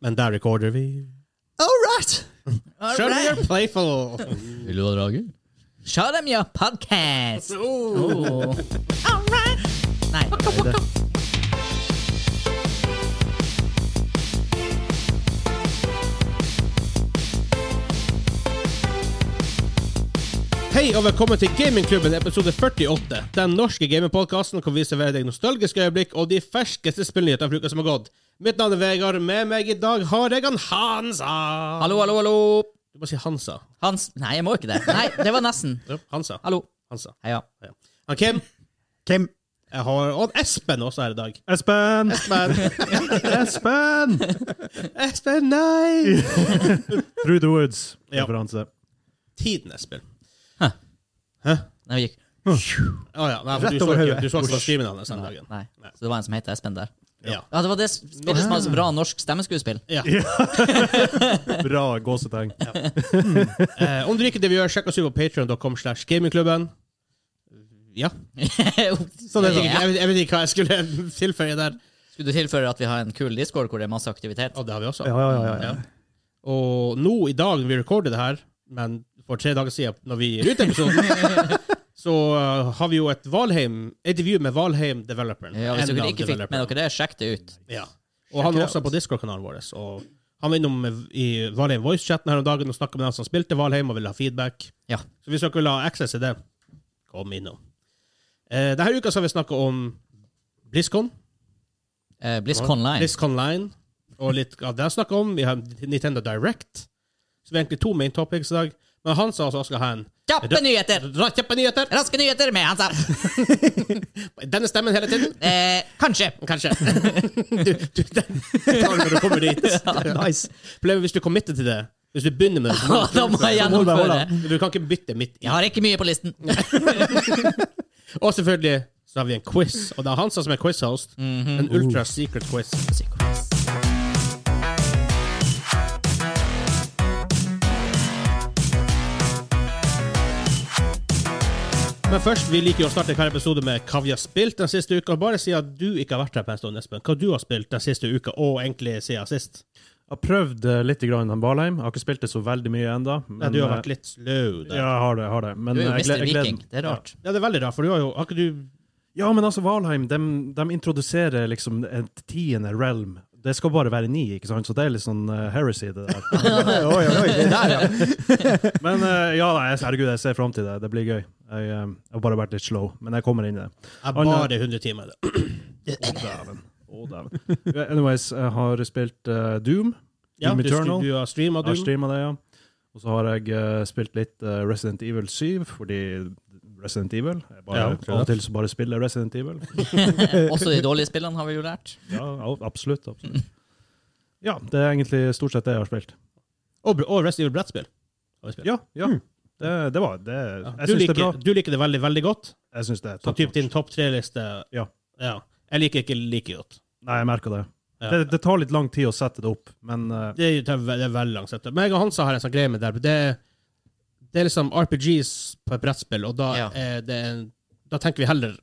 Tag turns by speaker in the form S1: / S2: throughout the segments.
S1: Men der recorder vi.
S2: All right!
S1: Show me you're playful!
S3: Vil du ha drager?
S2: Show them your podcast! Oh. All right! Nei.
S1: Hei og velkommen til Gamingklubben episode 48. Den norske gamingpodkasten hvor vi serverer deg nostalgiske øyeblikk og de ferskeste spillnyhetene fra uka som har gått. Mitt navn er Vegard. Med meg i dag har jeg han Hansa.
S2: Hallo, hallo, hallo!
S1: Du må si Hansa.
S2: Hans Nei, jeg må ikke det. Nei, det var nesten.
S1: Ja, Hansa.
S2: Hallo.
S1: Hansa.
S2: Heia.
S1: Ja. Han Kim.
S4: Kim.
S1: Jeg har, og Espen også her i dag.
S4: Espen!
S1: Espen,
S4: Espen!
S1: Espen nei!
S4: Through the Woods.
S1: Ja.
S4: Referanse.
S1: Tiden, Espen.
S2: Nei, vi gikk.
S1: Å ja. Nei, for
S4: Rett
S1: du så
S4: over
S1: ikke,
S4: hodet.
S1: du så ikke på streamen hans den dagen.
S2: Nei. Så det var en som het Espen der.
S1: Ja.
S2: Ja, det var det spillet som hadde så bra norsk stemmeskuespill.
S1: Ja.
S4: Bra gåsetegn.
S1: Eh, om du liker det vi gjør, sjekk oss ut på patreon.com slash gamingklubben. Ja. Så det,
S2: Ja.
S1: jeg, vet- jeg vet ikke hva jeg skulle tilføye der.
S2: Skulle du tilføre at vi har en kul Discord hvor det er masse aktivitet?
S1: Og det har vi også.
S4: Ja, ja, ja. ja.
S1: Ja. Og nå i dag, vi recorder det her, men for tre dager siden, når vi gir ut episoden, så uh, har vi jo et Valheim, intervju med Valheim-developeren.
S2: Ja, hvis
S1: En
S2: dere
S1: av
S2: ikke fikk med
S1: developerne.
S2: dere det, sjekk det ut.
S1: Ja. Og han
S4: Check it
S1: er også
S4: out.
S1: på Discord-kanalen vår. Og han var innom i Valheim Voice-chatten her om dagen og snakka med dem som spilte Valheim og ville ha feedback.
S2: Ja.
S1: Så hvis dere vil ha access til det, kom innom. Eh, denne uka så har vi snakka om BlizzCon.
S2: Eh, BlizzCon Line.
S1: BlizzCon Line. Og litt av det jeg snakket om. Vi har Nintendo Direct. Så vi har egentlig to main topics i dag. Men han sa altså også skal ha en
S2: Kjappe nyheter!
S1: Ra- kjappe nyheter!
S2: Raske nyheter med Hansa!
S1: Denne stemmen hele tiden?
S2: Eh, kanskje.
S1: Kanskje. du, du, den tar du når du kommer dit.
S4: Nice.
S1: Problemet er hvis du committer til det. Hvis du begynner med det. så må du-
S2: Da må jeg gjennomføre.
S1: Du kan ikke bytte midt i.
S2: Jeg har ikke mye på listen.
S1: Og selvfølgelig så har vi en quiz. Og det er Hansa som er quiz-host.
S2: Mhm.
S1: En ultra secret quiz. Men først, vi liker jo å starte hver episode med hva vi har spilt den siste uka. Bare si at du ikke har vært her på en stund, Espen. Hva du har spilt den siste uka, og egentlig siden sist.
S4: Jeg har prøvd eh, litt grann den Valheim. Jeg har ikke spilt det så veldig mye ennå.
S1: Ja, du har vært litt slow
S4: eh, Ja,
S1: der. Ja.
S4: jeg har det. jeg har det. Men
S2: Du er jo
S4: jeg gled-
S2: Mr.
S4: jeg gled-
S2: Viking. Det er rart.
S1: det er veldig rart, for du har jo Har ikke du
S4: Ja, men altså, Valheim de, de introduserer liksom et tiende realm. Det skal bare være ni, ikke sant? så det er litt sånn eh, heresy, det der.
S5: oi, oi, oi, det der, ja.
S4: Men eh, ja, nei, herregud, jeg ser fram til det. Det blir gøy. Jeg, eh, jeg har bare vært litt slow, men jeg kommer inn i det.
S1: er bare 100 timer?
S4: Å, dæven. Å, dæven. Anyways, jeg har spilt eh, Doom.
S1: Ja,
S4: Doom
S1: du,
S4: Eternal.
S1: du har streama,
S4: Jeg har
S1: du.
S4: streama det, ja. Og så har jeg eh, spilt litt eh, Resident Evil 7, fordi Resident Evil jeg bare,
S1: Ja, klart.
S4: Av og til så bare spiller jeg Resident Evil.
S2: Eh, Også de dårlige spillene har vi jo lært.
S4: Ja, ab- absolutt. absolutt. Ja, det er egentlig stort sett det jeg har spilt.
S1: Og, og Rest Evil Brettspill. har vi spilt.
S4: Ja, ja. Det, det var det.
S1: Hmm. Ja.
S4: Jeg
S1: Du,
S4: syns det er bra.
S1: liker, du liker det Sånn veldig, veldig godt.
S4: Jeg synes det er
S1: Så
S4: topp
S1: typ
S4: notch.
S1: din topp tre-liste
S4: Ja.
S1: ja. Jeg liker ikke like godt.
S4: Nei, jeg merker det.
S1: Ja.
S4: det. Det tar litt lang tid å sette det opp, men eh,
S1: Det er, det er veldig langt sett. Men jeg og Hansa har en sånn greie med det. her, Det, er- det er liksom RPGs på et brettspill, og da,
S2: Ja.
S1: er det en, da tenker vi heller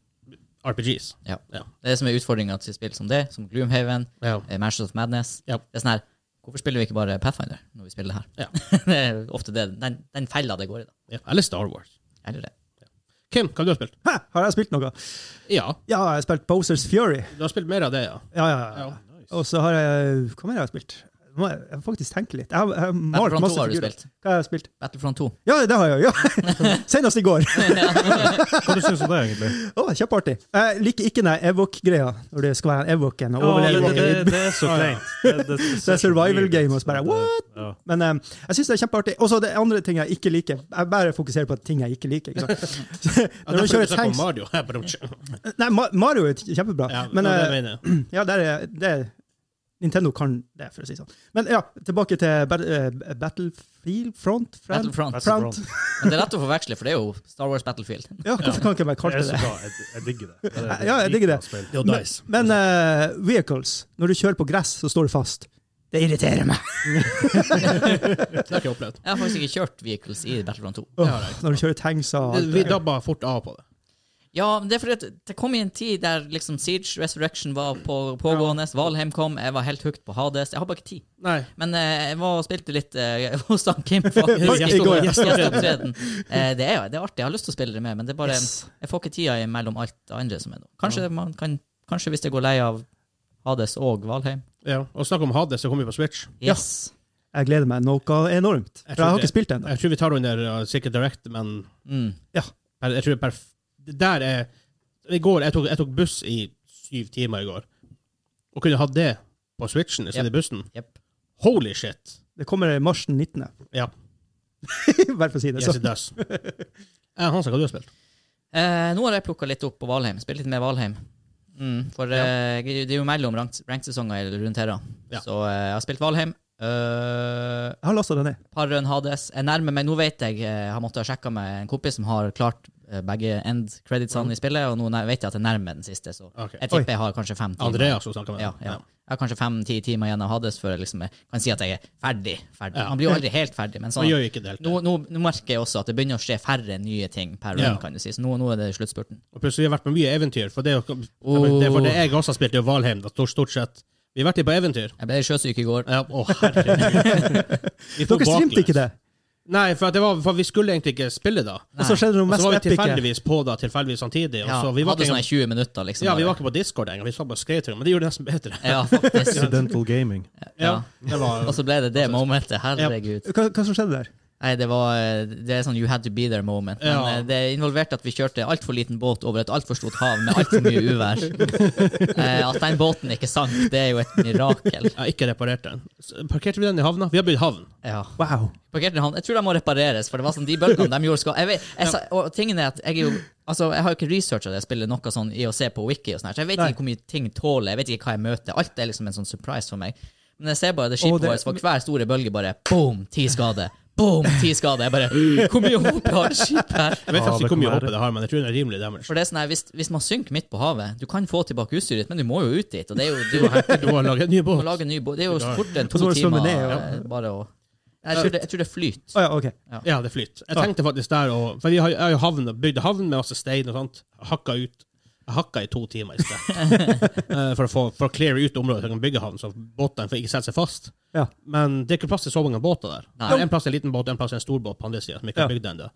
S1: RPGs.
S2: Det er det som er utfordringa til spill som det, som Gloomhaven,
S1: Ja.
S2: eh, Mansions of Madness.
S1: Ja.
S2: Det er sånn her Hvorfor spiller vi ikke bare Pathfinder når vi spiller det
S1: Ja.
S2: her? det er ofte det, den, den fella det går i, da.
S1: Eller Star Wars.
S2: Eller det.
S1: Kim, hva har du spilt?
S5: Hæ, Har jeg spilt noe?
S1: Ja,
S5: Ja, jeg har spilt Bowsers Fury.
S1: du har spilt mer av det, ja.
S5: Ja, ja, ja. Og så har jeg Hva mer har jeg spilt? Nå må jeg, jeg må faktisk tenke litt. Jeg har, jeg har malt
S2: Battlefront 2
S5: masse
S2: har du
S5: figurer.
S2: spilt.
S5: Hva har jeg spilt?
S2: Battlefront 2.
S5: Ja, det har jeg jo! Ja. Senest i går.
S4: hva syns du synes om det, egentlig?
S5: Å, Kjempeartig. Jeg liker ikke den Evok-greia, når det skal være en Evok en og
S4: Ja, det,
S5: overleve.
S4: det,
S5: i-
S4: det er så kleint. Det, det,
S5: Det er survival game, og så bare, what?
S4: Ja.
S5: Men eh, jeg syns det er kjempeartig. Og så det andre ting jeg ikke liker. Jeg bare fokuserer på ting jeg ikke liker. Ikke sant?
S1: ja
S5: Når du
S1: derfor
S5: kjører
S1: du snakker om
S5: tanks-
S1: Mario. Ja, bare om-
S5: Nei, Ma- Mario er kjempebra,
S1: ja,
S5: men
S1: men, det
S5: eh,
S1: mener jeg.
S5: Ja, der er, det er, Nintendo kan det, for å si det sånn. Men ja, tilbake til bat, eh, Battlefield Front? Friend?
S2: Battlefront.
S5: Front.
S2: Men det er lett å forveksle, for det er jo Star Wars Battlefield.
S5: Ja, hvorfor kan ikke jeg bare
S4: Det
S5: kalle
S4: er
S5: det
S4: så
S5: det?
S4: bra. Jeg, jeg digger det. det, er- det er
S5: Ja, jeg digger
S4: dritbra
S5: det.
S4: spill.
S1: Det er jo
S5: Men-
S1: dice.
S5: Men eh, vehicles, når du kjører på gress, så står du fast. Det irriterer meg.
S1: det har ikke jeg opplevd.
S2: Jeg har faktisk ikke kjørt Vehicles i Battlefront 2.
S5: Åh, når du kjører tanks og
S1: Det,
S5: alt
S1: vi
S5: det.
S1: dabba fort av på det.
S2: Ja, men det er fordi at det kom i en tid der liksom Siege Resurrection var på, pågående, Valheim kom, jeg var helt hooked på Hades. Jeg har bare ikke tid.
S1: Nei.
S2: Men eh, jeg var og spilte litt eh, hos han Kim, faktisk.
S5: I går, ja.
S2: Gjesteopptreden. Eh, det, er, jo- det er artig, jeg har lyst til å spille det med, men det er bare,
S5: Yes.
S2: jeg får ikke tida imellom alt det andre som er nå. Kanskje, man kan, kanskje hvis jeg går lei av Hades og Valheim.
S1: Ja. Og snakk om Hades, så kommer vi på Switch.
S5: Ja.
S2: Yes.
S5: Jeg gleder meg noe enormt. For
S1: Jeg
S5: jeg,
S1: tror
S5: har
S1: det-
S5: ikke spilt det ennå.
S1: Jeg tror vi tar under uh, sikkert Direct, men
S2: Mm.
S1: per- jeg tror perf... Det der er I går jeg tok, jeg tok buss i syv timer i går. Og kunne hatt det på Switchen i stedet for bussen.
S2: Jep.
S1: Holy shit!
S5: Det kommer i mars den 19.
S1: Ja.
S5: Bare for å si det.
S1: Yes,
S5: Så.
S1: it does. Eh, Hansa, hva har du spilt?
S2: Eh, nå har jeg plukka litt opp på Valheim. Spilt litt mer Valheim. Mm, for eh, det er jo mellom rank- ranksesonger rundt her. da.
S1: Ja.
S2: Så eh, jeg har spilt Valheim. Eh,
S5: Jeg har lasta det ned.
S2: par run Hades. Jeg nærmer meg, nå vet jeg, eh, jeg har måttet ha sjekka med en kompis som har klart eh, begge end creditsene i spillet, og nå nær- vet jeg at jeg nærmer den siste, så
S1: Mm. Ok.
S2: jeg tipper jeg har kanskje fem timer.
S1: Andreas som snakka med
S2: Ja,
S1: deg.
S2: ja. Jeg har kanskje fem-ti timer igjen av Hades før jeg liksom jeg kan si at jeg er ferdig. ferdig.
S1: Ja.
S2: Man blir jo aldri helt ferdig,
S1: Man
S2: men sånn,
S1: gjør jo ikke det helt.
S2: nå, nå, nå merker jeg også at det begynner å skje færre nye ting per run,
S1: Ja.
S2: kan du si, så nå, nå er det sluttspurten.
S1: Og plutselig har vi vært på mye eventyr. For det, er jo-
S2: Oh.
S1: det, er for det jeg også har spilt, det er jo Valheim. Da, stort, stort sett. Vi har vært på eventyr.
S2: Jeg ble sjøsyk i går.
S1: Ja, å, herregud. Vi får
S5: Dere streamte
S1: baklengs.
S5: ikke det,
S1: Nei, for, at det var, for vi skulle egentlig ikke spille da.
S5: og så skjedde det
S1: Og
S5: noe
S1: så var vi
S5: mest epic.
S1: tilfeldigvis på da, tilfeldigvis samtidig. Og
S2: Ja,
S1: så vi var
S2: hadde
S1: ikke
S2: sånn
S1: engang,
S2: her 20 minutter, liksom.
S1: ja, vi
S2: bare.
S1: var ikke på Discord engang. Vi satt bare og skrev til dem, men det gjorde det nesten bedre.
S2: Ja, faktisk.
S4: Accidental gaming.
S2: ja. Altså-
S1: Det var,
S2: Og så ble det
S1: Altså,
S2: det momentet. Herregud.
S5: Hva, hva som skjedde der?
S2: Nei, det var eh, Det er sånn you had to be there moment. Men
S1: Ja.
S2: eh, det involverte at vi kjørte altfor liten båt over et altfor stort hav med altfor mye uvær. Eh, At den båten ikke sank, det er jo et mirakel.
S1: jeg har ikke reparert den. Så Parkerte vi den i havna? Vi har bygd havn.
S2: Ja.
S5: Wow.
S2: Parkerte han. Jeg tror de må repareres, for det var sånn de bølgene de gjorde skal jeg vet, jeg, sa- Og tingen er at jeg er jo Altså, jeg har jo ikke researcha det spillet noe sånn i å se på wiki og sånn her, så jeg vet
S5: Nei.
S2: ikke hvor mye ting tåler, jeg vet ikke hva jeg møter. Alt er liksom en sånn surprise for meg. Men jeg ser bare det
S5: Og
S2: skipet
S5: det-
S2: vårt for hver store bølge bare boom, ti skader. Boom, ti skader. Jeg bare Hvor mye håp har skipet her?
S1: Jeg vet
S4: Ja,
S1: faktisk
S4: det
S1: ikke hvor mye
S4: kan
S1: håp
S4: være.
S1: det har, men jeg tror det er rimelig damage.
S2: For det er sånn her, hvis, hvis man synker midt på havet Du kan få tilbake utstyret ditt, men du må jo ut dit. Og det er jo, det er jo helt-
S1: Du har laget en ny
S2: du må
S1: båt.
S2: lage en ny båt. Det er jo fort en
S5: Og så
S2: to
S5: må du svømme
S2: timer
S5: ned, ja.
S2: eh, bare å jeg tror, det, jeg tror det flyter.
S5: Å ja, OK.
S1: Ja, det flyter. Jeg tenkte faktisk der og For vi har, jeg har jo havn, bygd havn med masse stein og sånt. Hakka ut. Jeg hakka i to timer i sted Eh, for, å få, for å cleare ut området så jeg kan bygge havn, så båtene får ikke sette seg fast.
S5: Ja.
S1: Men det er ikke plass til så mange båter der.
S2: Nei.
S1: Det er En plass er en liten båt, en plass er en stor båt på andre siden, som ikke
S5: Ja.
S1: er bygd ennå.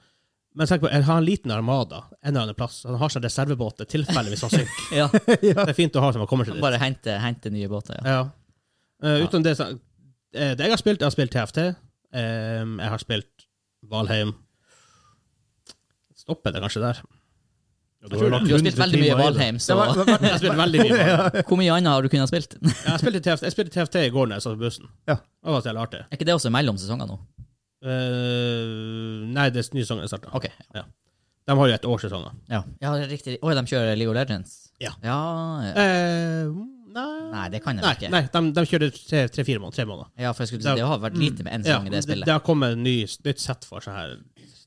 S1: Men tenk på, jeg har en liten armada en eller annen plass. så Han har seg en reservebåt i tilfelle hvis han synker.
S2: Ja,
S1: Det er fint å ha som man kommer til dit.
S2: bare hente, hente nye båter. Ja.
S1: Ja. Eh, utenom det, så, eh, det jeg har spilt, jeg har spilt TFT. eh, jeg har spilt Valheim. Stopper det kanskje der?
S4: Du har lagt
S2: Du har spilt
S4: 100
S2: veldig mye
S4: timer i det.
S2: Valheim, så
S1: Jeg har spilt veldig mye. Valheim.
S2: hvor mye annet har du kunnet spilt? Er
S1: Jeg spilte TFT, jeg spilte TFT i går når jeg satt på bussen.
S5: Ja.
S1: Det var så jævlig artig.
S2: ikke det også mellom sesonger nå?
S1: Eh, nei, det er nye sanger jeg starta.
S2: Ok,
S1: De har jo et års sesonger.
S2: ja. ja det er riktig. Oi, de kjører League of Legends?
S1: Ja.
S2: ja.
S1: Eh, nei
S2: Nei, det kan de
S1: Nei,
S2: ikke.
S1: nei de, de kjører tre-fire tre, fire måneder. Tre måneder.
S2: Ja, for jeg skulle si, Det har vært lite med én sesong i det
S1: det,
S2: spillet.
S1: det har kommet en ny, nytt sett for sånn her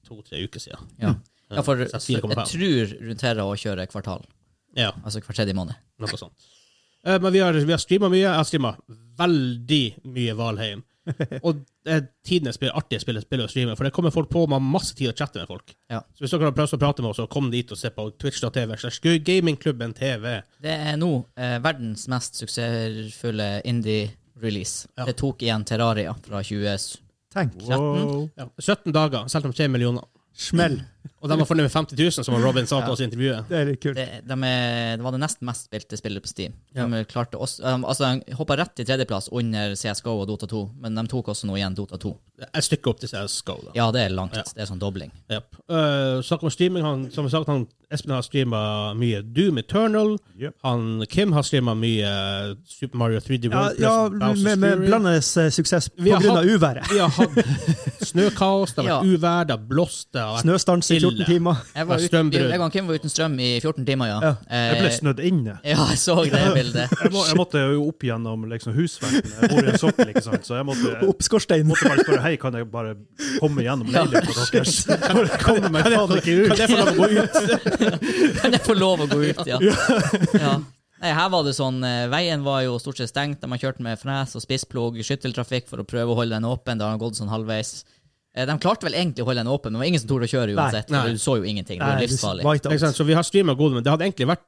S1: to-tre uker siden.
S2: Ja, ja for
S1: Så jeg
S2: jeg
S1: sier det kommer fem.
S2: tror Runtera å kjøre kvartal.
S1: Ja,
S2: Altså hver tredje måned.
S1: noe sånt. Eh, men vi har, vi har streama mye. Jeg har streama veldig mye Valheim. Og det er tidenes spill, artige spill, spill å streame, for det kommer folk på. Man har masse tid å chatte med folk.
S2: Ja.
S1: Så hvis dere har prøvd å prate med oss, så kom dit og se på twitch.tv. slash Gamingklubben TV.
S2: Det er nå eh, verdens mest suksessfulle indie-release.
S1: Ja.
S2: Det tok igjen Terraria fra 2013.
S5: Tenk.
S4: Wow.
S1: Ja. 17 dager, selv om 3 millioner.
S5: Smell.
S1: Og de har funnet med 50 000, som Robin sa på oss i intervjuet.
S5: Det er litt kult.
S2: Det, de er, det var det nest mest spilte spillet på Steam. De klarte også, um, altså de hoppa rett til tredjeplass under CSGO og Dota 2, men de tok også nå igjen Dota 2.
S1: Et stykke opp til CSGO. Da.
S2: Ja, det er langt.
S1: Ja.
S2: Det er sånn dobling.
S1: Yep. Uh, Snakk om streaming. Han, som sagt, han, Espen har streama mye Doom Eternal.
S4: Yep.
S1: Han, Kim har streama mye eh, Super Mario 3D
S5: Ja,
S1: World.
S5: ja
S1: plus Bowser's
S5: med, med
S1: Fury.
S5: blandende eh, suksess
S1: Vi har
S5: pga.
S1: hatt-
S5: uværet.
S1: Vi har hatt snøkaos, det har vært
S2: Ja.
S1: uvær, det har blåst, det har vært
S5: Snøstans i 14
S1: Ille.
S5: timer.
S2: Jeg var
S1: Ja,
S2: uten,
S1: strømbrudd.
S2: jeg og Kim var uten strøm i 14 timer, ja.
S5: Ja.
S4: Jeg ble
S2: Eh,
S4: snødd inne.
S2: ja, jeg så det bildet.
S4: Jeg, må, jeg måtte jo opp gjennom liksom, husveggen. Jeg bor i en sokkel, ikke sant. Så jeg måtte, jeg
S5: Opp skorsteinen.
S4: måtte bare spørre hei, kan jeg bare komme gjennom leiligheten deres? Bare komme meg faen ikke
S1: Kan jeg få
S4: ut.
S1: lov å gå ut?
S2: Kan jeg få lov å gå ut, ja. ja. Nei, her var det sånn, eh, Veien var jo stort sett stengt. De har kjørt med fres og spissplog, skytteltrafikk for å prøve å holde den åpen. Det har gått sånn halvveis. Eh, De klarte vel egentlig å holde den åpen, men det var ingen som torde å kjøre uansett.
S1: Nei.
S2: for Du så jo ingenting. Det var
S5: Nei, du-
S2: livsfarlig.
S5: whiteout.
S1: Ikke sant? Så vi har streama Golden, men det hadde egentlig vært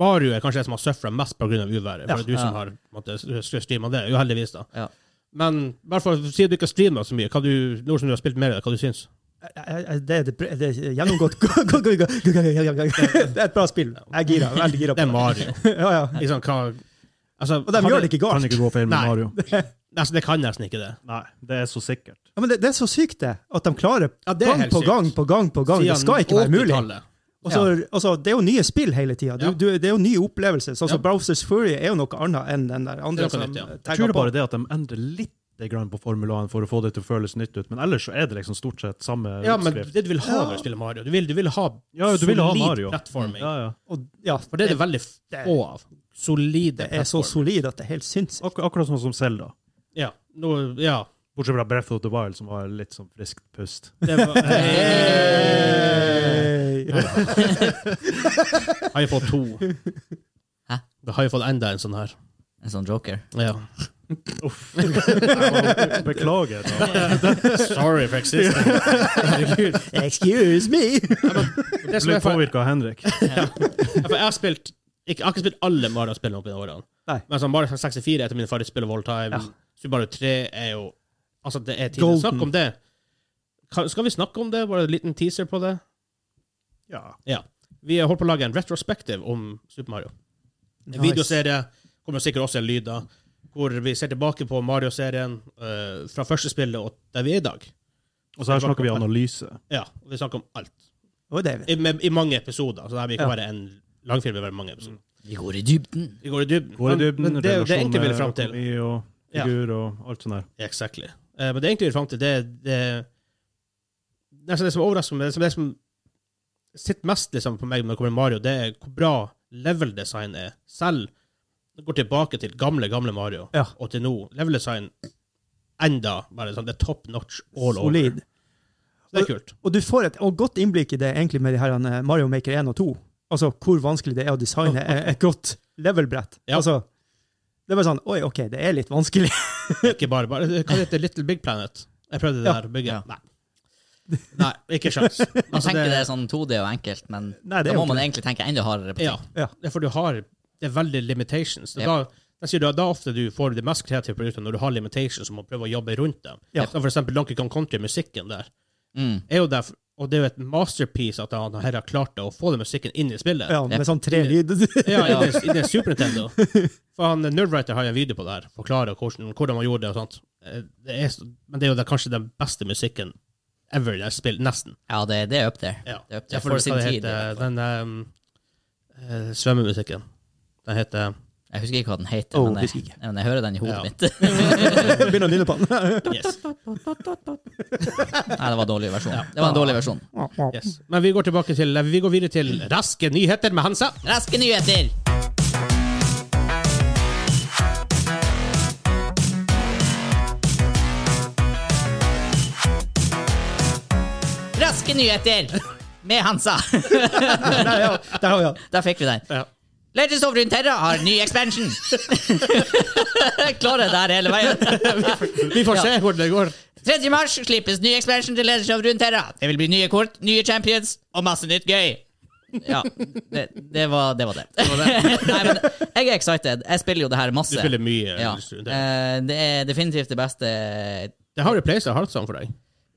S1: Mario er kanskje det som har sufra mest pga. uværet.
S5: Ja,
S1: For det er du som
S2: ja.
S1: har måtte, streama det, uheldigvis. da.
S2: Ja.
S1: Men i hvert fall, siden du ikke har streama så mye, hva du, nå som du har spilt mer av det, hva du syns
S5: Eh, eh, Det er, depre- det er gjennomgått Det er et bra spill. Jeg er gira. Veldig gira.
S1: Det er
S5: på
S1: Mario.
S5: det. Ja, ja.
S1: Ikke sant, Liksom, hva, altså,
S5: Og de
S1: han-
S5: gjør det ikke
S4: Kan
S5: galt.
S4: ikke gå feil med
S1: Nei.
S4: Mario.
S1: nesten, altså, Det kan nesten ikke det.
S4: Nei, det er så sikkert.
S5: Ja, men det, det er så sykt, det. At de klarer
S1: Ja, det er
S5: gang
S1: helt
S5: på
S1: sykt.
S5: gang på gang på gang. Det
S1: Siden
S5: skal ikke være mulig.
S1: 80-tallet.
S5: Og så- og så, det er jo nye spill hele tida.
S1: Ja.
S5: Det er jo nye opplevelser. Sånn som
S1: Ja.
S5: Browsers Fury er jo noe annet enn den der
S1: Det er
S5: andre
S1: noe
S5: som
S1: nytt, ja.
S5: eh,
S4: Jeg tror
S5: tagget
S4: det er
S5: på.
S4: bare det at de endrer litt grann på formulaen for å få det til å føles nytt ut, men ellers så er det liksom stort sett samme
S1: Ja, men
S4: utskrift.
S1: det du vil ha når du spiller Mario, du vil, du vil ha
S4: Ja, du vil ha Mario.
S1: plattforming.
S4: Ja, ja.
S5: Og, ja,
S1: For det er det veldig få av. Solide
S5: det er så solid at det er helt sinnssykt.
S4: Ak akkurat sånn som Zelda.
S1: Ja. Nå, ja.
S4: Bortsett fra Breath of the Wild, som var litt sånn friskt pust.
S1: Det var,
S5: Hey.
S1: har jeg fått to.
S2: Hæ?
S1: Da har jeg fått enda en sånn her.
S2: En sånn joker.
S1: Ja.
S4: Beklager. Da.
S1: Sorry for existing. Herregud.
S5: Excuse me!
S1: Det som
S4: Ble
S1: er for,
S4: påvirka av Henrik.
S1: for jeg har spilt ikke, Jeg har ikke spilt alle Mario-spillene opp i årene.
S5: Nei.
S1: Men sånn, Mario 64 er et av mine favorittspill of all time.
S5: Ja.
S1: Super Mario 3 er jo Altså, det er tiden. Snakk
S5: Golden.
S1: om det. Kan, skal vi snakke om det? Bare en liten teaser på det?
S4: Ja.
S1: Ja. Vi holder på å lage en retrospektiv om Super Mario. En
S5: Nice.
S1: videoserie kommer sikkert også en lyd av, hvor vi ser tilbake på Mario-serien eh, fra første spillet og der vi er i dag.
S4: Og så her snakker vi analyse.
S1: Ja, og vi snakker om alt.
S5: Og David.
S1: I, med, i mange episoder. Så det her vil ikke
S5: Ja.
S1: være en langfilm, det vil være mange episoder.
S2: Vi går i dybden.
S1: Vi går i dybden.
S4: Går i
S1: Men-
S4: dybden,
S1: men det er jo det jeg
S4: relasjoner,
S1: egentlig vil fram til.
S4: økonomi og
S1: Ja.
S4: figur og alt sånt der.
S1: Exactly. Eh, men det jeg egentlig vil fram til, det er det, det, er sånn det som overrasker meg, det som, det som sitter mest liksom, på meg når det kommer til Mario, det er hvor bra level design er. Selv når jeg går tilbake til gamle, gamle Mario
S5: Ja.
S1: og til nå. Level design enda bare sånn, det er top notch all over.
S5: Solid.
S1: Så det er kult.
S5: Og du får et og godt innblikk i det egentlig med de her eh, Mario Maker 1 og 2. Altså hvor vanskelig det er å designe eh, et godt levelbrett.
S1: Ja.
S5: Altså, det er bare sånn Oi, OK, det er litt vanskelig.
S1: Ikke bare, bare Hva heter Little Big Planet? Jeg prøvde det
S5: Ja.
S1: der bygget.
S2: Ja.
S1: Nei. Nei, ikke sjans.
S2: Man
S1: Altså,
S2: tenker det er sånn 2D og enkelt, men
S5: Nei,
S2: da
S5: det er
S2: må
S5: jo
S2: man
S5: ikke
S2: egentlig tenke enda hardere på ting.
S1: Ja.
S5: Ja.
S1: Det er for du har Det er veldig limitations. Det er
S2: Ja.
S1: da, jeg sier, det er da ofte du får det mest kreative produktet, når du har limitations og må prøve å jobbe rundt dem.
S5: Ja.
S1: Som for eksempel Donkey Kong Country, musikken der.
S2: Mm.
S1: Er jo der, og det er jo et masterpiece at han her har klart det, å få den musikken inn i spillet.
S5: Ja, med sånn tre lyd.
S1: Ja, i det- i det Super Nintendo. For han, Nerdwriter har jo en video på det her, forklarer hvordan, hvordan man gjorde det og sånt. Eh, Det er, så- men det er jo det, kanskje den beste musikken ever i det spillet, nesten.
S2: Ja, det, det er up there.
S1: Ja.
S2: Det er up
S1: Jeg
S2: there
S1: får
S2: for
S1: hva
S2: sin
S1: det
S2: tid. i
S1: heter,
S2: hvert fall.
S1: Den um, eh, svømmemusikken. Den heter
S2: Jeg husker ikke hva den heter,
S5: Oh,
S2: men,
S5: husker
S2: jeg, men jeg hører den i hodet
S1: Ja.
S2: mitt.
S5: Begynner å nynne på den.
S1: Yes.
S2: Nei, det var en dårlig versjon. Det var en dårlig versjon.
S1: Yes. Men vi går tilbake til Vi går videre til raske nyheter med Hansa.
S2: Raske nyheter! Raske nyheter med Hansa.
S5: Nei, ja, der har vi den.
S2: Der fikk vi den.
S1: Ja.
S2: Legends of Runeterra har ny expansion. Klarer det der hele veien.
S1: Vi får
S2: Ja.
S1: se hvordan det går.
S2: 3. mars slippes ny expansion til Legends of Runeterra. Det vil bli nye kort, nye champions og masse nytt gøy. Ja, det, det var det. Var det. Nei, men jeg er excited. Jeg spiller jo det her masse.
S1: Du spiller mye.
S2: ja.
S1: Det.
S2: Eh, det er definitivt det beste
S1: det har replaced Heartsong sånn for deg.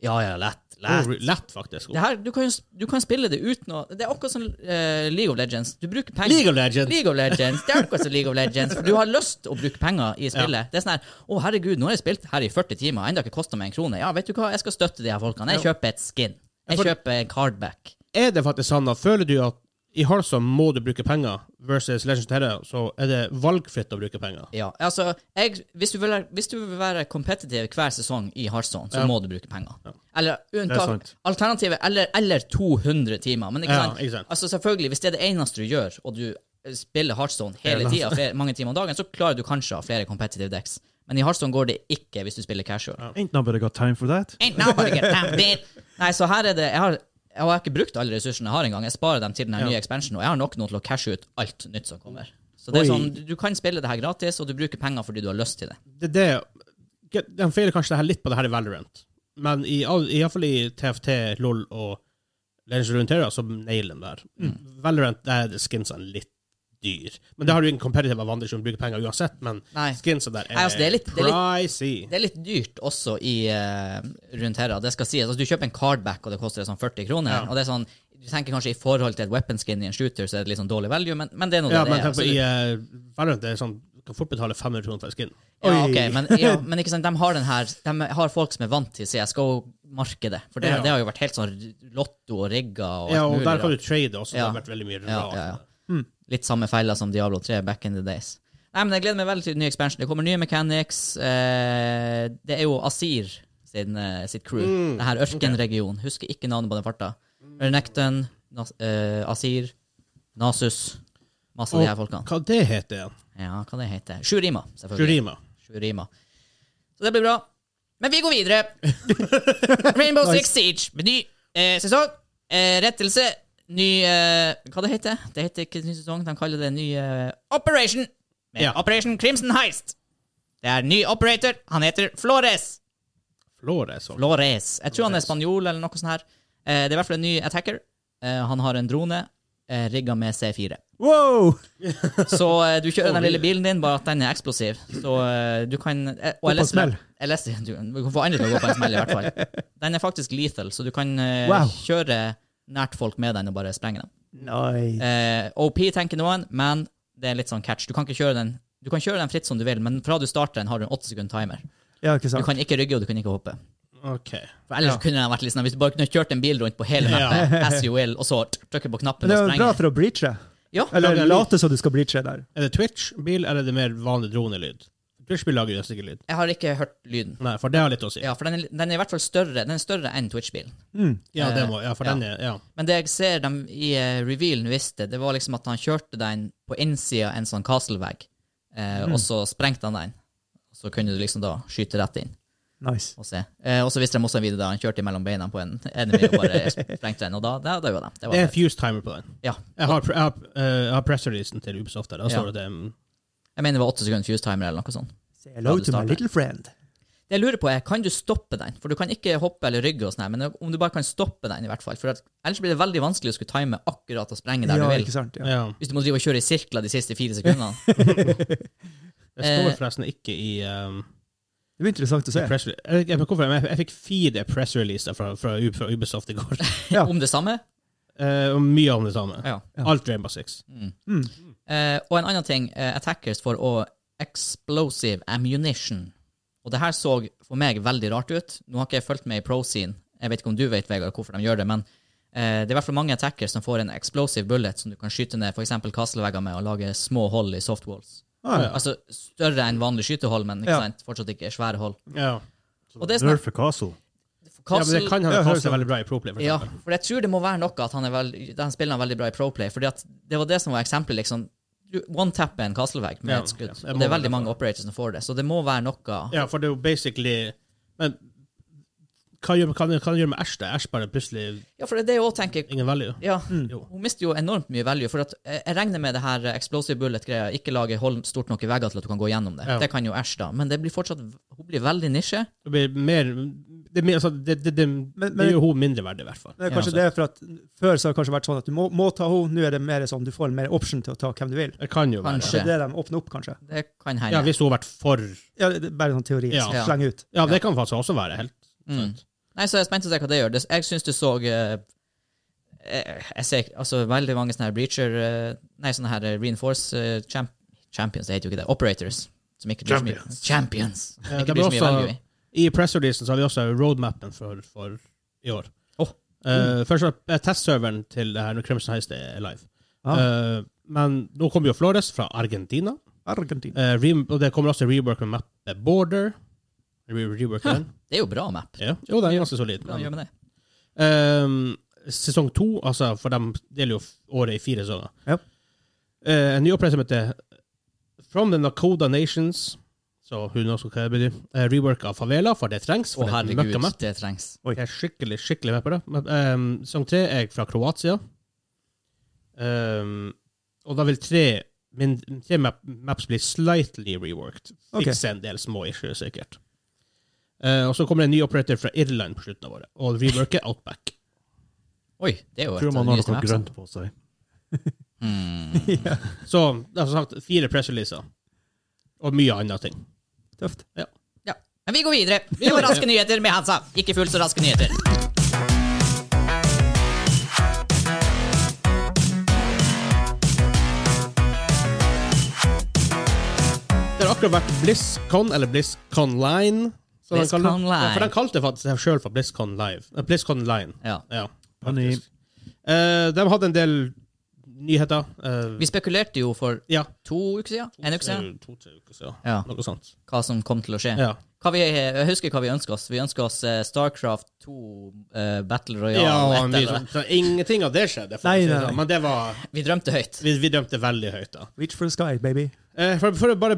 S2: Ja, ja, lett.
S1: Lett,
S2: lett.
S1: Lett faktisk.
S2: Det her, du, kan jo, s- du kan spille det uten å Det er akkurat som eh, League of Legends. Du bruker penger.
S1: League of Legends.
S2: League of Legends. Det er akkurat som League of Legends. For du har lyst å bruke penger i spillet. Det er sånn her Å, herregud, nå har jeg spilt her i 40 timer, enda ikke kosta meg en krone. Ja, vet du hva, jeg skal støtte de her folkene. Jeg kjøper et skin. Jeg
S1: for-
S2: kjøper en cardback.
S1: Er det faktisk sånn at føler du at i Heartsong må du bruke penger, versus Legends of Terra, så er det valgfritt å bruke penger?
S2: Ja, altså, jeg, hvis, du vil, være- hvis du vil være kompetitiv hver sesong i Hearthstone, så
S1: Ja.
S2: må du bruke penger. Eller
S4: sant.
S2: unntak, alternativet eller, eller 200 timer. Men ikke
S1: Ja,
S2: sant?
S1: ikke sant.
S2: Altså, selvfølgelig, hvis det er det eneste du gjør, og du eh, spiller Hearthstone hele
S1: Hele
S2: tida, flere- mange timer om dagen, så klarer du kanskje å ha flere competitive decks. Men i Hearthstone går det ikke hvis du spiller casual.
S4: Ain't nobody got time for that.
S2: Ain't nobody get damn bit. Nei, så her er det Jeg har, jeg har ikke brukt alle ressursene jeg har engang. Jeg sparer dem til den her nye expansionen, og jeg har nok nå til å cashe ut alt nytt som kommer. Så det er
S5: Oi.
S2: sånn, du- Du kan spille det her gratis, og du bruker penger fordi du har lyst til det.
S1: det, er det De feiler kanskje det her litt på det her i Valorant. men i all- i hvert fall i TFT, LOL og Legends of Runeterra, så nailer de der.
S2: Mm.
S1: Valorant der er skinsene litt dyr. Men det har du ingen competitive advantage om å bruke penger uansett, men
S2: Nei.
S1: skinsa der er,
S2: Nei, altså, det er litt- det er litt-
S1: pricey.
S2: Det er litt dyrt også i uh, rundt her. da. Det skal sies. Altså, du kjøper en cardback, og det koster sånn 40 kroner.
S1: Ja.
S2: Og det er sånn, Du tenker kanskje i forhold til et weapon skin i en shooter, så er det litt sånn dårlig value, men, men det er nå
S1: ja,
S2: det
S1: men
S2: er.
S1: tenk på
S2: Så
S1: i
S2: du-
S1: eh, Valorant, det er sånn, du kan fort betale 500 kroner for en skin.
S2: ja,
S5: Oi.
S2: ok, men, ja, men ikke sant, de har den her, de har folk som er vant til CSGO-markedet. For det,
S1: Ja.
S2: det har jo vært helt sånn lotto og rigga og alt
S1: Ja, og
S2: mulig.
S1: der
S2: da.
S1: kan Mm. du trade også, det
S2: Ja.
S1: har vært veldig mye
S2: Ja,
S1: rart.
S2: ja, ja. Litt samme feiler som Diablo 3 back in the days. Nei, men Jeg gleder meg veldig til den nye expansion. Det kommer nye mechanics. Eh, det er jo Asir sin, eh, sitt crew.
S1: Mm.
S2: det her ørkenregionen. Husker ikke navnet på den farta. Renekton, Nas eh, Asir, Nasus. Masse av de her folkene.
S1: Og hva det heter igjen?
S2: Ja, hva det heter Shurima, selvfølgelig.
S1: Jurima.
S2: Shurima. Så det blir bra. Men vi går videre. Rainbow Six Siege med ny eh, sesong. Eh, rettelse. Ny eh, Hva det heter det? heter ikke ny sesong, de kaller det ny eh, Operation. Med
S1: Ja.
S2: Operation Crimson Heist. Det er ny operator. Han heter Flores.
S1: Flores. altså. og-
S2: Flores. Jeg tror han er spanjol eller noe sånt her. Eh, det er i hvert fall en ny attacker. Eh, han har en drone eh, rigga med C4.
S5: Wow!
S2: Så eh, du kjører den lille bilen din, bare at den er eksplosiv. Så eh, du kan eh, Og
S5: Gå på
S2: jeg leste
S5: smell.
S2: Jeg leste, du, du kan få andre til å gå på en smell, i hvert fall. Den er faktisk lethal, så du kan eh,
S5: Wow.
S2: kjøre nært folk med den og bare sprenge dem.
S5: Nice.
S2: Eh, OP tenker noen, men det er litt sånn catch. Du kan ikke kjøre den Du kan kjøre den fritt som du vil, men fra du starter den, har du en åtte sekund timer.
S5: Ja, ikke
S2: Du
S5: sant?
S2: kan ikke rygge, og du kan ikke hoppe.
S1: Ok.
S2: For ellers kunne den vært litt sånn Hvis du bare kunne kjørt en bil rundt på hele mappet, as you will, og så trykke på
S5: Men
S2: knappen
S5: det
S2: og
S5: er jo bra
S2: sprenge.
S5: for å breache.
S2: Ja,
S5: Eller
S1: Lager lyd.
S5: late som du skal breache der.
S1: Er det Twitch-bil, eller er det mer vanlig dronelyd? Twitch-bil lager jo nesten ikke lyd.
S2: jeg har ikke hørt lyden.
S1: Nei, for det har litt å si. Ja,
S2: Ja, for den er, den er i hvert fall større Den er større enn Twitch-bilen.
S1: det må, ja for
S2: Ja.
S1: den er ja.
S2: Men det jeg ser dem i eh, revealen visste, det var liksom at han kjørte den på innsida av en sånn castle-vegg, eh,
S5: Mm.
S2: og så sprengte han den. Og så kunne du liksom da skyte rett inn
S5: Nice.
S2: og se. Eh, og så viste de også en video der han kjørte mellom beina på en enemy og bare sprengte den, og da, da døde de. Det
S1: Det er en
S2: var,
S1: fuse timer på den.
S2: ja.
S1: Jeg har, jeg har, eh, jeg har pressreleasen til Ubisoft der. Der står
S2: Ja.
S1: det at det er mm,
S2: Jeg mener det var åtte sekunder fuse timer eller noe sånt.
S5: Say hello
S2: Ja, du
S5: to my
S2: starter.
S5: little friend.
S2: Det jeg lurer på er, kan du stoppe den? For du kan ikke hoppe eller rygge og sånn, her, men om du bare kan stoppe den, i hvert fall. For at, ellers blir det veldig vanskelig å skulle time akkurat og sprenge der
S5: Ja,
S2: du vil.
S5: ikke sant? Ja.
S1: ja.
S2: Hvis du må drive og kjøre i sirkler de siste fire sekundene.
S1: Det står
S2: Eh.
S1: forresten ikke i um,
S5: Det blir interessant å se.
S1: press, jeg, vet ikke hvorfor, men jeg, jeg fikk fire pressreleaser fra, fra, Ub- fra Ubisoft i går.
S5: Ja.
S2: Om det samme?
S1: Eh, og mye om det samme.
S2: Ja.
S1: Alt Rainbow Six.
S5: Mm.
S2: Eh, og en annen ting, eh, attackers for å explosive ammunition. Og det her så for meg veldig rart ut. Nå har ikke jeg fulgt med i pro-scene. Jeg vet ikke om du vet, Vegard, hvorfor de gjør det, men eh, det er i hvert fall mange attackers som får en explosive bullet som du kan skyte ned f.eks. castlevegger med og lage små hull i softwalls.
S5: Ah, ja.
S2: Altså større enn vanlig skytehull, men ikke
S5: Ja.
S2: sant? fortsatt ikke svære hull.
S1: Ja.
S2: Og det er sånn
S4: Nerfe Castle.
S1: ja, men det kan
S5: Ja,
S1: hende
S5: høres
S1: kaste
S5: sånn.
S1: veldig bra i Proplay, for
S2: Ja,
S1: eksempel.
S2: for jeg tror det må være noe at han, er vel, han spiller han veldig bra i Proplay. Fordi at det var det som var eksempelet. Liksom, du one-tapper en Castlevag med
S1: Ja,
S2: et skudd.
S1: ja, det
S2: og
S1: må
S2: det er
S1: være
S2: veldig mange operators som får det, så det må være noe
S1: Ja, for det er jo basically Men hva gjør, hva, hva gjør med Æsj? da? Æsj bare plutselig
S2: Ja, for det er det jeg òg tenker.
S1: ingen value.
S2: Ja,
S5: Mm.
S1: Jo.
S2: Hun mister jo enormt mye value. For at eh, jeg regner med det her eh, explosive bullet-greia. Ikke lage hold stort nok i vegger til at du kan gå gjennom det.
S1: Ja.
S2: Det kan jo Æsj, da. Men det blir fortsatt Hun blir veldig nisje.
S1: Det blir mer Det, er mer- altså, det, det, det,
S5: men-
S1: det gjør hun mindre verdt, i hvert fall.
S5: Det er kanskje det, for at Før så har det kanskje vært sånn at du må, må ta henne, nå er det mer sånn du får mer option til å ta hvem du vil.
S1: Det kan jo være.
S2: Kanskje.
S5: Det er det de åpner opp, kanskje.
S2: Det kan hende.
S1: Ja, hvis hun har vært for
S5: Ja, det er Bare sånn teori.
S1: Ja.
S5: så Sleng ut.
S1: Ja, det kan faktisk også være helt
S2: Mm.
S1: sant.
S2: Nei, så jeg er spent på å se hva det gjør. Det- Jeg syns du så eh, eh, Jeg ser ikke- altså, veldig mange sånne her breacher eh, Nei, sånne her eh, reinforce eh, champ, Champions, det heter jo ikke det. Operators. Som ikke blir så mye Champions! Som
S1: Eh,
S2: ikke
S1: det blir
S2: blir så mye value
S1: også,
S2: i.
S1: I pressreleasen så har vi også roadmappen for, for i år.
S2: Åh.
S1: Eh, først var eh, testserveren til det her når Crimson Heist er live.
S5: Ah.
S1: Eh, men nå kommer jo Flores fra Argentina.
S5: Argentina.
S1: Eh, re, og det kommer også rework med mappet Border. Re rework med den.
S2: Det er jo bra map.
S1: Ja. Jo, den er ganske solid.
S2: Hva gjør
S1: Men,
S2: med det?
S1: Ehm, sesong to, altså, for de deler jo f- året i fire sesonger.
S5: Ja.
S1: Eh, en ny opplevelse som heter From the Nakoda Nations. Så hun også hva det betyr. Eh, rework av favela, for det trengs. For
S2: Å,
S1: det er et
S2: herregud,
S1: møkka map.
S2: det trengs.
S1: Jeg er skikkelig, skikkelig med på det. Men, ehm, sesong tre er fra Kroatia. Ehm, og da vil tre, min, tre map, maps bli slightly reworked.
S5: Ok.
S1: Fikse en del små issues, sikkert. Eh, og så kommer det en ny operator fra Irland på slutten av året, og reworker Outback.
S2: Oi, det er jo
S4: Tror
S2: et av
S4: man
S2: de
S4: har
S2: nyeste
S4: noe
S2: mapsene.
S4: grønt på seg.
S2: Hmm.
S1: Så det er som sagt fire pressreleaser. Og mye andre ting.
S5: Tøft.
S2: Ja. Men vi går videre. Det var raske nyheter med Hansa. Ikke fullt så raske nyheter.
S1: Det har akkurat vært BlizzCon, eller BlizzCon Line. som de
S2: BlizzCon
S1: kaller det.
S2: Line.
S1: Ja, for de kalte det faktisk seg sjøl for BlizzCon Live. Eh, BlizzCon Line.
S2: Ja.
S1: Ja.
S4: Funny.
S1: Eh, de hadde en del nyheter. eh,
S2: Vi spekulerte jo for
S1: ja.
S2: to uker siden, en uke siden,
S1: To-tre uker siden.
S2: Ja.
S1: Noe sånt.
S2: hva som kom til å skje.
S1: Ja.
S2: Hva vi, jeg husker hva vi ønsker oss. Vi ønsker oss eh, Starcraft 2 eh, Battle
S1: Ja,
S2: Royale. et
S1: mye
S2: eller.
S1: sånn. så ingenting av det skjedde, for
S5: Nei,
S1: å si det
S5: nei.
S1: sånn. men det var
S2: Vi drømte høyt.
S1: Vi, vi dømte veldig høyt, da.
S5: Reach for the sky, baby.
S1: Eh, for, for å bare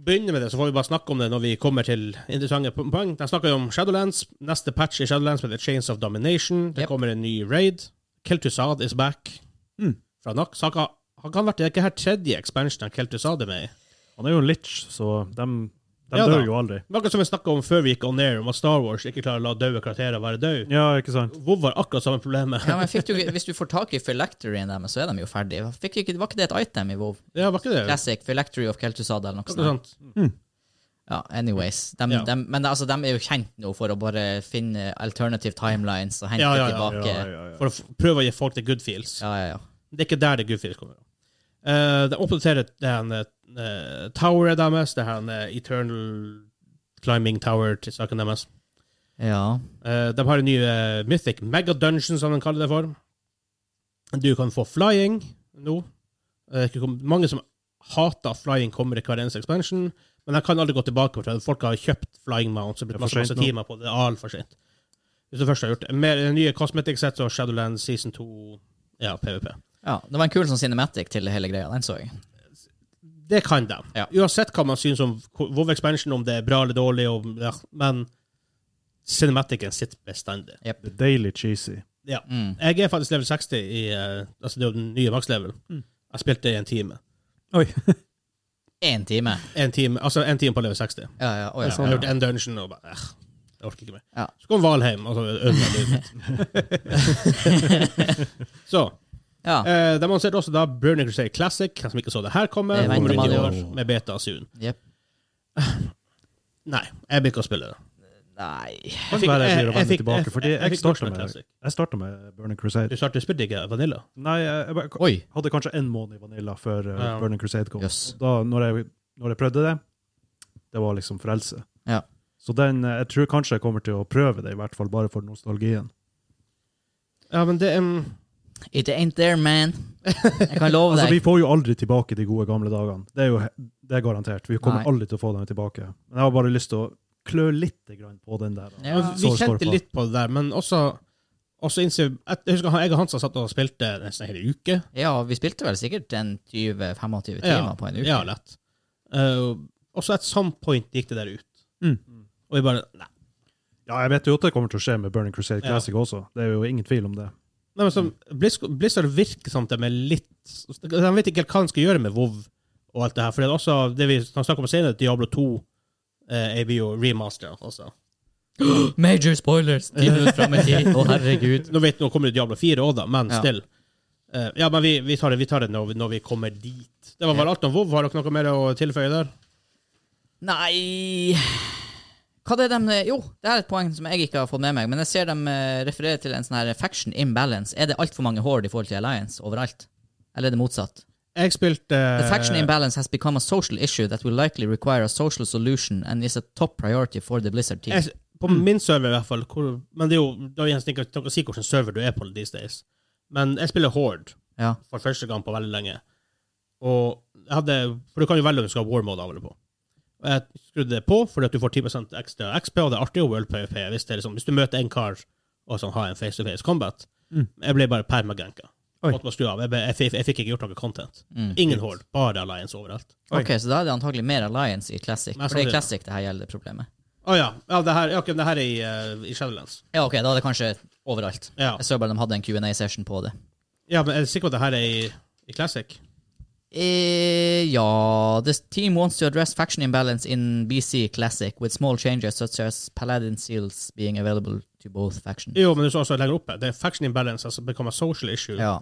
S1: begynne med det, så får vi bare snakke om det når vi kommer til interessante po- poeng. De snakker jo om Shadowlands. Neste patch i Shadowlands heter Chains of Domination. Det
S2: Yep.
S1: kommer en ny raid. Keltusad is back.
S5: Mm.
S1: Fra Nok. Så han kan- han kan ha vært det er ikke her tredje expansion av Keltusad er med i.
S4: Han er jo en litch, så de, de
S1: Ja da.
S4: dør jo aldri.
S1: Men Akkurat som vi snakka om før vi gikk on air, om at Star Wars ikke klarer å la døde karakterer være døde.
S4: Ja, ikke sant?
S1: WoW har akkurat samme problemet.
S2: Ja, men fikk du, ikke- hvis du får tak i Phylacteryen deres, så er de jo ferdige. Fikk ikke, var ikke det et item i WoW?
S1: Ja, var ikke det?
S2: Classic Phylactery of Keltusada eller noe
S1: Akkurat
S2: sånt?
S1: sant.
S2: Ja, anyways. Dem-
S1: sånn. Ja.
S2: dem- men altså, de er jo kjent nå for å bare finne alternative timelines og hente
S1: Ja, ja, ja,
S2: tilbake.
S4: Ja, ja, ja.
S1: For å f- prøve å gi folk the good feels.
S2: Ja, ja, ja.
S1: Det er ikke der det Goofy kommer fra. Eh, de oppdaterer den eh, toweret deres, det her eh, Eternal Climbing Tower til saken deres.
S2: Ja.
S1: Eh, de har en ny eh, Mythic Mega Dungeon, som de kaller det for. Du kan få flying nå. Eh, ikke kom- mange som hater flying, kommer i hver eneste expansion, men de kan aldri gå tilbake. For det. Folk har kjøpt flying mounts og
S4: Det
S1: brukt
S4: er
S1: masse,
S4: for
S1: masse
S4: sent nå.
S1: timer på det. Det er alt for sent. Hvis du først har gjort det. Mer nye cosmetic sets og Shadowlands season 2, ja, PVP.
S2: ja. Det var en kul sånn cinematic til hele greia. Den så jeg.
S1: Det kan de.
S2: Ja.
S1: Uansett hva man syns om WoW Expansion, om det er bra eller dårlig, og, ja, men cinematicen sitter bestandig.
S4: Det er Deilig cheesy.
S1: Ja.
S2: Mm.
S1: Jeg er faktisk level 60 i eh, altså det er jo den nye makslevel. Jeg spilte i en time.
S5: Oi.
S2: Én time.
S1: En time, altså en time på level 60.
S2: Ja, ja. Å,
S1: Jeg har
S2: ja.
S1: gjort en dungeon og bare eh, Jeg orker ikke mer.
S2: Ja.
S1: Så kom Valheim, og så ødela livet mitt. så
S2: ja. ja.
S1: eh, De annonserte også da Burning Crusade Classic, hvem som ikke så det her komme,
S2: Det venter
S1: kommer ut i
S2: man
S1: år
S4: jo.
S1: med beta soon.
S2: Jep.
S1: Nei, jeg blir ikke å spille det.
S2: Nei
S4: Kan
S1: fikk-
S4: være jeg
S1: jeg-
S4: blir å
S1: jeg
S4: vende
S1: fikk-
S4: tilbake,
S1: jeg-
S4: fordi
S1: jeg
S4: jeg
S1: fikk
S4: starta
S1: Burning
S4: med,
S1: Classic.
S4: jeg startet med Burning Crusade.
S1: Du startet spilte ikke Vanilla?
S4: Nei, jeg, jeg bare-
S2: Oi.
S4: hadde kanskje én måned i Vanilla før uh,
S1: Ja.
S4: Burning Crusade kom.
S2: Jøss.
S4: Og Da, når jeg, når jeg prøvde det, det var liksom frelse.
S2: Ja.
S4: Så den, eh, jeg tror kanskje jeg kommer til å prøve det, i hvert fall bare for nostalgien.
S1: Ja, men det um,
S2: It ain't there, man. Jeg kan love
S4: Altså,
S2: deg.
S4: Vi får jo aldri tilbake de gode gamle dagene. Det er jo he- det er garantert. Vi kommer
S2: Nei.
S4: aldri til å få dem tilbake. Men jeg har bare lyst til å klø litt grann på den der. da.
S2: Ja.
S1: Ja, vi
S4: Så står det
S1: kjente
S4: på.
S1: litt på det der, men også, også innser at- Jeg husker han- jeg og Hansa satt og spilte nesten en hel uke.
S2: Ja, vi spilte vel sikkert en 20-25 timer på en uke.
S1: Ja, lett. Uh, også at some point gikk det der ut.
S5: Mm.
S1: Og vi bare Nei.
S4: Ja, jeg vet jo at det kommer til å skje med Burning Crusade
S1: Ja.
S4: Classic også. Det er jo ingen tvil om det.
S1: nei men så, Blizz- Blizzard virker som de er litt De vet ikke helt hva de skal gjøre med WoW og alt det her. For det er også det vi snakker om senere, Diablo 2 eh, er jo remaster også.
S2: Major spoilers! Ti minutter fram i tid. Å, herregud.
S1: Nå vet nå kommer det Diablo 4 òg, da, men
S2: Ja.
S1: still. Eh, ja, men vi, vi tar det, vi tar det når, vi, når vi kommer dit. Det var vel alt om WoW. Har dere noe mer å tilføye der?
S2: Nei Hva det er de Jo, det er et poeng som jeg ikke har fått med meg, men jeg ser de eh, refererer til en sånn her faction imbalance. Er det altfor mange horde i forhold til Alliance overalt? Eller er det motsatt?
S1: Jeg spilte
S2: The faction
S1: Eh.
S2: imbalance has become a social issue that will likely require a social solution and is a top priority for the Blizzard team.
S1: jeg, På
S2: Mm.
S1: min server, i hvert fall. Hvor, men det er jo det er jo nesten ikke noe å si hvilken server du er på these days. Men jeg spiller Horde
S2: Ja.
S1: for første gang på veldig lenge. Og jeg hadde For du kan jo velge om du skal ha war mode av eller på. Og jeg skrudde det på fordi at du får 10 ekstra XP, og det er artig å world PVP hvis, det er liksom, hvis du møter en kar og sånn, har en face-to-face combat.
S5: Mm.
S1: Jeg ble bare permaganka.
S5: Oi.
S1: Måtte bare skru av. Jeg, ble, jeg, fikk- jeg fikk ikke gjort noe content.
S2: Mm.
S1: Ingen Horde, bare Alliance overalt.
S5: Oi.
S2: Ok, så da er det antagelig mer Alliance i Classic.
S1: Mest
S2: For det er
S1: sannsynlig.
S2: i Classic det her gjelder problemet.
S1: Å ja. ja, det her, ja, ok, det her er i, eh, i Shadowlands.
S2: Ja, ok, da er det kanskje overalt.
S1: Ja.
S2: Jeg så bare de hadde en Q&A-session på det.
S1: Ja, men er du sikker på at det her er i, i Classic?
S2: Eh, ja This team wants to address faction imbalance in BC Classic with small changes such as Paladin seals being available to both factions.
S1: Jo, men du sa også lenger oppe. Det er faction imbalance, altså become a social issue.
S2: Ja.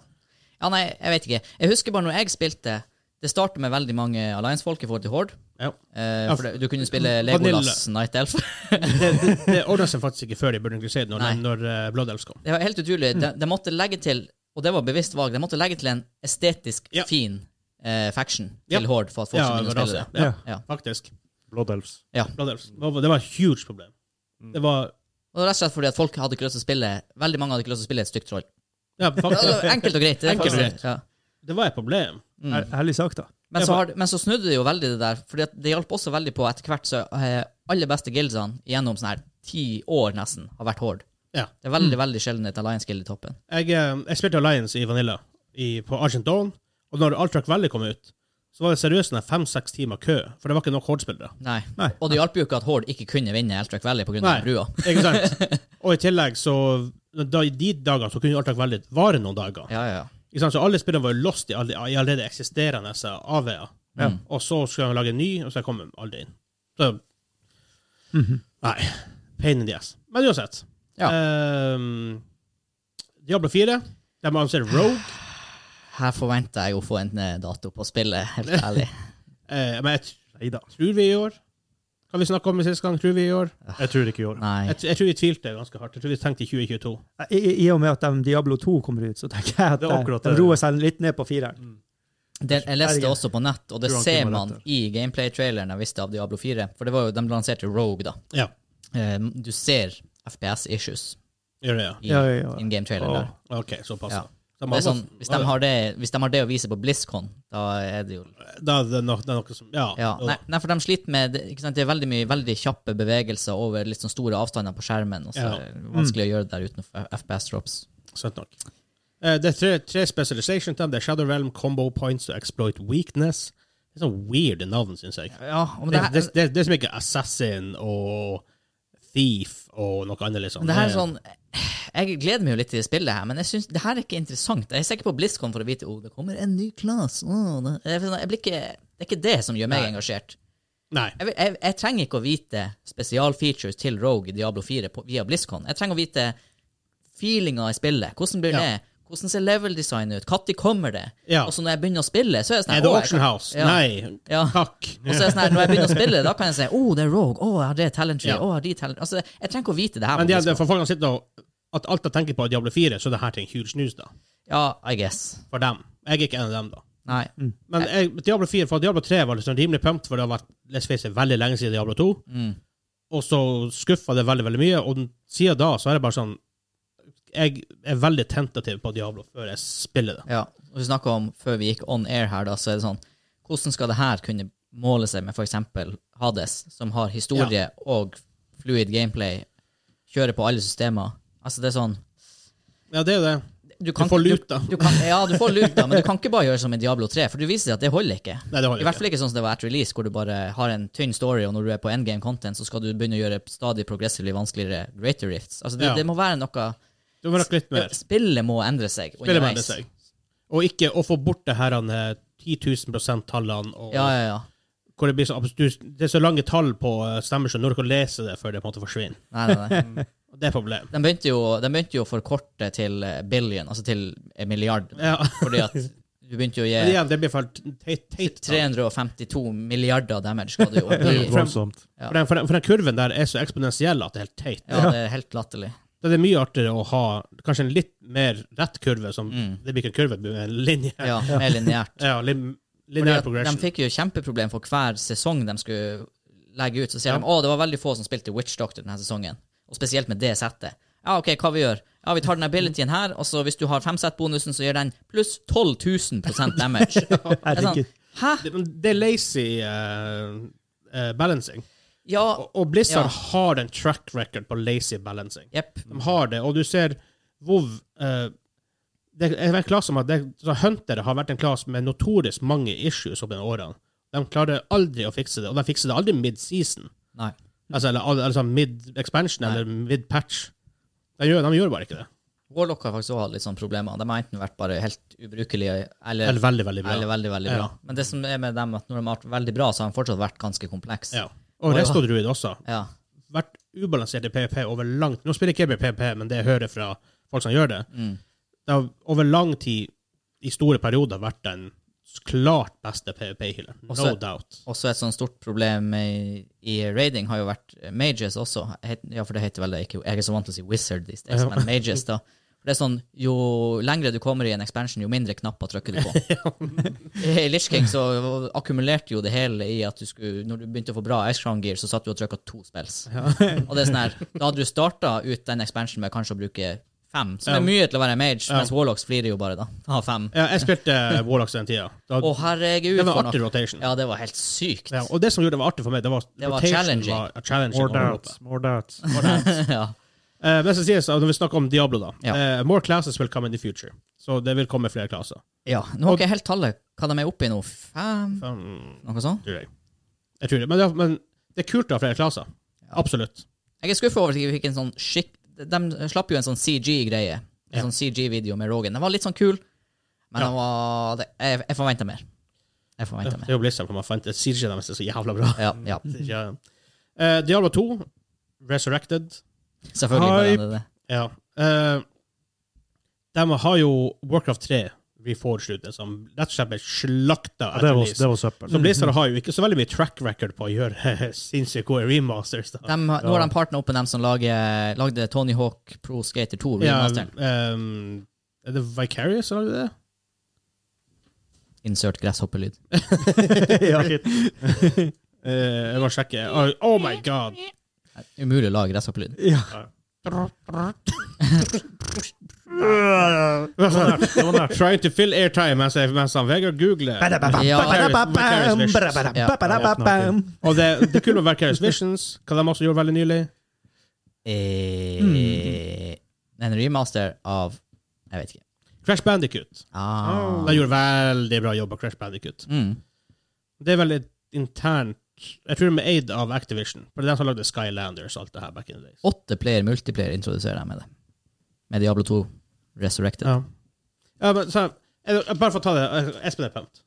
S2: ja, nei, jeg vet ikke. Jeg husker bare når jeg spilte Det startet med veldig mange Alliance-folk i forhold til Horde.
S1: Ja.
S2: Eh,
S1: Ja,
S2: for det, du kunne spille Legolas Night Elf.
S1: Det, det, det ordna seg faktisk ikke før de burde egentlig si det, når,
S2: Nei.
S1: når eh, Blood Elves kom.
S2: Det var helt utrolig.
S1: Mm.
S2: De, de måtte legge til, og det var bevisst valg, de måtte legge til en estetisk
S1: Ja.
S2: fin eh, faction
S1: Ja.
S2: til Horde for at folk
S1: Ja,
S2: skulle kunne spille
S1: rase.
S2: det.
S1: Ja,
S2: Ja.
S1: faktisk.
S4: Blood Elves.
S1: Blood Elves. Det var- Det var et huge problem. Det var
S2: Og det var rett og slett fordi at folk hadde ikke lyst til å spille Veldig mange hadde ikke lyst til å spille et stygt troll.
S1: ja, faktisk,
S2: Altså, Enkelt og greit. det er
S1: Enkelt og
S2: faktisk-
S1: greit.
S2: Ja.
S1: Det var et problem.
S5: Ær- Ærlig sagt, da.
S2: Men,
S1: Ja,
S2: så
S1: for-
S2: har, men så snudde det jo veldig det der, Fordi at det hjalp også veldig på etter hvert så eh, alle beste guildsene gjennom sånn her ti år nesten har vært Horde.
S1: Ja. Mm.
S2: Det er veldig veldig sjelden et Alliance Guild i toppen.
S1: Jeg, eh, jeg spilte Alliance i Vanilla i, på Argent Dawn, og når Altrak Valley kom ut, så var det seriøst en fem-seks timer kø, for det var ikke nok Horde-spillere.
S2: Nei.
S5: Nei.
S2: Og det hjalp jo ikke at Horde ikke kunne vinne Eltrack Valley pga.
S1: Nei.
S2: brua.
S1: Ikke sant? Og i tillegg så da, I de dagene så kunne Altrak Valley vare noen dager.
S2: Ja, ja, ja.
S1: Ikke sant? Så alle spillerne var jo lost i, alle, i allerede eksisterende AV-er.
S4: Mm.
S1: Og så skulle de lage en ny, og så kom de aldri inn. Så
S4: Mhm.
S1: Nei. Pain in the ass. Men uansett.
S2: Ja.
S1: Ehm, Diablo 4. De anser Rogue.
S2: Her forventa jeg å få en eh, dato på spillet, helt ærlig.
S1: Eh, men jeg t-
S4: Neida.
S1: tror vi i år. Hva vi snakka om i sist gang, tror vi i år.
S4: Ah. Jeg tror ikke i år.
S2: Nei.
S1: Jeg, t- jeg tror vi tvilte ganske hardt. Jeg tror vi tenkte i 2022.
S5: I, i, I og med at de Diablo 2 kommer ut, så tenker jeg at
S4: Det er
S5: eh,
S4: akkurat
S5: de
S4: det.
S5: roer seg litt ned på fireren.
S2: Det, jeg leste det også på nett, og det
S4: Tror han
S2: ser
S4: kunne
S2: man
S4: rett
S2: i gameplay-traileren jeg visste av Diablo 4. For det var jo, de lanserte Rogue, da.
S1: Ja.
S2: Eh, Du ser FPS-issues
S1: Gjør det, ja.
S2: i
S5: Ja, ja, ja.
S2: in game-traileren der.
S1: OK, såpass. Ja.
S2: Ja.
S1: De
S2: Det
S1: har
S2: er sånn,
S1: gått-
S2: hvis, de har det, hvis de har det å vise på BlizzCon, da er det jo
S1: Da er det no- det er noe som Ja.
S2: ja. nei, nei, for de sliter med det- ikke sant? Det er veldig mye veldig kjappe bevegelser over litt sånn store avstander på skjermen. Og så
S1: Ja.
S2: er det vanskelig å gjøre det der uten FPS-drops.
S1: Sant nok. Eh, Det er tre, tre specialization til dem. Det er Shadow Realm, Combo Points og Exploit Weakness. Det er sånn weird navn, syns jeg.
S2: Ja, men
S1: Det,
S2: det, her-
S1: det, det, det er som ikke Assassin og Thief og noe annet, liksom.
S2: men det her er sånn Jeg gleder meg jo litt til spillet her, men jeg synes, det her er ikke interessant. Jeg er sikker på BlizzCon for å vite oh, det kommer en ny class. Åh, det, jeg, jeg blir ikke, det er ikke det som gjør meg engasjert.
S1: Nei.
S2: jeg, vil- jeg, jeg trenger ikke å vite spesialfeatures til Rogue i Diablo 4 på, via BlizzCon. Jeg trenger å vite feelinga i spillet. Hvordan blir
S1: Ja.
S2: det? Hvordan ser level-designet ut? Når kommer det?
S1: Ja.
S2: Og så når jeg begynner å spille, så er det sånn
S1: Er det
S2: «Å, jeg
S1: Auction
S2: kan-
S1: House?
S2: Ja.
S1: Nei.
S2: Ja.
S1: Takk.
S2: Og så er det sånn her, når jeg begynner å spille, da kan jeg si Å, det er Rogue. Å, jeg har det talent
S1: Ja.
S2: tree. Å, jeg har de talent Altså, jeg trenger ikke å vite det her. på
S1: Men det, det,
S2: BlizzCon.
S1: for folk som sitter og At alt de tenker på er Diablo 4, så er det her til en huge news, da.
S2: Ja, I guess.
S1: For dem. Jeg er ikke en av dem, da.
S2: Nei.
S1: Men jeg, Diablo 4, for Diablo 3 var liksom rimelig pumped, for det har vært let's face it, veldig lenge siden Diablo 2.
S2: Mm.
S1: Og så skuffa det veldig, veldig mye, og den- siden da så er det bare sånn Jeg er veldig tentativ på Diablo før jeg spiller det.
S2: Ja. Og vi snakka om før vi gikk on air her, da, så er det sånn Hvordan skal det her kunne måle seg med f.eks. Hades, som har historie og fluid gameplay, kjører på alle systemer? Altså, det er sånn
S1: Ja, det er jo det.
S2: Du,
S1: Du
S2: kan,
S1: får
S2: ikke-
S1: luta.
S2: Du, du kan, ja, du får luta, men du kan ikke bare gjøre som i Diablo 3, for du viser at det holder ikke.
S1: Nei, det holder
S2: I hvert
S1: ikke.
S2: fall ikke sånn som det var at release, hvor du bare har en tynn story, og når du er på endgame content, så skal du begynne å gjøre stadig progressively vanskeligere greater rifts. Altså, det,
S1: Ja.
S2: det må være noe
S1: Du må nok litt mer.
S2: Spillet må endre seg.
S1: Spille med
S2: underveis.
S1: det seg. Og ikke å få bort det her han, eh, 10 %-tallene, og
S2: Ja, ja, ja.
S1: hvor det blir så abstrust. Det er så lange tall på eh, stemmer, så når du kan lese det før det på en måte forsvinner.
S2: Nei, nei, nei.
S1: Og Det er et problem.
S2: De begynte, jo, de begynte jo å forkorte til eh, billion, altså til en milliard.
S1: Ja.
S2: Fordi at du begynte jo å
S1: Men
S2: gi
S1: igjen, det blir for teit. teit tall.
S2: 352 milliarder damage. Skal du jo
S4: Det er
S2: bli.
S4: Voldsomt.
S2: Ja.
S1: For den, for, den, for den kurven der er så eksponentiell at det er helt teit.
S2: Ja, det er helt latterlig.
S1: Da er det mye artigere å ha kanskje en litt mer rett kurve. Som,
S2: Mm.
S1: Det blir ikke en kurve, det blir en linje. Ja,
S2: Ja, Mer lineært.
S1: lin,
S2: Fordi
S1: linear
S2: at De
S1: progression.
S2: fikk jo kjempeproblem for hver sesong de skulle legge ut. Så sier de å, det var veldig få som spilte Witch Doctor denne sesongen. Og spesielt med det settet. Ja, OK, hva vi gjør? Ja, Vi tar den abilityen her, og så hvis du har femsett-bonusen, så gjør den pluss 12 000 damage. Det er sånn,
S5: Herregud.
S2: Hæ?
S1: Det, men det er lazy eh, eh, balancing.
S2: Ja.
S1: Og, og Blizzard
S2: Ja. Mm.
S1: har en track record på lazy balancing.
S2: Jepp.
S1: De har det, og du ser WoW eh, det er en klasse som har, det, så Hunter har vært en klasse med notorisk mange issues opp gjennom årene. De klarer aldri å fikse det, og de fikser det aldri mid-season.
S2: Nei.
S1: Altså, eller, al- altså mid-expansion eller mid-patch. De gjør, de gjør bare ikke det.
S2: Warlock har faktisk også hatt litt sånne problemer. De har enten vært bare helt ubrukelige eller,
S1: Eller veldig, veldig bra.
S2: eller veldig, veldig
S1: Ja.
S2: bra. Men det som er med dem, at når de har vært veldig bra, så har de fortsatt vært ganske komplekse.
S1: Ja. Og Resto-druid også.
S2: Ja.
S1: Vært ubalansert i PVP over lang Nå spiller ikke jeg med PVP, men det jeg hører fra folk som gjør det,
S2: Mm.
S1: det har over lang tid, i store perioder, vært den klart beste PVP-healer. No
S2: Også-
S1: doubt.
S2: Også et sånt stort problem i, i raiding har jo vært eh, mages også. Het, ja, for det heter vel det ikke Jeg er så vant til å si wizard these days, men mages, da. For det er sånn, Jo lengre du kommer i en expansion, jo mindre knapper trykker du på. I Lich King så akkumulerte jo det hele i at du skulle, når du begynte å få bra Ice Crown Gear, så satt du og trykka to spills. og det er sånn her, Da hadde du starta ut den expansionen med kanskje å bruke fem, som er mye til å være mage, mens Warlocks flirer jo bare, da. Ha fem.
S1: Ja, jeg spilte eh, Warlocks den tida. Da,
S2: Å, herregud.
S1: det var
S2: for noe-
S1: artig rotation.
S2: Ja, det var helt sykt.
S1: Ja, og det som gjorde det var artig for meg, det var,
S2: Det var
S1: rotation
S2: challenging.
S1: Var challenging
S4: More
S1: å holde oppe.
S4: doubts, more doubts.
S2: ja.
S1: Eh, men så sies det, når vi snakker om Diablo, da
S2: Ja.
S1: eh, More classes will come in the future. Så det vil komme flere klasser.
S2: Ja, nå har ikke jeg helt tallet hva de er oppe i nå. Fem,
S1: Um,
S2: noe sånt.
S1: tror jeg. Jeg tror det. Men, det. men det er kult å ha flere klasser. Absolutt.
S2: Jeg er skuffa over at vi fikk en sånn skikk... De slapp jo en sånn CG-greie. En
S1: Ja.
S2: sånn CG-video med Rogan. Den var litt sånn kul, men
S1: Ja.
S2: den var det, Jeg, jeg forventa mer. Jeg forventa
S1: Det
S2: mer.
S1: er jo Blizzard, for man fant det sier ikke dem, det er så jævla bra.
S2: Ja, ja.
S1: Ja. Eh, Diablo 2, Resurrected.
S2: Selvfølgelig. var den det.
S1: Ja. Eh, de har jo Warcraft 3 reforged ute, som rett og slett ble slakta.
S4: Ja, det, var, det var søppel.
S1: Så Blizzard har jo ikke så veldig mye track record på å gjøre sinnssykt gode remasters. Da.
S2: De, nå har de partnert opp med dem som lager, lagde Tony Hawk Pro Skater 2.
S1: Ja,
S2: remasteren.
S1: ehm, er det Vicarious som lagde det?
S2: Insert gresshoppelyd.
S4: ja, shit.
S1: Eh, jeg må sjekke. Oh, oh my god!
S2: Umulig å lage gresshoppelyd.
S4: Det var nært.
S1: Trying to fill airtime mens, jeg- mens han Vegard googler.
S2: Ja.
S1: Og det, det kunne vært Vicarious Visions, hva de også gjorde veldig nylig.
S2: Eh,
S1: Mm.
S2: En remaster av Jeg vet ikke.
S1: Crash Bandicoot.
S2: Ah.
S1: De gjorde veldig bra jobb av Crash Bandicoot.
S2: Mm.
S1: Det er veldig internt Jeg tror de er eid av Activision, for det er de som lagde Skylanders og alt det her back in the days.
S2: åtte player multiplayer introduserer jeg med det. Med Diablo 2 Resurrected.
S1: Ja. Ja, men, så, jeg, jeg, bare for å ta det eh, Espen er pumped.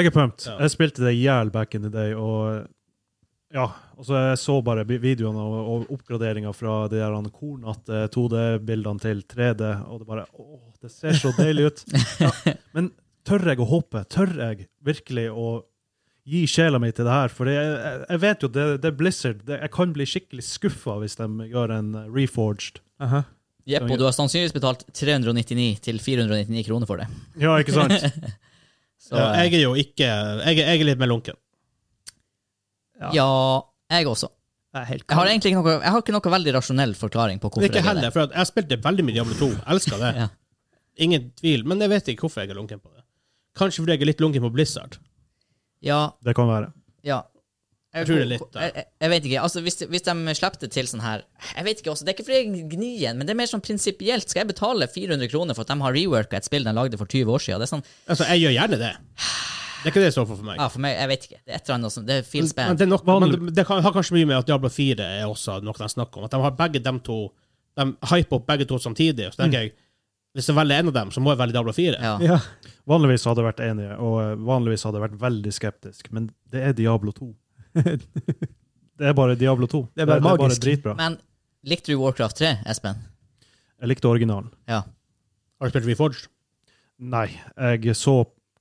S4: Jeg er pumped.
S1: Ja.
S4: Jeg spilte det i hjel back in the day, og ja, og så jeg så bare bi- videoene og, og oppgraderinga fra de der han kornete 2D-bildene til 3D, og det bare Å, det ser så deilig ut. Ja. Men tør jeg å håpe? Tør jeg virkelig å gi sjela mi til det her? For jeg, jeg, jeg vet jo, det, det er Blizzard. Det, jeg kan bli skikkelig skuffa hvis de gjør en eh, reforged.
S2: Jepp, og du har sannsynligvis betalt 399 til 499 kroner for det.
S4: Ja, ikke sant?
S2: Så
S1: Ja,
S2: jeg,
S1: jeg er jo ikke Jeg, er- jeg er litt mer lunken.
S5: ja.
S2: ja, jeg også. Jeg har egentlig ikke noe, jeg har ikke noe veldig rasjonell forklaring på hvorfor
S1: Ikke
S2: jeg er
S1: heller,
S2: det.
S1: for at jeg spilte veldig mye Diablo 2. Elska det.
S2: Ja.
S1: Ingen tvil. Men jeg vet ikke hvorfor jeg er lunken på det. Kanskje fordi jeg er litt lunken på Blizzard.
S2: Ja,
S4: Det kan være.
S2: ja.
S1: Jeg tror det er litt der.
S2: jeg, jeg, jeg vet ikke. Altså, hvis, hvis de slipper det til sånn her Jeg vet ikke også, Det er ikke fordi jeg gnir igjen, men det er mer sånn prinsipielt. Skal jeg betale 400 kroner for at de har reworka et spill de lagde for 20 år siden? Det er sånn,
S1: Altså, jeg gjør gjerne det. Det er ikke det det står for for meg.
S2: ja, for meg, jeg vet ikke. Det er et eller annet som Det feels
S1: Men
S2: bad.
S1: det, er nok, men det- det kan, har kanskje mye med at Diablo 4 er også noe de snakker om. At de har begge dem to De hyper opp begge to samtidig. Så tenker jeg hvis jeg velger en av dem, så må jeg velge Diablo 4.
S2: Mm. Ja.
S5: Ja.
S4: Vanligvis hadde jeg vært enig, og eh, vanligvis hadde jeg vært veldig skeptisk, men det er Diablo 2. det er bare Diablo 2.
S5: Det er bare magisk.
S4: dritbra.
S2: Men likte du Warcraft 3, Espen?
S4: Jeg likte originalen.
S2: Ja.
S1: Har du spilt Reforged?
S4: Nei, jeg så,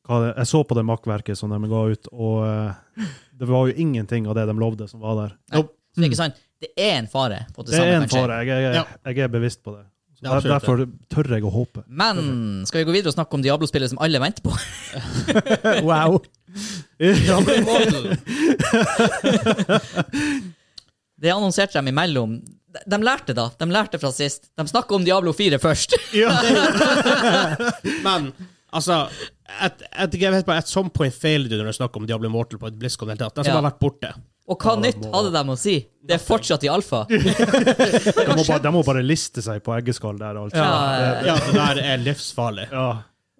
S4: hva det- jeg så på det makkverket som de ga ut, og eh, det var jo ingenting av det de lovde som var der.
S2: Nei. Så det er ikke sant? Det er en fare for at det,
S4: Det er
S2: samme
S4: en
S2: kan skje.
S4: fare, jeg, jeg,
S1: Ja.
S4: jeg, er bevisst på det. Så
S1: Det er
S4: der, derfor
S1: absolutt
S4: tør jeg å håpe.
S2: Men skal vi gå videre og snakke om Diablo-spillet som alle venter på?
S5: Wow.
S2: Det annonserte de imellom. De, de lærte, da. De lærte fra sist. De snakker om Diablo 4 først.
S1: Men altså at, at, jeg vet bare, At some point failed du når du snakker om Diablo Immortal på et BlizzCon. i det hele tatt. Den som
S2: Ja.
S1: har vært borte.
S2: Og hva nytt hadde de å si? Det er fortsatt i alfa.
S4: De må bare, de må bare liste seg på eggeskall der. Altså.
S2: Ja.
S1: Ja, det der er livsfarlig.
S4: Ja.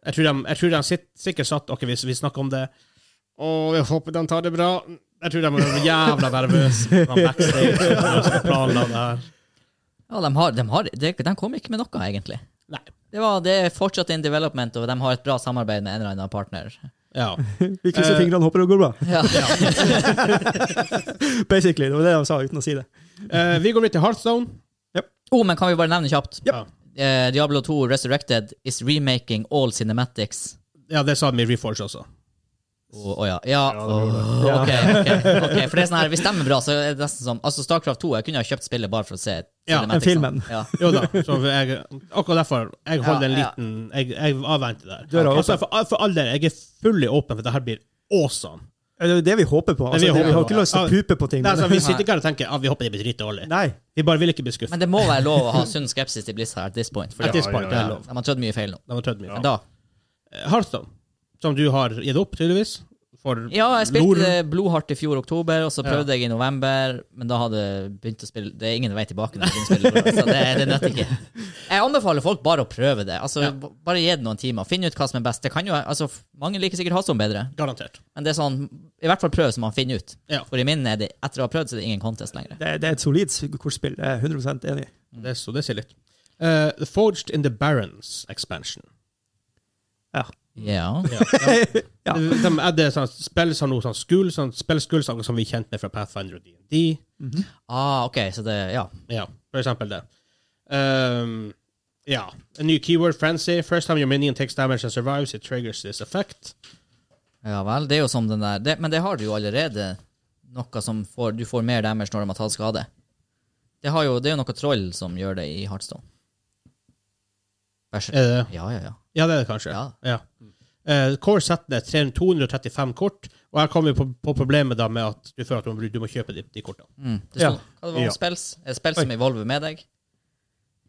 S1: Jeg tror de, jeg tror de sitt, sikkert satt Ok, vi, vi snakker om det. Og jeg håper de tar det bra. Jeg tror de var jævla nervøse. Han backstage og planla det her.
S2: Ja, de, har, de, har, de, de kom ikke med noe, egentlig.
S1: Nei.
S2: Det, var, det er fortsatt in development, og de har et bra samarbeid med en eller annen partner.
S1: Ja.
S5: Vi
S1: Eh.
S5: krysser fingrene og håper det går bra.
S2: Ja.
S5: Basically, det var det de sa uten å si det.
S1: Eh, vi går videre til Heartstone.
S2: Oh, men kan vi bare nevne kjapt?
S5: Yep.
S1: Ja.
S2: Eh, Diablo 2 Resurrected is remaking all cinematics.
S1: Ja, det sa de i Reforge også.
S2: Å å ja. Ja,
S4: Ja, det
S2: åh,
S4: gjorde
S2: Ah, ok, ok. ok. For det er sånn her, hvis de er bra, så er det nesten som Altså, Starcraft 2, jeg kunne ha kjøpt spillet bare for å se
S1: Ja,
S2: cinematicsen.
S5: filmen.
S2: Ja.
S1: Jo da. Så jeg, akkurat derfor. Jeg holder
S2: Ja,
S1: en
S2: ja.
S1: liten Jeg, jeg avventer der. Ok,
S5: Døra åpen.
S1: altså, for, for all del, jeg er fully åpen for at det her blir awesome.
S5: Det er jo det vi håper på. Altså,
S1: vi
S5: vi,
S1: håper
S5: har
S1: på.
S5: ikke lyst til å
S1: Ja.
S5: pupe på ting.
S1: Det er sånn,
S5: Men,
S1: vi sitter ikke her og tenker at vi håper det blir dritdårlig.
S5: nei.
S1: Vi bare vil ikke bli skuffet.
S2: Men det må være lov å ha sunn skepsis til Blizzard at this point. For
S1: At this
S4: Ja,
S1: point,
S4: ja,
S1: det
S2: ja,
S1: er lov.
S2: de har trødd mye feil nå.
S1: De har trødd mye.
S2: Men da
S1: Eh, Hearthstone, som du har gitt opp, tydeligvis. For
S2: Ja, jeg
S1: lore.
S2: spilte det blodhardt i fjor oktober, og så
S1: Ja.
S2: prøvde jeg i november, men da hadde jeg begynt å spille Det er ingen vei tilbake når jeg begynner å spille, så det, det nøtter ikke. Jeg anbefaler folk bare å prøve det. Altså,
S1: Ja.
S2: b- Bare gi det noen timer. Finn ut hva som er best. Det kan jo, altså, f- Mange liker sikkert Hasson bedre,
S1: Garantert.
S2: men det er sånn, i hvert fall prøv så man finner ut.
S1: Ja.
S2: For i min er det, etter å ha prøvd, så er det ingen contest lenger.
S5: Det, det er et solid kortspill. Jeg er 100 enig.
S1: Det, så det sier litt. Eh, Forged in the Barons expansion.
S5: Ja.
S1: Mm.
S2: Ja.
S1: Ja. De,
S5: Ja.
S1: de er det sånn, spills har noe sånn school, sånn spillschool som som vi er kjent med fra Pathfinder og D&D.
S2: Ah, OK, så det Ja.
S1: Ja, for eksempel det. Ehm, ja. En ny keyword, frenzy. First time your minion takes damage and survives, it triggers this effect.
S2: Ja vel. Det er jo som den der det, Men det har du jo allerede noe som får Du får mer damage når de har tatt skade. Det, har jo, det er jo noe troll som gjør det i Heartstone. Berserk.
S1: Er det det?
S2: Ja, ja, ja.
S1: Eh, Ja, det er det kanskje.
S2: Ja.
S1: Ja. Eh, core setter ned 300 235 kort, og her kommer vi på, på problemet da med at du føler at du må, du må kjøpe de, de kortene.
S2: Mm. Det
S5: Ja.
S2: sto, Hva det var
S4: Ja.
S2: det spells? Er det spells som evolver med deg?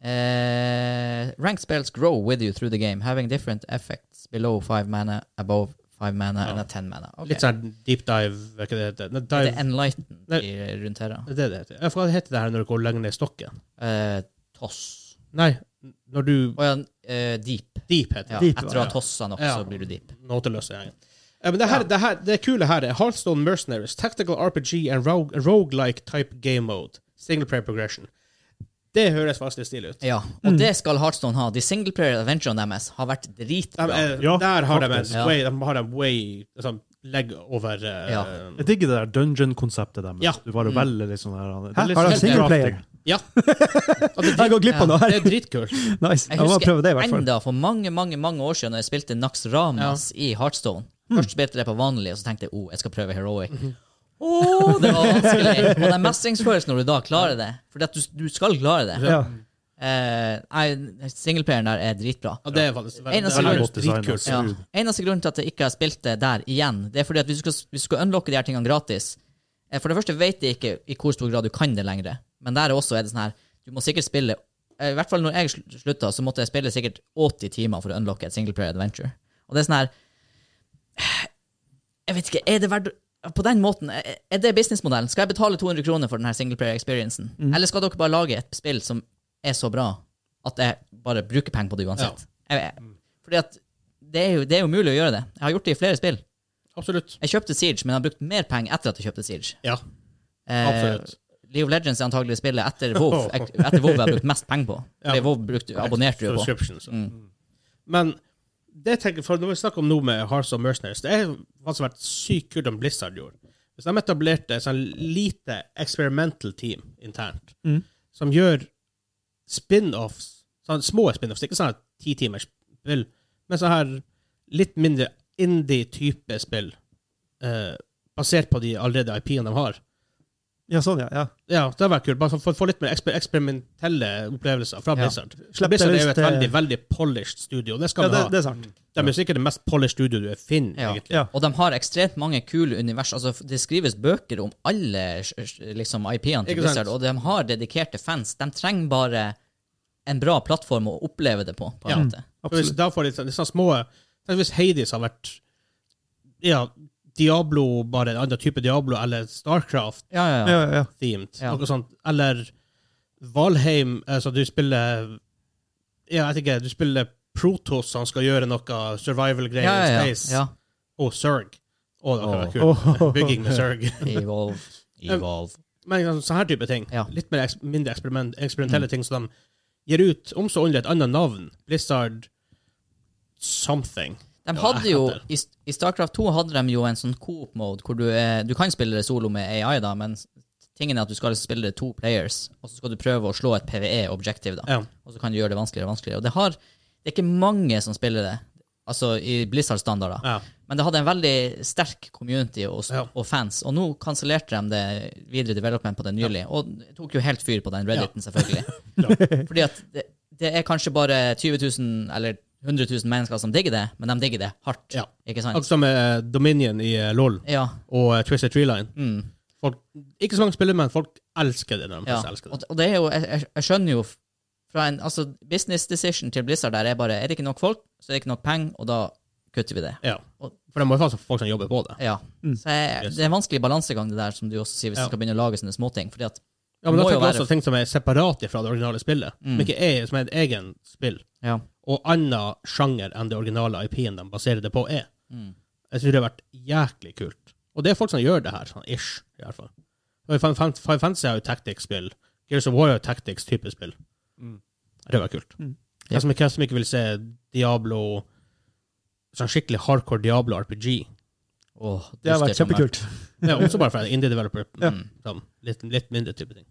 S2: Eh, ranked spells grow with you through the game, having different effects below five mana, above five mana,
S1: Ja.
S2: and at ten mana. Ok.
S1: Litt sånn deep dive hva er ikke det heter? Nei,
S2: Er det
S1: dive,
S2: enlightened
S1: Nei.
S2: i, rundt her? da?
S1: det er det det heter. Jeg får- Hva heter det her når du går lenger ned i stokken?
S2: Eh, toss.
S1: Nei, når du
S2: Å ja, eh, deep.
S1: Deep heter
S2: Ja,
S1: det.
S5: Deep,
S2: etter å
S1: ja.
S2: ha tossa nok,
S1: Ja.
S2: så blir du deep.
S1: Nåteløse gjengen. Eh, men det, her, det, her, det kule her er Hearthstone Mercenaries, Tactical RPG and rogue, roguelike type game mode. Single player progression. Det høres faktisk litt stilig ut.
S2: Ja, og
S5: Mm.
S2: det skal Heartstone ha. De singleplayer adventurene deres har vært
S1: De,
S5: eh,
S2: dritbra.
S1: er-
S4: Ja,
S1: eh, der har de en
S4: faktisk.
S2: Ja.
S1: way, de har en way liksom, legg over eh,
S2: Ja.
S4: Jeg digger det der dungeon-konseptet deres.
S1: Ja.
S4: Du bare velger litt sånn her det er
S5: Hæ?
S4: litt
S5: Har de
S4: sånn
S5: singleplayer?
S4: crafting.
S1: ja. Og det,
S5: Jeg går glipp av noe
S1: det
S5: her.
S1: er dritkult.
S5: Nice.
S2: Jeg
S5: Jeg må prøve
S2: husker
S5: det, i hvert fall.
S2: enda for mange mange, mange år siden Når jeg spilte Nax Ramas i Heartstone.
S5: Mm.
S2: Først spilte jeg på vanlig, og så tenkte jeg oh, jeg skal prøve Heroic.
S5: Mhm.
S2: Åh, det var vanskelig! Og den mestringsfølelsen når du da klarer det. For du, du skal klare det.
S5: Ja.
S2: Eh, nei, Singleplayeren der er dritbra.
S1: Og det er faktisk
S2: En av
S1: det er
S2: sine-
S1: faktisk dritkult.
S2: Ja.
S4: Gud.
S2: Eneste grunnen til at jeg ikke har spilt det der igjen, det er fordi at hvis du skal, hvis du skal unlocke de her tingene gratis eh, For det første vet jeg ikke i hvor stor grad du kan det lenger, men der også er det sånn her Du må sikkert spille eh, I hvert fall når jeg sl- slutta, så måtte jeg spille sikkert 80 timer for å unlocke et singleplayer adventure. Og det er sånn her Jeg vet ikke, er det verdt på den måten, er er det businessmodellen? Skal jeg betale 200 kroner for denne singleplayer-experiencen? Eller skal dere bare lage et spill som er så bra at jeg bare bruker penger på det uansett? Jeg, jeg, fordi at det er, jo, det er jo mulig å gjøre det. Jeg har gjort det i flere spill.
S1: Absolutt.
S2: Jeg kjøpte Siege, men jeg har brukt mer penger etter at jeg kjøpte Siege.
S1: Ja,
S2: Eh,
S1: absolutt.
S2: League of Legends er antagelig spillet etter WoW. Jeg- Etter WoW jeg har brukt mest penger på.
S1: Ja.
S2: Fordi WoW brukte, abonnerte du på. Mm.
S1: Subscription, så. Mm. Men det tenker, for når vi snakker om noe med Hearts of Mercenaries, det er hva som har vært sykt kult om Blizzard gjorde. Hvis de etablerte et sånn lite experimental team internt,
S5: Mm.
S1: som gjør spin-offs, sånn små spin-offs, ikke sånn ti timers spill, men sånn her litt mindre indie-type spill, eh, basert på de allerede IP-ene de har.
S5: ja, sånn, ja. ja.
S1: Ja, det hadde vært kult. Bare sånn for å få litt mer eksper eksperimentelle opplevelser fra
S5: Ja.
S1: Blizzard.
S5: Slipp
S1: Blizzard
S5: det
S1: er jo et
S5: løs
S1: veldig
S5: til-
S1: veldig polished studio. Det skal
S5: ja
S1: du
S5: det,
S1: ha.
S5: det er sant.
S1: Det er jo sikkert det mest polished studio du finner,
S2: Ja.
S1: egentlig.
S5: Ja.
S2: Og de har ekstremt mange kule univers. Altså, f- det skrives bøker om alle s- s- liksom, IP-ene til
S1: Ikke sant?
S2: Blizzard, og de har dedikerte fans. De trenger bare en bra plattform å oppleve det på, på en
S1: Ja.
S2: måte.
S1: For hvis,
S5: Absolutt.
S1: da får de sånn- sånne, sånne små Tenk hvis Hades har vært ja, Diablo, bare en annen type Diablo, eller Starcraft-themed.
S2: Ja, ja,
S5: Ja, ja, ja.
S2: Ja.
S1: Noe sånt. Eller Valheim, altså du spiller Ja, jeg vet ikke, du spiller Protos, han skal gjøre noe survival-greier
S2: ja, ja,
S1: i
S2: ja,
S1: space.
S2: ja.
S1: Og Zerg. Å, det kan være kult.
S5: Åh.
S1: Bygging med Zerg.
S2: Evolve. Evolve.
S1: Men sånn- sånn her type ting.
S2: Ja. Mm.
S1: Litt mer eks mindre eksperiment, eksperimentelle ting som de gir ut, om så åndelig, et annet navn. Blizzard something.
S2: De
S1: Ja,
S2: hadde
S1: jeg
S2: jo,
S1: fatter.
S2: i, I StarCraft 2 hadde de jo en sånn coop-mode, hvor du, er, du kan spille det solo med AI, da, men tingen er at du skal spille det to players, og så skal du prøve å slå et PVE-objektiv. da.
S1: Ja.
S2: Og så kan du gjøre det vanskeligere og vanskeligere. Og det, har, det er ikke mange som spiller det, altså i Blizzard-standarder.
S1: Ja.
S2: Men det hadde en veldig sterk community og, s-
S1: Ja.
S2: og fans, og nå kansellerte de det videre development på det nylig, og det tok jo helt fyr på den redditen, selvfølgelig. Fordi at det, det er kanskje bare 20 000 eller 100 000 mennesker som digger det, men de digger det hardt,
S1: Ja.
S2: ikke sant?
S1: Akkurat som eh, Dominion i eh, LOL
S2: Ja,
S1: og eh, Twisted Treeline.
S2: mm,
S1: Folk, ikke så mange spiller, men folk elsker det når de
S2: ja.
S1: faktisk elsker
S2: Og,
S1: det.
S2: og det er jo, jeg, jeg- jeg skjønner jo f- fra en altså, business decision til Blizzard der er bare, er det ikke nok folk, så er det ikke nok penger, og da kutter vi det.
S1: Ja. For det må jo faktisk folk som jobber på det.
S2: Ja.
S5: Mm.
S2: Så jeg,
S1: Yes.
S2: det er en vanskelig balansegang det der, som du også sier, hvis
S1: Ja.
S2: du skal begynne å lage sånne småting, fordi at,
S1: Ja, men da
S2: Det må jo
S1: tenker jeg
S2: være-
S1: også ting som er separate fra det originale spillet,
S2: Mm.
S1: men ikke er som er et egen spill,
S2: ja.
S1: og annen sjanger enn det originale IP-en de baserer det på, er.
S2: Mm.
S1: Jeg tror det har vært jæklig kult. Og det er folk som gjør det her, sånn ish, i hvert fall. Og Final Fan- Final Fantasy har jo tactics-spill. Gears of War har jo tactics-type spill.
S4: Mm.
S1: Det var kult.
S5: Mm.
S1: Jeg, som ikke, jeg som ikke vil se Diablo Sånn skikkelig hardcore Diablo RPG.
S2: Åh,
S5: Det har vært
S2: dyster for meg.
S5: kjempekult.
S1: Det er også bare for en indie-developer.
S5: Ja.
S2: Mm.
S1: Sånn, litt, litt mindre type ting.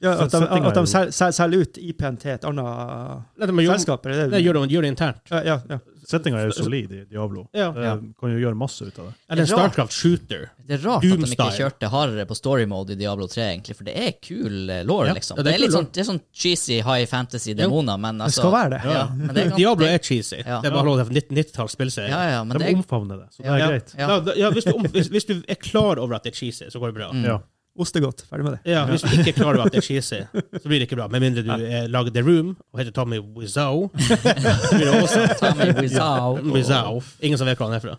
S5: Ja, at de,
S4: Settinga
S5: at de
S4: er jo-
S5: sel- sel- selger ut IP-en til et annet
S1: Nei, de gjør,
S5: selskap. er
S1: nei,
S5: Det
S1: gjør, det, gjør det internt.
S5: Ja, ja, ja.
S4: Settinga er jo solid i Diablo.
S1: Ja.
S4: Det Kan jo gjøre masse ut av det.
S1: Eller en
S2: Det er rart.
S1: Starcraft shooter.
S2: Det er rart at de ikke
S1: Doom-style.
S2: kjørte hardere på story mode i Diablo 3, egentlig, for det er kul eh, lore,
S1: Ja,
S2: liksom.
S1: ja,
S2: det,
S1: det er
S2: er litt
S1: kul
S2: sånn, det er sånn cheesy high fantasy-demoner, men
S5: Det
S2: altså
S5: skal være det.
S2: Ja, men det er ganske-
S1: Diablo er cheesy.
S2: Ja.
S1: Det er bare lov til 1990-talls spillserie.
S2: Ja, ja, men
S4: De
S2: det er
S4: omfavner det, så det
S2: Ja.
S4: er
S1: Ja.
S4: greit.
S2: ja.
S1: Da- da- ja, hvis, du om, hvis, hvis du er klar over at det er cheesy, så går det bra.
S2: Mm.
S4: Ja.
S5: Ostegodt. Ferdig med det.
S1: Ja, Hvis du ikke er klar over at det er cheesy, så blir det ikke bra. Med mindre du eh, lager The Room og heter Tommy Wizow. Så blir det også
S2: Tommy Wiseau.
S1: Wizow. Ingen som vet hvor han er fra.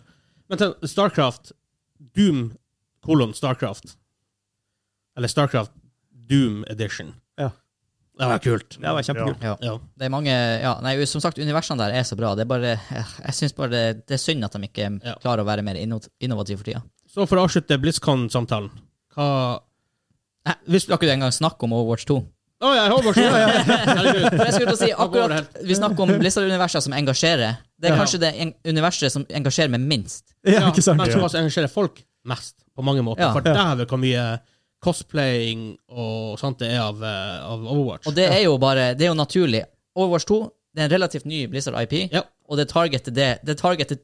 S1: Men til Starcraft Doom kolon Starcraft. Eller Starcraft Doom Edition.
S5: Ja.
S1: Det var kult.
S5: Det var kjempekult.
S2: Ja.
S1: Ja.
S2: Det er mange ja, Nei, som sagt, universene der er så bra. Det er bare eh, Jeg syns bare det, det er synd at de ikke
S1: Ja.
S2: klarer å være mer inno- innovative for tida.
S1: Så for å avslutte BlizzCon-samtalen Hva
S2: Nei, vi skal ikke engang snakke om Overwatch 2.
S1: Å ja, Hogwarts! Ja, ja. Herregud.
S2: For jeg skulle til å si
S1: Hva går
S2: akkurat Vi snakker om Blizzard-universer som engasjerer. Det er
S1: Ja.
S2: kanskje det en- universet som engasjerer meg minst.
S5: Ja, ikke sant?
S1: Men
S4: Ja.
S1: som også engasjerer folk mest, på mange måter.
S2: Ja.
S1: For dæven hvor mye cosplaying og sånt det er av, eh, av Overwatch.
S2: Og det er jo bare Det er jo naturlig. Overwatch 2 det er en relativt ny Blizzard IP,
S1: Ja.
S2: og det targeter det Det targeter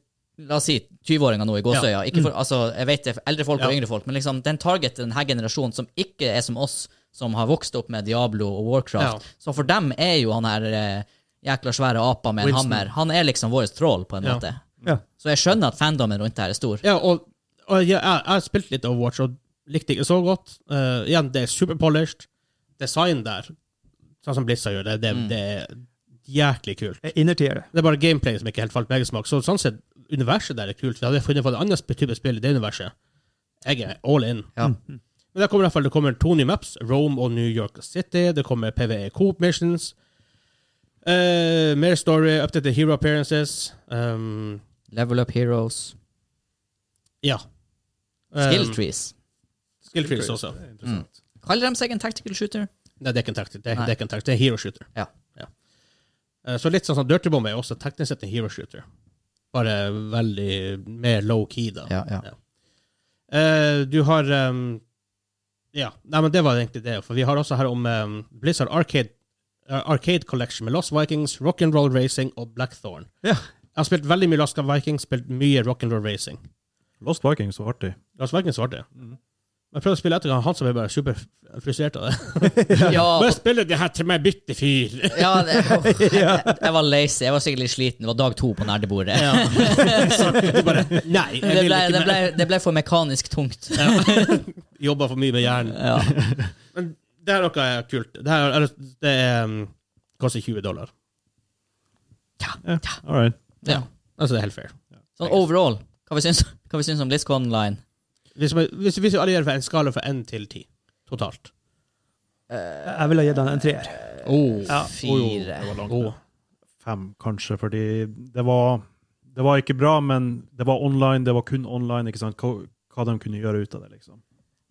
S2: La oss si 20-åringer nå i gåsøya. Ikke for, altså, jeg vet det er eldre folk og
S1: Mm. Ja.
S2: yngre folk, men liksom, den targeter denne generasjonen som ikke er som oss, som har vokst opp med Diablo og
S1: Ja.
S2: Warcraft. Så for dem er jo han her eh, jækla svære apa med en
S1: Winston.
S2: hammer Han er liksom vår troll, på en
S1: Ja.
S2: måte.
S5: Ja.
S2: Så jeg skjønner at fandomen rundt det her er stor.
S1: ja, og, og jeg, jeg, jeg har spilt litt Overwatch og likte ikke så godt. Eh, igjen, det er superpolished. Design der, sånn som Blitza gjør det, det,
S2: Mm.
S1: det er jæklig kult.
S5: Innertier.
S1: Det er bare gameplay som ikke helt falt meg i smak. Så sånn sett, universet der er kult. Vi hadde funnet på et annet sp- type spill i det universet. Jeg er all in.
S2: Ja.
S1: Men der kommer i hvert fall, det kommer to nye maps, Rome og New York City. Det kommer PVE Coop Missions. Eh, mer story, updated hero appearances. Um,
S2: Level up heroes.
S1: ja. Um,
S2: Skill trees.
S1: Skill trees også.
S4: Det er interessant.
S2: Kaller de seg en tactical shooter?
S1: Nei, det er ikke en tactic, det er,
S2: Nei.
S1: det er, ikke en tactic, det er hero shooter.
S2: Ja.
S1: Eh, så litt sånn som Dirty Bomb er også teknisk sett en hero shooter. Bare veldig mer low key, da.
S2: Ja, ja.
S1: Eh, du har ehm, Ja, nei, men det var egentlig det. For vi har også her om ehm, Blizzard Arcade, eh, Arcade Collection med Lost Vikings, Rock'n'Roll Racing og Blackthorn.
S5: Ja.
S1: Jeg har spilt veldig mye Lost Vikings, spilt mye Rock'n'Roll Racing.
S4: Lost Vikings var artig.
S1: Lost Vikings var det.
S2: Mhm.
S1: Men jeg prøvde å spille etter han, han som er bare superfrustrert av det.
S2: Ja,
S1: Bare spille det her til meg bytte fyr!
S2: Ja, det, åh, jeg, jeg var lazy. Jeg var sikkert litt sliten. Det var dag to på nerdebordet.
S1: Ja. så du bare Nei, jeg
S2: Det
S1: vil
S2: ble, det,
S1: ikke
S2: ble,
S1: mer.
S2: det ble for mekanisk tungt.
S1: Jobba for mye med hjernen.
S2: Ja.
S1: Men det her er noe kult. Det her er, det er ehm, koster 20 dollar.
S4: All right.
S2: Ja.
S1: Altså, det er helt fair.
S2: Sånn overall, hva vi syns, hva vi syns om BlizzCon Online?
S1: Hvis, man, hvis, hvis vi allierer fra en skala fra 1 til 10 totalt
S5: Jeg ville ha gitt han en treer.
S1: oh,
S5: Ja.
S2: Fire.
S4: Fem, kanskje, fordi det var Det var ikke bra, men det var online, det var kun online. ikke sant? Hva, hva de kunne gjøre ut av det, liksom.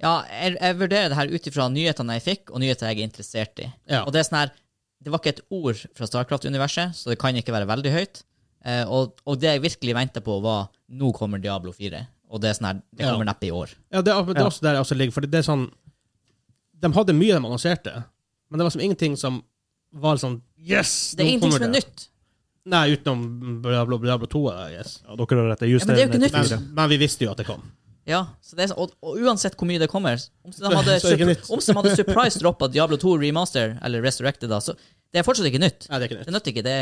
S2: Ja, jeg, jeg vurderer det her ut ifra nyhetene jeg fikk, og nyheter jeg er interessert i.
S1: Ja.
S2: Og det er sånn her det var ikke et ord fra Starcraft-universet, så det kan ikke være veldig høyt. Eh, og, og det jeg virkelig venta på, var nå kommer Diablo 4. Og det, er sånn her, det
S1: Ja.
S2: kommer neppe i år.
S1: Ja, det, er- det er
S5: Ja.
S1: også der jeg også ligger, for det er sånn De hadde mye de annonserte, men det var som ingenting som var sånn Yes!
S2: Det er
S1: nå
S2: ingenting
S1: kommer
S2: som er
S1: det.
S2: nytt.
S1: Nei, utenom Diablo, Diablo 2, I guess.
S4: Ja, dere har rett, det
S2: Ja, men det er jo ikke
S4: er justerende
S2: nytt.
S1: Men,
S4: til fire.
S1: men vi visste jo at det kom.
S2: Ja, så det er, så- og, og uansett hvor mye det kommer Om de hadde,
S1: Så er det ikke
S2: surpri-
S1: nytt.
S2: om de hadde surprise droppa Diablo 2 remaster, eller Resurrected, da, så det er fortsatt ikke nytt.
S1: Nei, det er ikke nytt.
S2: Det nytter ikke. Det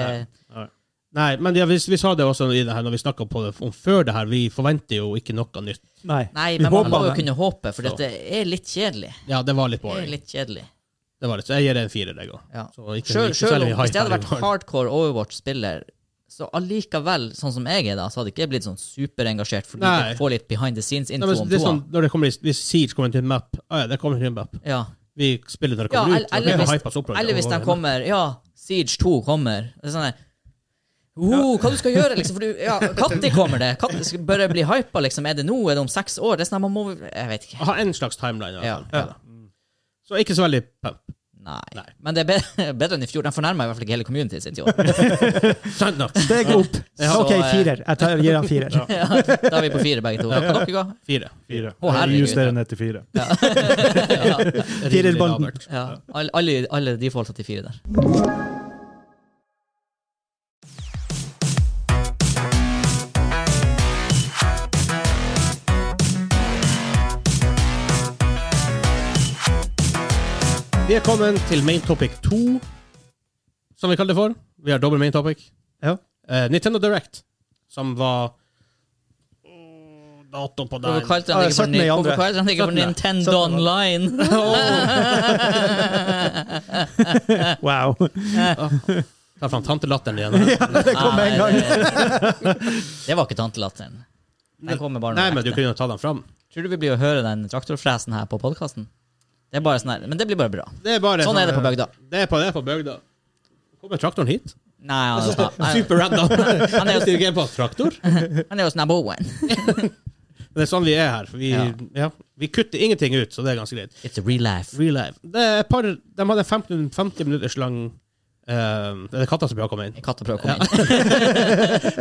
S2: er,
S1: Nei, men ja, vi, vi sa det også i det her, når vi snakka om før det her, vi forventer jo ikke noe nytt.
S5: Nei.
S2: nei,
S5: Vi
S2: men man må
S5: håper
S2: jo
S5: det.
S2: kunne håpe, for det er litt kjedelig.
S1: Ja, det var litt
S2: Det er
S1: boring.
S2: litt kjedelig.
S1: Det var litt, så jeg gir det en firer, jeg òg.
S2: Ja.
S1: Så ikke-
S2: Sjøl,
S1: ikke
S2: sjøl
S1: særlig
S2: om,
S1: high
S2: hvis jeg hadde vært
S1: value.
S2: hardcore Overwatch-spiller, så allikevel, sånn som jeg er da, så hadde ikke jeg blitt sånn superengasjert fordi
S1: Nei.
S2: jeg får litt behind the
S1: Nei,
S2: scenes-info
S1: men
S2: om
S1: det er
S2: toa.
S1: sånn, når det kommer, i- Hvis Siege kommer til en map ah, ja, det kommer til en map.
S2: Ja.
S1: Vi spiller når det
S2: Ja,
S1: kommer ut.
S2: eller-
S1: og det
S2: eller
S1: kan
S2: hvis-
S1: hype oss opp,
S2: Eller hvis
S1: og-
S2: de kommer Ja, Siege 2 kommer. Det er sånn der, Oh, hva du skal gjøre, liksom? For du, ja, Når kommer det? Katt, skal, bør jeg bli hypa? Liksom? Er det nå? Er det om seks år? Det er sånn, man må, jeg vet ikke.
S1: Ha en slags timeline. i hvert
S2: Ja,
S1: fall.
S2: ja.
S1: Så ikke så veldig pump.
S2: Nei.
S1: Nei.
S2: Men det er bedre, bedre enn i fjor. De fornærma i hvert fall ikke hele community sitt i år.
S1: Sant nok.
S5: Steg opp.
S2: Ja. Så,
S5: OK,
S2: eh,
S5: firer. Jeg tar, gir han firer.
S2: Ja, da er vi på fire, begge to. Hva hva dere ga?
S1: Fire.
S4: Fire.
S2: Å, herregud.
S4: Justerende til fire.
S2: Ja,
S5: Firerbanden.
S1: Rimelig labert.
S2: ja. Alle, alle, alle de forholdt seg til fire der.
S1: Vi er kommet til main topic 2, som vi kaller det for. Vi har dobbel main topic.
S5: Ja.
S1: Eh, Nintendo Direct, som var Åh, Dato på der
S2: Hvorfor kalte
S5: Ah,
S2: han det ikke for,
S5: syttende i
S2: Ni-
S5: andre.
S2: hvorfor kalte han det ikke for
S1: Syttende.
S2: Nintendo
S5: Syttende.
S2: Online?
S5: Wow.
S1: Tar fram tantelatteren igjen.
S5: Det kom med en gang.
S2: Det var ikke tantelatteren. Den kommer bare
S1: Nei,
S2: når
S1: men du
S2: det er ekte.
S1: kunne jo ta den fram.
S2: Tror du vi blir å høre den traktorfresen her på podkasten? Det er bare sånn her, men det blir bare bra.
S1: Det er bare
S2: Sånn er det på bygda.
S1: Det er på, det er på bygda. Kommer traktoren hit?
S2: Nei, han er, sånn, han,
S1: Super random. Han
S2: Han er jo-
S1: er jo på traktor.
S2: han er jo sånn snaboen.
S1: Det er sånn vi er her. for Vi, ja.
S2: Ja.
S1: vi kutter ingenting ut, så det er ganske greit.
S2: It's a real life.
S1: Real life. Det er et par, de hadde en 15, 50 minutters lang eh, Det er katta som prøver å komme inn.
S2: En katt har prøvd å komme inn.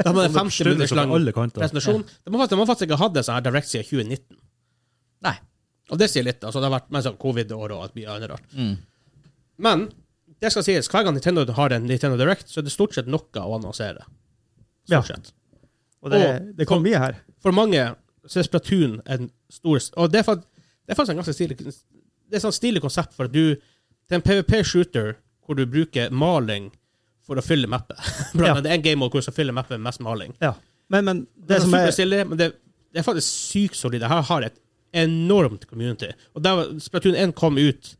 S1: De hadde en 50
S4: Stundet
S1: minutters
S4: fra
S1: lang
S4: alle kanter.
S1: presentasjon. De har, faktisk- de har faktisk ikke hatt det sånn her direct siden 2019.
S2: Nei.
S1: Og det sier litt. altså Det har vært mens av covid-år og alt mye annet rart.
S2: Mm.
S1: Men det skal sies, hver gang Nintendo har en Nintendo Direct, så er det stort sett noe å annonsere.
S5: Ja.
S1: Stort sett.
S5: Og det, det kom mye her.
S1: For mange så er Splatoon en stor Og det er fakt- det er faktisk en ganske stilig Det er sånn stilig konsept, for at du Det er en PVP-shooter hvor du bruker maling for å fylle mappet. Bra,
S5: Ja.
S1: men Det er en game mode hvor du skal fylle mappet med mest maling.
S5: Ja. Men, men
S1: Det
S5: det
S1: er
S5: som er
S1: superstilig, men det, det er faktisk sykt solid. Det her har et enormt community. Og der var- Splatoon 1 kom ut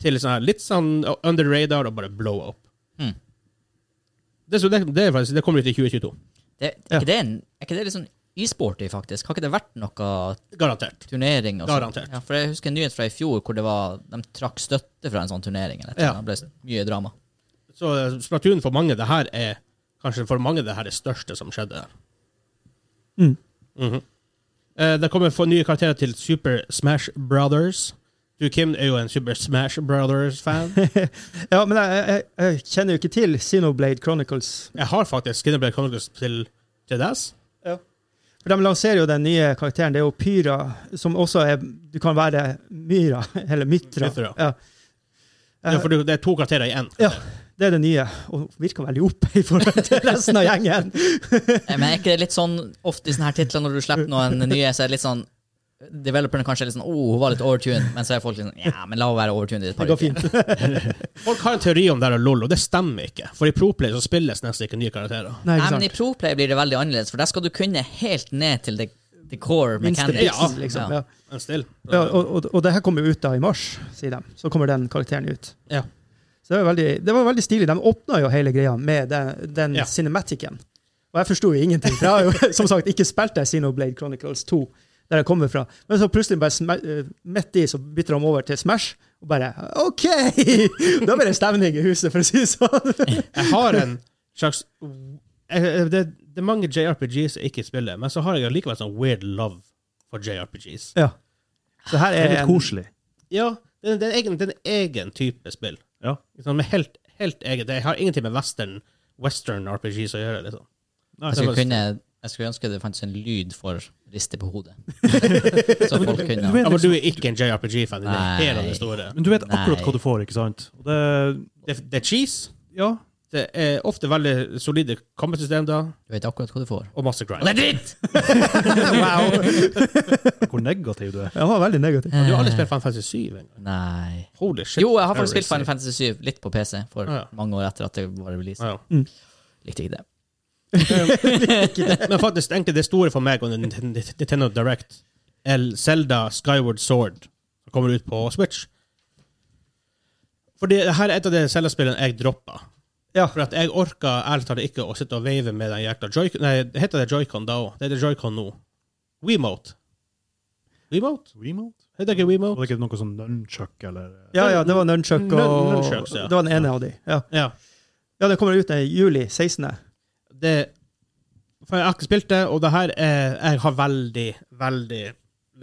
S1: til sånn her, litt sånn under radar og bare blow up.
S5: Hmm.
S2: Mm.
S1: Det, er så det, det, er faktisk, det kommer ut i 2022.
S2: Det, er, ikke det en, er ikke det litt sånn e-sporty, faktisk? Har ikke det vært noe
S1: Garantert.
S2: turnering? Og sånt?
S1: Garantert.
S2: Ja, for jeg husker en nyhet fra i fjor hvor det var, de trakk støtte fra en sånn turnering. Eller, et
S1: Ja.
S2: eller annet. Det ble mye drama.
S1: Så eh, Splatoon for mange, det her er kanskje for mange det her er det største som skjedde.
S5: Mm.
S1: Mhm. Eh, det kommer få nye karakterer til Super Smash Brothers. Du, Kim, er jo en Super Smash Brothers-fan.
S5: Ja, men jeg, jeg, jeg kjenner jo ikke til Xenoblade Chronicles.
S1: Jeg har faktisk Skinnerblade Chronicles til 3DS.
S5: For De lanserer jo den nye karakteren. Det er jo Pyra, som også er Du kan være Myra, eller Mytra.
S1: Mythra.
S5: Ja.
S1: Ja, for du- det er to karakterer i én.
S5: Eh. Ja. Eh, Det er det nye, og virker veldig oppe i forhold til resten av gjengen.
S2: Eh, Men er ikke det litt sånn ofte i sånne her titler når du slipper noen nye, så er det litt sånn Developerne kanskje er litt sånn Å, hun var litt overtuned. Men så er folk litt sånn Ja, men la henne være overtuned i et
S5: Det
S2: par
S5: går
S2: uker.
S5: fint.
S1: Folk har en teori om det her er LOL, og det stemmer ikke. For i ProPlay så spilles nesten ikke nye karakterer.
S5: Nei,
S2: Nei,
S5: ikke
S2: men i
S5: sant?
S2: Proplay blir det veldig annerledes, for der skal du kunne helt ned til the, the core
S5: Minste
S2: mechanics.
S5: biten, liksom. Ja.
S1: Men still.
S5: Ja, og, og, og det her kommer jo ut da i mars, sier de. Så kommer den karakteren ut.
S1: Ja.
S5: Så det var veldig, det var veldig stilig. De åpna jo hele greia med den, den
S1: Ja.
S5: cinematicen. Og jeg forsto jo ingenting. For jeg har jo som sagt ikke spilt det Xenoblade Chronicles 2, der jeg kommer fra. Men så plutselig, bare sma- eh, midt i, så bytter de over til Smash. Og bare OK! Da blir det stemning i huset, for å si det sånn.
S1: Jeg har en slags jeg, jeg- det, det er mange JRPGs jeg ikke spiller, men så har jeg likevel sånn weird love for JRPGs.
S5: Ja. Så her
S4: Det er
S5: er
S4: litt
S5: en,
S4: koselig.
S1: Ja, det er det er en egen, det er en egen type spill.
S4: Ja.
S1: Ikke sant, Med helt, helt eget. Det har ingenting med western, western RPGs å gjøre. liksom.
S2: Jeg
S4: Altså,
S1: Det
S2: skulle,
S1: var-
S2: kunne, jeg skulle ønske det fantes en lyd for rister på hodet. Så folk kunne
S4: Du vet
S1: Ja, men
S4: liksom-
S1: du er ikke en JRPG-fan. Det er hele
S2: Nei.
S1: det store.
S4: Men du vet akkurat
S2: Nei.
S4: hva du får, ikke sant? Og det,
S1: Det, det er cheese.
S4: ja,
S1: Det er ofte veldig solide combat-systemer
S2: Du vet akkurat hva du får.
S1: og masse grind.
S2: Og det er dritt!
S1: wow.
S4: hvor negativ du er.
S5: Jeg var veldig negativ.
S1: Du har aldri spilt Final Fantasy 7 engang.
S2: Nei
S1: Holy shit.
S2: Jo, jeg har faktisk spilt
S1: Heresy.
S2: Final Fantasy 7 litt på PC for
S1: Ja.
S2: mange år etter at det var release.
S1: Ja.
S2: Likte ikke det.
S1: Men faktisk, egentlig det store for meg under Nintendo Direct er Zelda Skyward Sword, som kommer ut på Switch. For det her er et av de Zelda-spillene jeg droppa.
S5: Ja.
S1: For at jeg orka ærlig talt ikke å sitte og veive med den jækla Joy-Con Nei, heter det Joy-Con da òg? Det heter Joy-Con nå. WeMote. WeMote?
S4: Remote?
S1: Heter det ikke
S4: Var
S1: WeMote?
S4: det ikke noe sånn nunchuck eller
S5: Ja, ja, det var Nunchuck og
S1: Nunchucks, ja.
S5: Det var den ene av de. Ja.
S1: Ja.
S5: ja, den kommer ut i juli 16.
S1: det For jeg har ikke spilt det, og det her er Jeg har veldig, veldig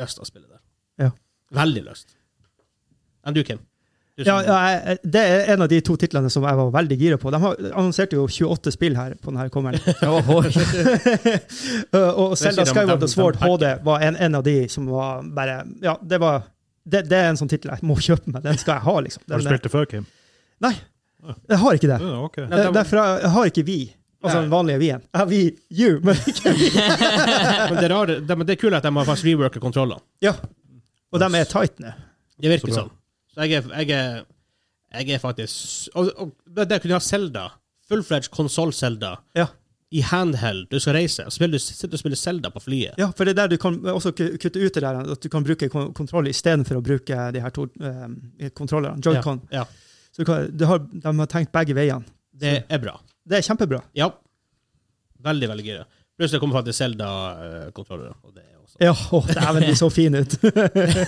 S1: lyst til å spille det.
S5: Ja.
S1: Veldig lyst. Enn du, Kim? Du
S5: Ja,
S1: som-
S5: ja, jeg- det er en av de to titlene som jeg var veldig gira på. De har, annonserte jo 28 spill her på denne kommeren. og
S1: sier
S5: Selda
S1: de-
S5: Skyward
S1: de-
S5: og Sword
S1: de pakker.
S5: HD var en, en av de som var bare Ja, det var det, det er en sånn tittel jeg må kjøpe meg. Den skal jeg ha, liksom.
S4: Har
S5: Den,
S4: du spilt det før, Kim?
S5: jeg har ikke det.
S4: Ja, ok.
S1: Nei, de-
S5: Derfor har- jeg har ikke vi. Altså
S1: Nei.
S5: den vanlige vi-en. Jeg har vi, you, men ikke vi.
S1: men det, rare, det, men det er kult at de har faktisk reworket kontrollene.
S5: Ja. Og de er tight nå.
S1: Det virker
S4: Så bra.
S1: sånn. Så jeg er, jeg er, jeg er faktisk Og, og det det å kunne ha Zelda, full-fledged konsoll-Zelda,
S5: Ja.
S1: i handheld, du skal reise, og så spiller du, sitter du og spiller Zelda på flyet.
S5: Ja, for det er der du kan også ku- kutte ut det der, at du kan bruke kon- kontroll istedenfor å bruke de her to eh, kontrollerne, Joy-Con.
S1: Ja, ja.
S5: Så du kan, du har, de har tenkt begge veiene.
S1: Det er bra.
S5: Det er kjempebra.
S1: Ja. Veldig, veldig gira. Pluss det kommer faktisk Zelda-kontrollere. Og det er også
S5: Ja, å, dæven, de så fine ut.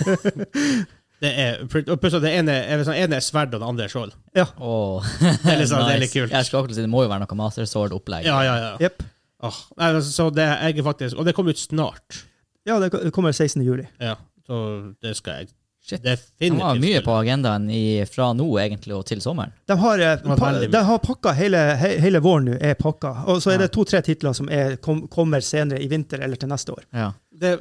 S1: Det er, og pluss at det ene, jeg vet sånn, ene er sverd, og det andre er skjold.
S2: Åh.
S1: Det er litt sånn- det er litt kult.
S2: Jeg skal akkurat si, det må jo være noe Master Sword-opplegg.
S1: Ja, ja, ja.
S5: Jepp.
S1: Åh, nei, altså, så det er jeg er faktisk, og det kommer ut snart.
S5: Ja, det ko- kommer 16. juli.
S1: Ja, så det skal jeg
S2: Shit. Det
S1: definitivt
S2: var mye
S1: spille.
S2: på agendaen i, fra nå, egentlig, og til sommeren.
S5: De har, eh,
S1: var
S5: pa,
S1: veldig mye.
S5: de har pakka hele, he, hele våren nå, er pakka. Og så er det to-tre titler som er, kom, kommer senere i vinter eller til neste år.
S2: Ja.
S1: Det,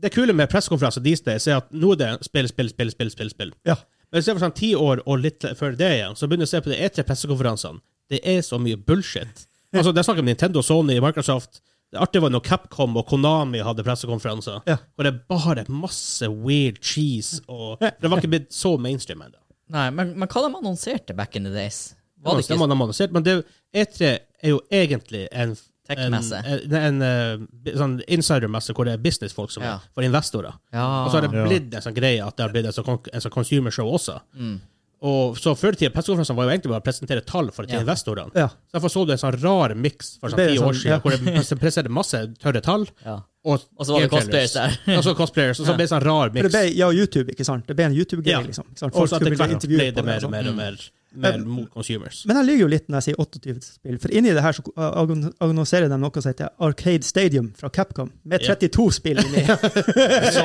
S1: det kule med pressekonferanser these days er at nå er det spill, spill, spill, spill, spill. spill.
S5: Ja.
S1: Men se for sånn ti år og litt før det igjen, så begynner jeg å se på de E3-pressekonferansene. Det er så mye bullshit. Altså, Det er snakk om Nintendo, Sony, Microsoft. Det artige var når Capcom og Konami hadde pressekonferanser.
S5: Ja.
S1: Og det er bare masse weird cheese. og Det var ikke blitt så mainstream ennå.
S2: Nei, men, men hva de annonserte back in the days?
S1: Det
S2: Var det
S1: var
S2: ikke
S1: annonsert, Men det, E3 er jo egentlig en en,
S2: Tech-messe?
S1: en, en, eh, sånn insidermesse hvor det er businessfolk som
S2: Ja.
S1: er for investorer. Og så har det
S4: Ja.
S1: blitt en sånn greie at det har blitt en sånn, kon- en sånn consumer show også.
S2: Mm.
S1: Og så Før i tida pressekonferansene var jo egentlig bare å presentere tall for til
S2: Ja.
S1: investorene.
S5: Ja.
S1: Så Derfor så du en sånn rar miks for sånn
S5: Det ble
S1: ti
S5: sånn,
S1: år siden,
S5: ja.
S1: hvor det pres- presenterte masse tørre tall.
S2: Ja.
S1: Og,
S2: Og så var det cosplayers der.
S1: Og så cosplayers, og så ble det sånn rar
S5: For det
S1: miks.
S5: ble ja, YouTube, ikke sant? Det ble en YouTube-greie,
S1: Ja.
S5: liksom. Ikke sant?
S1: Og
S5: Folk
S1: så etter
S5: skulle bli
S1: hvert ble
S5: intervjuet på
S1: det mer
S5: det.
S1: og
S5: og sånn.
S1: mer og mer, mer mot consumers.
S5: Men jeg lyver jo litt når jeg sier 28 spill, for inni det her så uh, agon- annonserer de noe som heter Arcade Stadium fra Capcom, med
S1: Ja.
S5: 32 spill inni.
S1: Så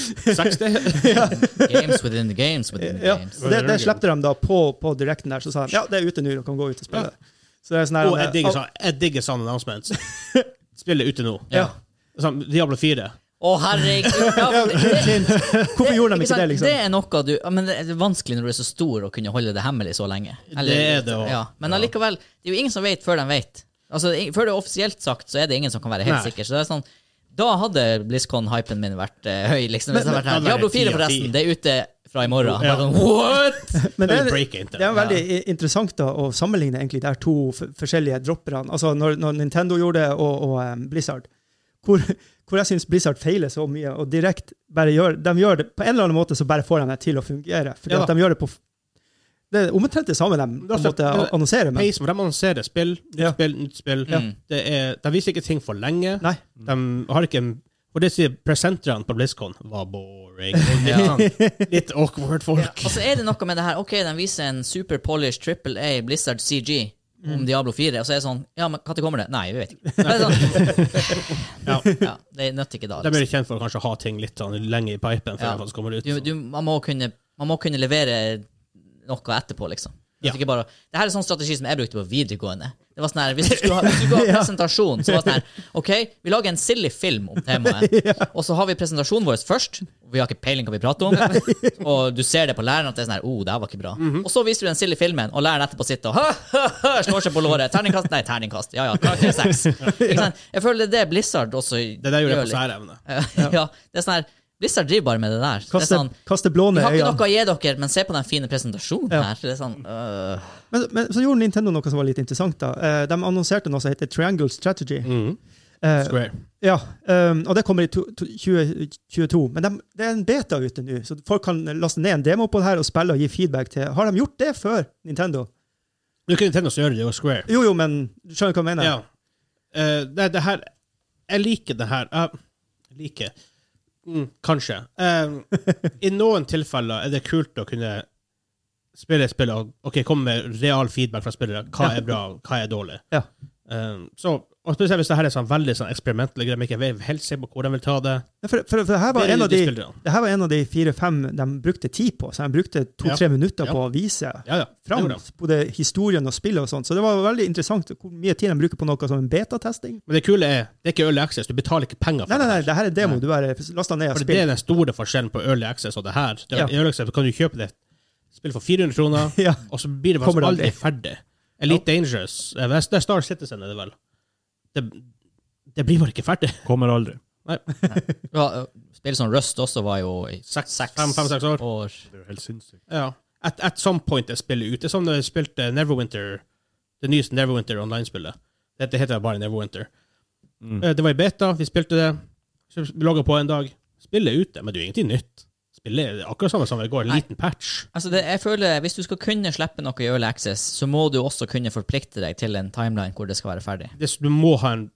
S1: 60
S2: Games within the games within the
S5: Ja,
S2: games.
S5: så det, det slepte de da på, på direkten der, så sa de ja, det er ute nå, du kan gå ut og spille. Så det er sånn her,
S1: Og jeg digger sånn- jeg digger sånn announcements. Spiller ute nå.
S5: Ja.
S1: Sånn, Diablo 4.
S2: Å, herregud! Ja, men det,
S5: Hvorfor gjorde
S2: ikke
S5: de ikke det,
S2: sant?
S5: liksom?
S2: Det er noe du ja, Men det er vanskelig når du er så stor å kunne holde det hemmelig så lenge.
S1: Det er det også.
S2: ja. Men allikevel, det er jo ingen som vet før de vet. Altså, i- Før det er offisielt sagt, så er det ingen som kan være helt
S1: Nei.
S2: sikker. Så det er sånn Da hadde BlizzCon-hypen min vært eh, høy. liksom hvis
S5: Men-
S2: det hadde vært
S1: men-
S2: her. Diablo 4,
S1: Ti av ti.
S2: forresten, det er ute fra i morgen.
S1: Ja.
S2: Bare Sånn, What?!
S5: Men det,
S1: Eller
S5: er-
S1: break it,
S5: det er veldig i- interessant da, å sammenligne egentlig de her to f- forskjellige dropperne. Altså når, når Nintendo gjorde det, og, og um, Blizzard. Hvor, hvor jeg syns Blizzard feiler så mye, og direkte bare gjør, de gjør det På en eller annen måte så bare får de det til å fungere. Fordi
S1: Ja.
S5: at de gjør det på f- Det er omtrent det samme de på en
S1: Altså,
S5: måte
S1: men-
S5: annonserer med.
S1: Pace, for de annonserer spill, nytt
S5: Ja.
S1: spill, nytt spill.
S2: Ja. Mm.
S1: Det er, de viser ikke ting for lenge.
S5: Nei.
S1: De har ikke en og det sier presenterne på BlizzCon var boring. Og Litt,
S2: Ja.
S1: sånn, litt awkward
S2: Ja,
S1: folk.
S2: og så er det noe med det her. Ok, de viser en super polished triple A Blizzard CG om Diablo 4, og så er det sånn Ja, men når kommer det? Nei, vi vet ikke. Det er sånn,
S1: Ja.
S2: ja, det nytter ikke da.
S1: De er jo kjent for å kanskje ha ting litt sånn lenge i pipen før
S2: Ja.
S1: de faktisk kommer ut.
S2: Du, du, man, må kunne, man må kunne levere noe etterpå, liksom.
S1: Ja.
S2: Det er ikke bare, det her er sånn strategi som jeg brukte på videregående. Det var sånn her, Hvis du skulle ha, hvis du skulle ha
S5: Ja.
S2: presentasjon, så var det sånn her OK, vi lager en silly film om temaet, og så har vi presentasjonen vår først. og Vi har ikke peiling hva vi prater om, og du ser det på læreren at det er sånn her, oh, det her var ikke bra.
S1: Mhm.
S2: Og så viser du den silly filmen, og læreren etterpå sitter og slår seg på låret. Terningkast? Nei, terningkast. Ja ja, karakter seks. Ikke sant? Jeg føler det er det Blizzard også
S1: Det der gjorde
S2: gjør
S1: jeg på
S2: litt.
S1: særevne.
S2: Ja. det er sånn her Blizzard driver bare med det der. Det er
S5: Kaste,
S2: sånn,
S5: kaste blå
S2: vi
S5: ned
S2: har ikke
S5: øynene.
S2: noe å gi dere, men se på den fine presentasjonen
S5: Ja.
S2: her. Det er sånn, øh.
S5: Men, men så gjorde Nintendo noe som var litt interessant. da. Eh, De annonserte noe som heter Triangle Strategy.
S1: Mhm.
S5: Eh,
S1: Square.
S5: Ja, ehm, og det kommer i to- to- 2022. Men dem- det er en beta ute nå, så folk kan laste ned en demo på det her og spille og gi feedback til Har de gjort det før, Nintendo?
S1: Du kunne tenkt oss å gjøre det, og Square.
S5: Jo, jo, men du skjønner hva jeg mener?
S1: Ja. Eh, det, det her Jeg liker det her. Jeg liker mm, Kanskje. Eh, I noen tilfeller er det kult å kunne spille et spill og ok, komme med real feedback fra spillere. Hva
S5: Ja.
S1: er bra, hva er dårlig?
S5: Ja.
S1: Eh, så, og Spesielt hvis det her er sånn veldig sånn eksperimentelle greier. men Ikke vet helt se på hvor de vil ta det.
S5: Ja, For, for, for det her var
S1: Det er
S5: en av de,
S1: spillerne.
S5: det her var en av de fire-fem de brukte tid på, så de brukte to-tre minutter
S1: Ja.
S5: på å vise
S1: Ja, ja. det
S5: fram
S1: gjorde de.
S5: både historien og spillet og sånt. Så det var veldig interessant hvor mye tid de bruker på noe som en betatesting.
S1: Men det kule er det er ikke Early Access. Du betaler ikke penger for
S5: Nei, nei, nei,
S1: det. her.
S5: det her er demo. Du bare laster ned og
S1: For det
S5: spiller.
S1: er den store forskjellen på Early Access og det her. Det,
S5: Ja.
S1: I Early Access kan du kjøpe det spillet for 400 kroner.
S5: Ja.
S1: Og så blir det
S5: Kommer
S1: faktisk aldri
S5: det aldri.
S1: ferdig. Elite Dangerous eh, Det er Star Citizen, er det vel? Det, det blir bare ikke ferdig.
S4: Kommer aldri.
S2: ja, øh, Spill som Rust også var jo i
S1: Seks- fem- fem, seks år.
S4: Det er jo helt sinnssykt.
S1: Ja. At, at some point er spillet ute. Som da jeg spilte Neverwinter, det nyeste Neverwinter online-spillet. Dette heter bare Neverwinter.
S4: Mm.
S1: Eh, Det var i beta, vi spilte det. Så Vi logga på en dag. Spillet er ute, men det er jo ingenting nytt. Spillet er akkurat samme som det går, en
S2: Nei.
S1: liten patch.
S2: Altså det, jeg føler Hvis du skal kunne slippe noe i Early Access, så må du også kunne forplikte deg til en timeline hvor det skal være ferdig.
S1: Det, du må ha en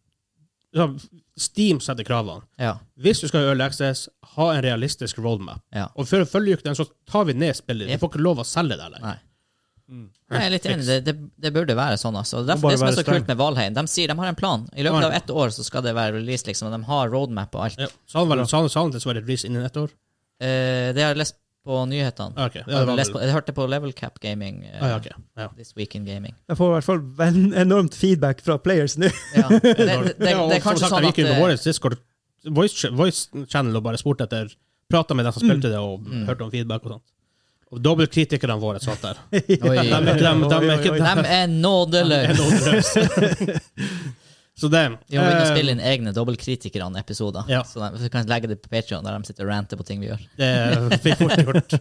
S1: sånn, Steam setter kravene.
S2: Ja,
S1: Hvis du skal ha Early Access, ha en realistisk roadmap.
S2: ja.
S1: Og før følger du ikke den, så tar vi ned spillet.
S2: Yep.
S1: Du får ikke lov å selge det heller.
S2: Nei. Nei, jeg er litt enig. Det, det, det burde være sånn. altså. Det, er derfor,
S4: Må bare
S2: det som er
S4: være
S2: så
S4: streng.
S2: kult med Valheim, de sier de har en plan. I løpet av ett år så skal det være release, liksom. og De har roadmap og alt.
S1: Ja. Sa
S2: Mm.
S1: han vel sa han- sa han at det skulle være et release innen ett år?
S2: Eh, det har jeg lest på nyhetene.
S1: Ah, ok. Ja, det
S2: jeg,
S1: var
S2: lest
S1: vel-
S2: på, jeg hørte på Level Cap Gaming eh,
S1: Ah, ja, ok. Ja.
S2: This Week in Gaming.
S5: Jeg får i hvert fall ven- enormt feedback fra players nå.
S2: Ja. Det, det, det, det
S1: Ja, og
S2: er
S1: som
S2: kanskje
S1: sagt,
S2: sånn
S1: jeg
S2: at
S1: gikk inn på
S2: eh,
S1: vår Discord voice, voice channel og bare spurte etter Prata med dem som
S2: Mm.
S1: spilte det, og hørte om feedback og sånt. Og dobbeltkritikerne våre satt der. De,
S2: eh, Oi.
S1: de, de, de,
S5: Oi, oi, oi.
S2: De er nådeløse!
S1: er nådeløse. Så det
S2: Vi må begynne å
S1: eh,
S2: spille inn egne Dobbeltkritikerne-episoder.
S1: Ja.
S2: Så de- vi kan legge det på Patreon der de sitter og ranter på ting vi gjør.
S1: Det fikk fort gjort.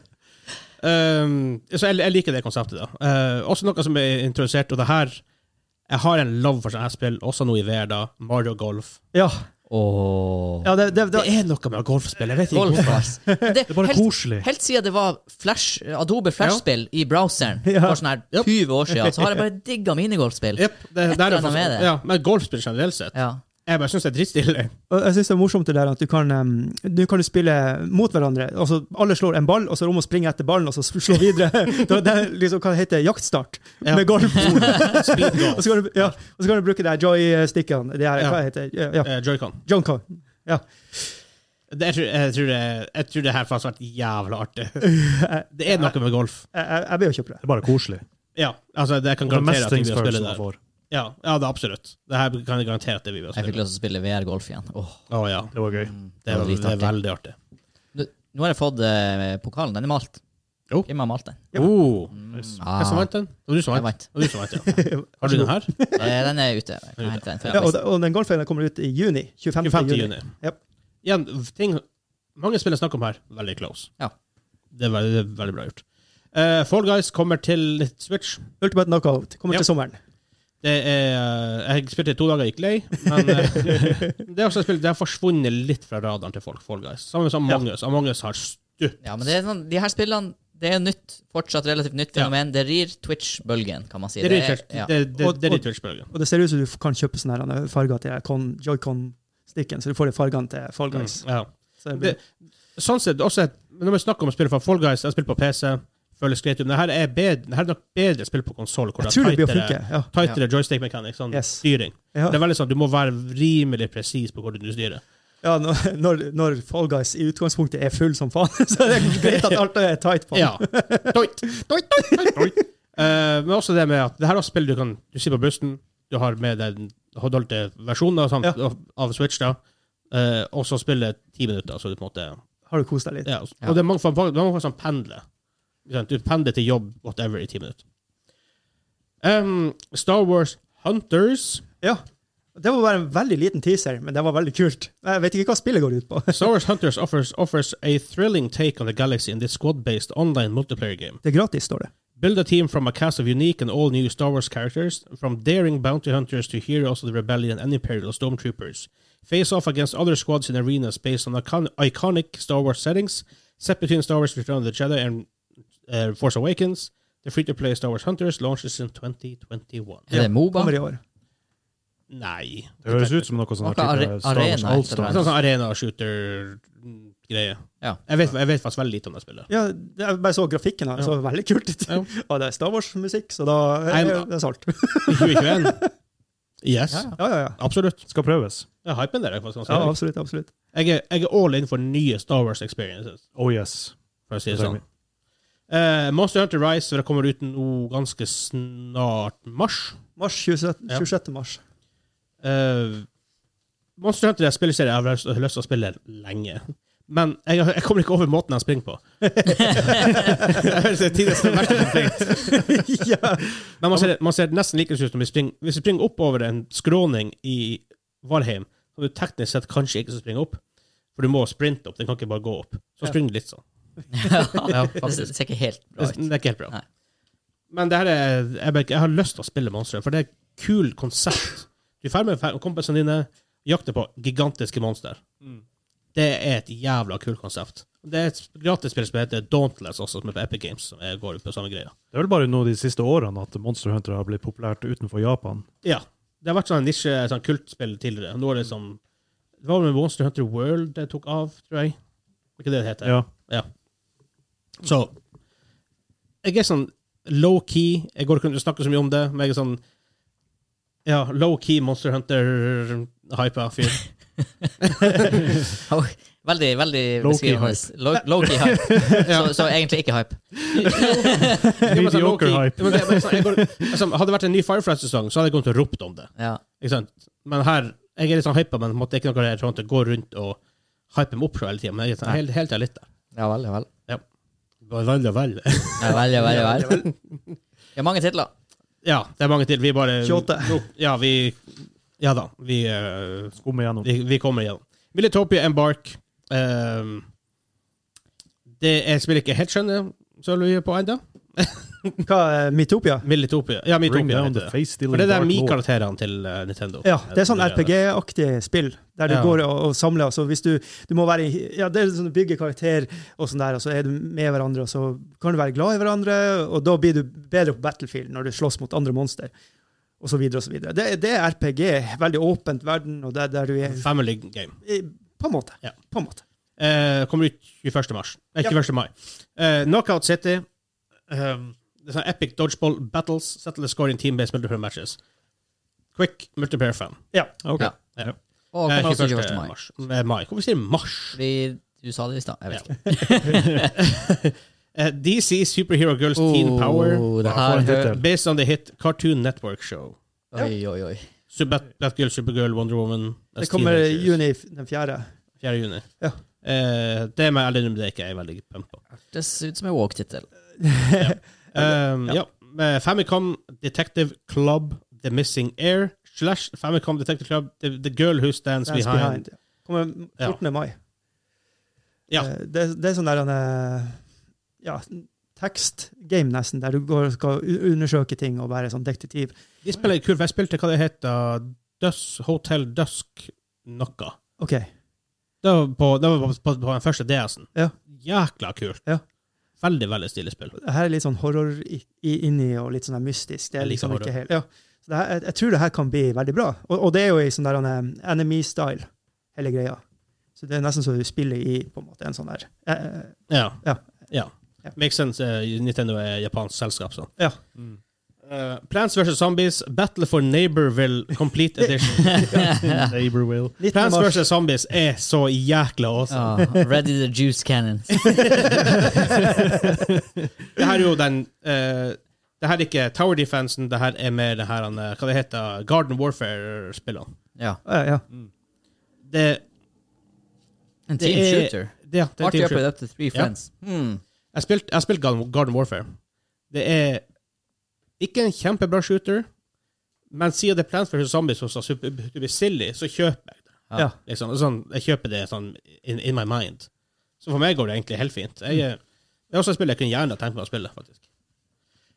S1: Um, så jeg, jeg liker det konseptet. da. Eh, også noe som er introdusert, og det her Jeg har en love for sånne her spill, også nå i VR, da. Mario Golf.
S5: Ja,
S2: Oh.
S5: ja det, det,
S1: Det
S5: det,
S1: er noe med golfspill. Jeg vet ikke
S2: Golf,
S1: hvorfor.
S2: ass. Men Det,
S4: Det er bare
S2: helt,
S4: koselig.
S2: helt siden det var Flash, Adobe Flash-spill i browseren
S5: Ja.
S2: for sånn her
S1: Yep.
S2: 20 år siden, så har jeg bare digga minigolfspill.
S1: Jep, det, det er
S2: eller annet med det.
S1: Ja, men golfspill generelt sett.
S2: Ja.
S1: Jeg bare syns det er drittstille.
S5: og jeg synes det er morsomt det der at du kan, em, nå kan du spille mot hverandre. Altså, alle slår en ball, og så er det om å springe etter ballen og så slå videre. det, det er liksom hva det heter jaktstart
S1: Ja.
S5: med golf.
S1: Speed
S5: og,
S1: golf.
S5: så kan du, ja, og så kan du bruke de joystickene. De her,
S1: Ja.
S5: Hva det heter ja, ja.
S1: Eh, Joy-Con.
S5: Jonka.
S1: Det- Jeg, tror- jeg, tror det- jeg tror det her faktisk har vært jævla artig. Det er noe med golf.
S5: Jeg, jeg, jeg blir jo kjøpe det.
S4: Det er bare koselig.
S1: Ja, altså, det jeg kan
S4: Det er
S1: garantere
S4: mest
S1: at vi blir å spille
S4: følelsen man
S1: der.
S4: får.
S1: Ja, ja det er absolutt. Det her kan jeg garantere at det vi blir å
S2: Jeg fikk
S1: spille.
S2: lyst til å spille VR-golf igjen. Åh,
S1: Å ja.
S4: Det var gøy.
S1: Det er, det er veldig artig.
S2: Nå- Nå har jeg fått eh, pokalen. Den er malt.
S1: Jo.
S2: Kim har malt den.
S1: Oh.
S4: Nice.
S1: Hvem som vant den? Det var du som
S2: Jeg
S1: vant.
S2: vant.
S1: Det var du som vant, ja. Har du den her?
S2: Eh, Den er ute. Jeg kan hente den.
S5: Ja, og,
S2: fra-
S5: da- og den golfen kommer ut i juni. 25.
S1: 25.
S5: juni.
S1: juni.
S5: Yep.
S1: Igjen, ting mange spiller snakker om her, veldig close.
S2: Ja.
S1: Det er veldig, det er veldig bra gjort. Eh, Fall Guys kommer til Switch.
S5: Ultimate knockout kommer
S1: Ja.
S5: til sommeren.
S1: Det er, eh, jeg spilte i to dager, gikk lei. Men eh, det, er også et spill- det har forsvunnet litt fra radaren til folk, Fall Guys. Samme som Among Us. Among Us har stupt.
S2: Ja, men det er sånn, de her spillene det er nytt, fortsatt relativt nytt
S1: Ja.
S2: fenomen. Det rir Twitch-bølgen, kan man si.
S1: Det er
S2: er-
S1: litt
S2: ja.
S1: det- det-
S5: Og-
S1: det er litt
S5: og-
S1: Twitch-bølgen.
S5: Og det ser ut som du f- kan kjøpe sånne her, eh, farger til Con- Joy-Con-stikken, så du får de fargene til Fall Guys.
S1: Ja.
S5: Så det blir,
S1: Mm. det, sånn sett, også et, når vi snakker om å spille for Fall Guys, jeg spiller på PC, føles greit ut, men det her er, bedre, det her er nok bedre spill på konsoll, hvor det
S5: jeg tror det
S1: er
S5: blir å
S1: tightere,
S5: funke. Ja.
S1: tightere joystick mechanics, sånn
S5: Yes.
S1: styring.
S5: Ja.
S1: Det er veldig sånn, Du må være rimelig presis på hvordan du styrer.
S5: Ja, når, når- når Fall Guys i utgangspunktet er full som faen, så er det greit at alt er tight på den.
S1: Ja. Doit, doit, doit, doit, doit. Eh, men også det med at det her er spill du kan du sitter på bussen, du har med deg den holdte versjonen av, samt, av, av Switch, da, eh, og så spiller det ti minutter, så du på en måte
S5: Har du kost deg litt?
S1: ja, og- Og det er mange folk, det er mange folk som pendler. Ikke sant? Du pendler til jobb, whatever, i ti minutter. Um, Star Wars Hunters.
S5: Ja. Det var bare en veldig liten teaser, men det var veldig kult. Jeg vet ikke hva spillet går ut på.
S1: Star Wars Hunters offers, offers a thrilling take on the galaxy in this squad-based online multiplayer game.
S5: Det er gratis, står det.
S1: Build a team from a cast of unique and all new Star Wars characters, from daring bounty hunters to heroes of the rebellion and imperial stormtroopers. Face off against other squads in arenas based on icon- iconic Star Wars settings, set between Star Wars Return of the Jedi and uh, Force Awakens. The free to play Star Wars Hunters launches in 2021.
S2: Er det Moba?
S5: Kommer i år.
S1: Nei. er
S4: Det høres ut som noe sånn
S2: Noe
S4: her type
S2: are-
S4: Star Wars
S2: arena,
S4: Allstars.
S1: Sånn sånn arena shooter-greie.
S2: Ja.
S1: Jeg, vet- jeg vet faktisk veldig lite om det spillet.
S5: Ja, det- jeg bare så grafikken her, så veldig kult ut.
S1: Ja.
S5: Og det er Star Wars-musikk, så da er
S1: I'm-
S5: det solgt.
S1: 2021? Yes.
S2: Ja, ja.
S5: Ja, ja, ja.
S1: Absolutt.
S4: Skal prøves.
S1: Jeg er hypen der. Jeg, er faktisk ganske
S5: ja
S1: høy.
S5: absolutt, absolutt.
S1: jeg, er, jeg er all in for nye Star Wars experiences.
S4: Oh yes.
S1: for å si det sånn. Eh, Monster Hunter Rise det kommer ut nå ganske snart mars.
S5: Mars 27.
S1: Ja.
S5: 26. mars.
S1: Eh, Monster Hunter er en spillserie jeg har lyst- lyst til å spille lenge. Men jeg, jeg kommer ikke over måten han springer på. Det er tidens verste som springer.
S5: ja.
S1: Men man ser, det- man ser det nesten like ut som vi springer, hvis vi springer oppover en skråning i Valheim, som du teknisk sett kanskje ikke skal springe opp, for du må sprinte opp. Den kan ikke bare gå opp. Så
S5: Ja.
S1: springer du litt sånn.
S2: ja, det
S1: faktisk.
S2: ser ikke helt bra
S1: Det,
S2: ut.
S1: det er ikke helt bra.
S2: Nei.
S1: Men det her er, jeg, bare- jeg har lyst til å spille monstre, for det er et kult konsept. Du er ferdig med fe- kompisene dine, jakter på gigantiske monster. Det er et jævla kult konsept. Det er et gratisspill som heter Dauntless, også, som er på Epic Games. som er, går ut på samme greia.
S4: Det er vel bare nå de siste årene at Monster Hunter har blitt populært utenfor Japan.
S1: Ja. Det har vært sånn nisje, sånn kultspill tidligere. Nå er det sånn Det var vel Monster Hunter World det tok av, tror jeg. Var ikke det det heter?
S4: Ja.
S1: Så jeg er sånn low-key. Jeg går ikke rundt og snakker så mye om det, men jeg er sånn ja, low-key Monster Hunter-hypa fyr.
S2: Oi, Veldig, veldig
S4: Low-key
S2: beskrivende. Low- Low-key hype. Så, så egentlig ikke hype.
S1: Jeg er bare sånn
S4: Mediocre
S1: low-key.
S4: hype.
S1: Men det er bare sånn, jeg går, altså, hadde det vært en ny Firefly-sesong, så hadde jeg kommet til å ropt om det.
S2: Ja.
S1: Ikke sant? Men her jeg er litt sånn hypa, men på en måte ikke noe jeg tror at jeg går rundt og hyper dem opp hele tida. Men jeg er sånn, hele, hele tida litt der.
S2: ja vel, ja vel.
S1: Vel, vel.
S2: Ja vel, ja vel. Ja, vel. Det er mange titler.
S1: Ja, det er mange til. Vi bare
S5: 28.
S1: Nå- Ja, vi Ja da. Vi eh,
S4: Skumme gjennom.
S1: Vi, vi kommer igjennom. Militopia Embark. ehm, det jeg spiller ikke helt skjønner sølvøyet på ennå.
S5: Hva er Mytopia?
S1: Militopia. Ja,
S4: Bring
S1: Militopia
S4: down
S1: heter
S4: the
S1: det.
S4: face stealing
S1: For det er der
S4: dark lord.
S1: Mi-karakterene til eh, Nintendo.
S5: Ja, det er sånn RPG-aktig spill, der du
S1: Ja.
S5: går og, og samler. Altså, hvis du, du må være, i- ja, det er sånn du bygger karakter, og sånn der, og så er du med hverandre, og så kan du være glad i hverandre, og da blir du bedre på battlefield når du slåss mot andre monster, og så videre og så videre. Det, det er RPG, veldig åpent verden, og der, der du er
S1: Family Game.
S5: i- På en måte.
S1: Ja.
S5: På en måte.
S1: Eh, kommer ut 21. mars. Nei,
S5: Ja.
S1: 21. mai. Eh, Knockout City. ehm, det er sånn epic dodgeball battles. Settle the score in team-based multiplayer matches. Quick multiplayer fan.
S4: Ok.
S2: Ja.
S1: Ja.
S2: Og
S1: Eh,
S2: kommer også
S1: 21.
S2: 21. mai.
S1: mars. Eh, mai. Hvorfor sier jeg mars?
S2: Fordi du sa det i stad. Jeg vet ikke.
S1: Eh, DC Superhero Girls Teen Power.
S2: Oh, det
S4: for
S2: her
S4: en tittel.
S1: Based on the hit Cartoon Network Show.
S2: Oi, oi, oi.
S1: Super Bat- Batgirl, Supergirl, Wonder Woman
S5: Det kommer i juni f- den fjerde.
S1: 4. juni.
S5: Ja.
S1: Eh, det med Ellen Umdeke er jeg veldig pump på.
S2: Det ser ut som en walk-tittel.
S1: Um, ja. Med Famicom Detective Club The Missing Air slash Famicom Detective Club The, the Girl Who Stands,
S5: Dance
S1: behind.
S5: Behind. Kommer 14. mai.
S1: Ja.
S5: Eh, Det, det er sånn der en eh, ja, tekstgame, nesten, der du går og skal u- undersøke ting og være sånn detektiv.
S1: De spiller kult, for jeg spilte hva det heter Dus- Hotel Dusk noe.
S5: OK.
S1: Det var på, det var på, på, på den første DS-en.
S5: Ja.
S1: Jækla kult.
S5: Ja.
S1: Veldig, veldig stilig spill.
S5: Det her er litt sånn horror i, i- inni og litt sånn der mystisk. Det er
S1: Jeg liker
S5: liksom
S1: horror.
S5: ikke helt ja. Så det her, jeg, jeg tror det her kan bli veldig bra. Og, og det er jo i sånn der en, eh, enemy-style, hele greia. Så det er nesten så du spiller i på en måte en sånn der eh,
S1: Ja.
S5: Ja.
S1: Ja.
S5: Ja.
S1: Makes sense. eh, Nintendo er japansk selskap, så.
S5: Ja.
S4: Mm.
S1: Eh, Plants vs. Zombies, Battle for Neighborville Complete Edition.
S4: Neighbor will.
S5: 19.
S1: Plants
S5: mars.
S1: vs. Zombies er så jækla awesome.
S2: Ja, ready the juice cannon.
S1: Det her er jo den eh, Det her er ikke Tower Defensen, det her er mer det her, han, eh, hva det heter, Garden Warfare-spillene.
S2: Ja.
S5: Ja, ja.
S1: Det,
S2: En
S1: det
S2: team
S1: er
S2: shooter.
S1: Det, ja, det er
S2: Party
S1: team
S2: up with
S1: shooter.
S2: up to three
S1: Ja.
S2: friends. Hmm.
S1: Jeg spilte jeg spilte Garden, Garden Warfare. Det er ikke en kjempebra shooter, men siden det er Plants vs. Zombies som skal bli silly, så kjøper jeg det.
S2: Ja.
S5: ja.
S1: Liksom, sånn, jeg kjøper det sånn in, in my mind. Så for meg går det egentlig helt fint. Jeg,
S2: Mm.
S1: eh, det er også et spill jeg kunne gjerne tenkt meg å spille, faktisk.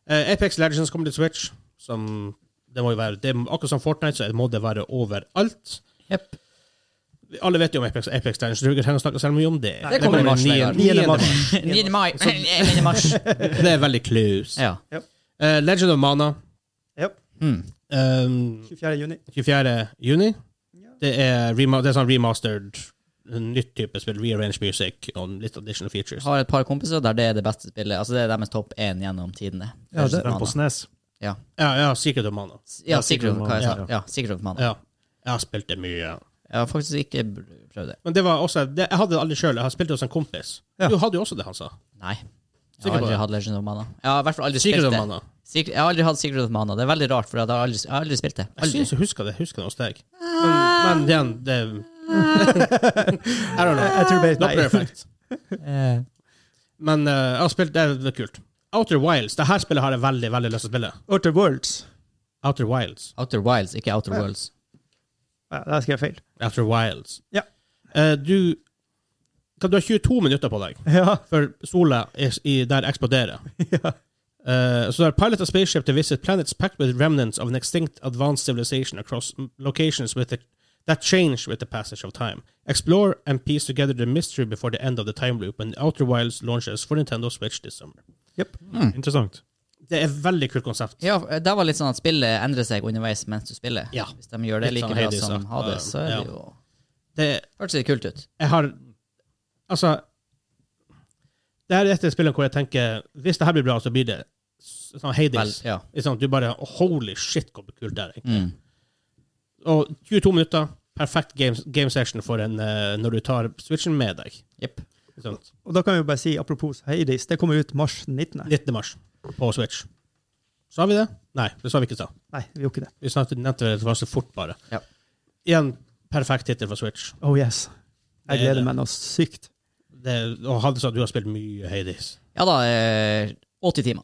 S1: Eh, Apex Legends kommer til Switch, som det må jo være det, Akkurat som Fortnite, så må det være overalt.
S2: Jepp.
S1: Alle vet jo om Apex, Apex Legends, du trenger å snakke særlig mye om det.
S2: det kommer i mars,
S1: niende-
S2: Vegard.
S1: niende mars.
S2: 9. mai. 9. mars.
S1: Det er veldig close.
S2: Ja.
S1: Eh, Legend of Mana,
S5: Japp.
S2: Hmm.
S1: um,
S5: 24. juni.
S1: 24. juni. Det er, rema det er sånn remastered, nytt type spill, rearranged music og litt additional features.
S2: Har et par kompiser der det er det beste spillet. Altså Det er deres topp én gjennom tidene.
S5: Ja, det-
S4: Den på SNES.
S1: Ja, ja, Secret of Mana.
S2: Ja,
S4: Ja, Secret
S2: Secret
S4: of
S2: of
S4: Mana,
S2: Mana.
S4: ja.
S2: Ja, Secret of Mana.
S1: Ja. Jeg har spilt det mye.
S2: Jeg har faktisk ikke br- prøvd det.
S1: Men det var også det, Jeg hadde det aldri sjøl. Jeg har spilt det hos en kompis.
S5: Ja.
S1: Du hadde jo også det, han sa.
S2: Nei. Jeg
S1: Sikker
S2: har
S1: på
S2: aldri
S1: det?
S2: hatt Legend of Mana. Jeg har i hvert fall aldri
S1: Secret
S2: spilt
S1: of
S2: det.
S1: Mana.
S2: Secret, jeg har aldri hatt Secret of Mana. Det er veldig rart, for jeg har aldri, jeg har aldri spilt det.
S1: Jeg
S2: Aldri. Ah.
S1: syns jeg husker det husker det hos deg. Men, men igjen, det I don't know.
S5: Jeg tror bare
S1: Not
S5: nei.
S1: perfect.
S2: Eh,
S1: Men eh, jeg har spilt det. Det er kult. Outer Wilds. Det her spillet har jeg veldig veldig lyst til å spille.
S5: Outer Worlds.
S1: Outer Wilds.
S2: Outer Wilds, ikke Outer Worlds.
S5: Ja, der skrev jeg feil.
S1: Outer Wilds.
S5: Ja.
S1: Eh, du kan, Du har 22 minutter på deg.
S5: Ja.
S1: for sola er, i, der eksploderer. Uh, so there pilot a spaceship to visit planets packed with remnants of an extinct advanced civilization across m- locations with the, that change with the passage of time. Explore and piece together the mystery before the end of the time loop when Outer Wilds launches for Nintendo Switch this summer.
S5: Yep.
S4: Interessant.
S1: Det er et veldig kult konsept.
S2: Ja, det var litt sånn at spillet endrer seg underveis mens du spiller.
S1: Ja.
S2: Hvis de gjør det
S1: Litt
S2: like
S1: sånn Hades,
S2: bra som
S1: ja.
S2: Hades, så er
S1: Ja.
S2: det jo
S1: Det, er
S2: Hørtes litt kult ut.
S1: jeg har Altså Det her er et av spillene hvor jeg tenker Hvis det her blir bra, så blir det s- sånn
S2: Vel,
S1: Hades.
S2: ja.
S1: Liksom, du bare Holy shit, hvor kult det er. egentlig.
S2: Mm.
S1: Og 22 minutter, perfekt game, game session for en eh, når du tar switchen med deg.
S2: Jepp.
S1: Ikke sant?
S5: Og da kan vi jo bare si, apropos Hades, det kommer ut mars 19.
S1: 19. mars på Switch. Sa vi det? Nei, det sa vi ikke i stad.
S5: Nei, vi gjorde ikke det.
S1: Vi snakket nevnte det var så fort, bare.
S2: Ja.
S1: Igjen perfekt tittel for Switch.
S5: Oh yes. Jeg
S1: Det er
S5: gleder
S1: det.
S5: meg noe sykt.
S1: Det, og Hadde sagt du har spilt mye Hades.
S2: Ja da, eh, 80 timer.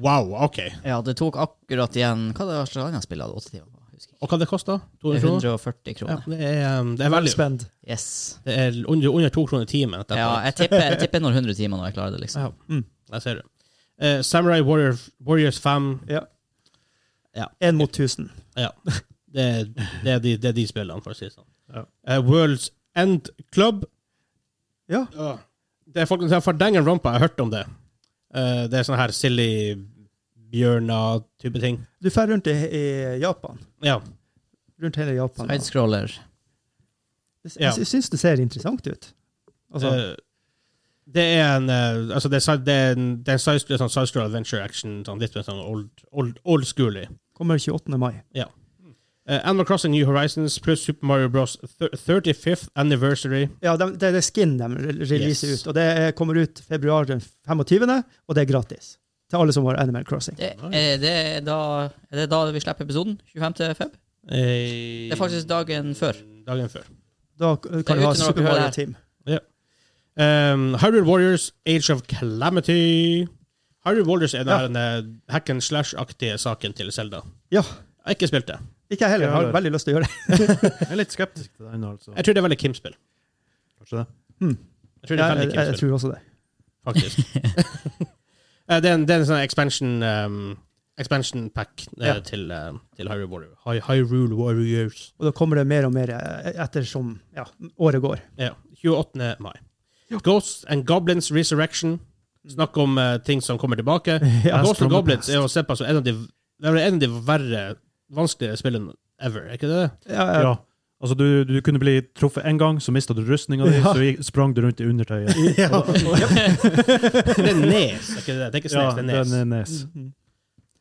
S1: wow, OK.
S2: Ja, det tok akkurat igjen Hva det var slags annet spill jeg hadde 80 timer på? Jeg Husker ikke.
S1: Og hva det kosta? 200 kroner?
S2: 140
S1: Ja,
S2: kroner.
S1: det er, um, det er veldig
S5: Spend.
S2: Yes.
S1: Det er under, under to kroner timen. at det er
S2: Ja,
S1: på.
S2: jeg tipper, jeg tipper når 100 timer når jeg klarer det, liksom.
S1: Ja. Jeg ser det. Eh, Samurai Warrior, Warriors 5
S5: Ja.
S1: Ja.
S5: En mot tusen.
S1: Ja. Det er, det er, de, det er de spillene, for å si det sånn.
S4: Ja.
S1: Eh, World's End Club.
S5: Ja.
S1: Det er folk som fordenger rumpa. Jeg har hørt om det. Eh, det er sånne her silly bjørner-type ting.
S5: Du drar rundt i, i Japan.
S1: Ja.
S5: Rundt hele Japan. Jeg,
S2: Sidescroller.
S1: ja.
S5: jeg syns det ser interessant ut. Altså,
S1: Eh, det er en eh, altså det er, si- det er en, det er en side- det er sånn sidescroll adventure action, sånn litt mer sånn old, old, old schooly.
S5: kommer 28. mai.
S1: Eh, Animal Crossing New Horizons pluss Super Mario Bros. thir- 35th Anniversary.
S5: Ja, de, det er det skin de re- releaser
S1: Yes.
S5: ut. Og det er- kommer ut februar den 25., og det er gratis. Til alle som har Animal Crossing.
S2: Det, er, det er da, er det da vi slipper episoden? 25. feb?
S1: Eh,
S2: Det er faktisk dagen før.
S1: Dagen før.
S5: Da k- kan
S2: Det
S5: du
S2: er
S5: ha
S2: ute når
S5: Super
S2: dere hører
S5: Mario
S2: det her.
S5: Team.
S1: Um, Hyrule Warriors, Age of Calamity. Hyrule Warriors er den
S5: Ja.
S1: her, eh, hack and slash-aktige saken til Zelda.
S5: Ja.
S1: Jeg har ikke spilt det.
S5: Ikke jeg heller. Jeg har
S4: Ikke heller.
S5: veldig lyst til å gjøre det.
S4: Jeg er litt skeptisk til den, altså.
S1: Jeg tror det er veldig Kim-spill.
S4: Kanskje det.
S1: Jeg tror det er
S5: Jeg,
S1: veldig
S5: jeg, jeg
S1: Kim-spill,
S5: tror også det.
S1: faktisk. Eh, det, er en, det er en sånn expansion um, expansion pack eh,
S5: Ja.
S1: til, eh, til Hyrule Warriors. Hy Hyrule Warriors.
S5: Og da kommer det mer og mer eh, ettersom ja, året går.
S1: Ja. 28. mai. Ghosts and Goblins Resurrection. Snakk om eh, ting som kommer tilbake.
S5: Ja,
S1: Ghosts and
S4: from the
S1: Goblins
S4: past.
S1: er å se på som en av de, det er en av de verre, vanskeligere spillene ever. Er ikke det det?
S5: Ja, ja.
S4: Ja. Altså, du, du kunne bli truffet én gang, så mista du rustninga di,
S5: Ja.
S4: så gikk- sprang du rundt i undertøyet.
S1: Det er Nes, er ikke det? Det er ikke Snes,
S4: Ja,
S1: det er
S4: den
S1: Nes.
S4: er nes.
S5: Mhm.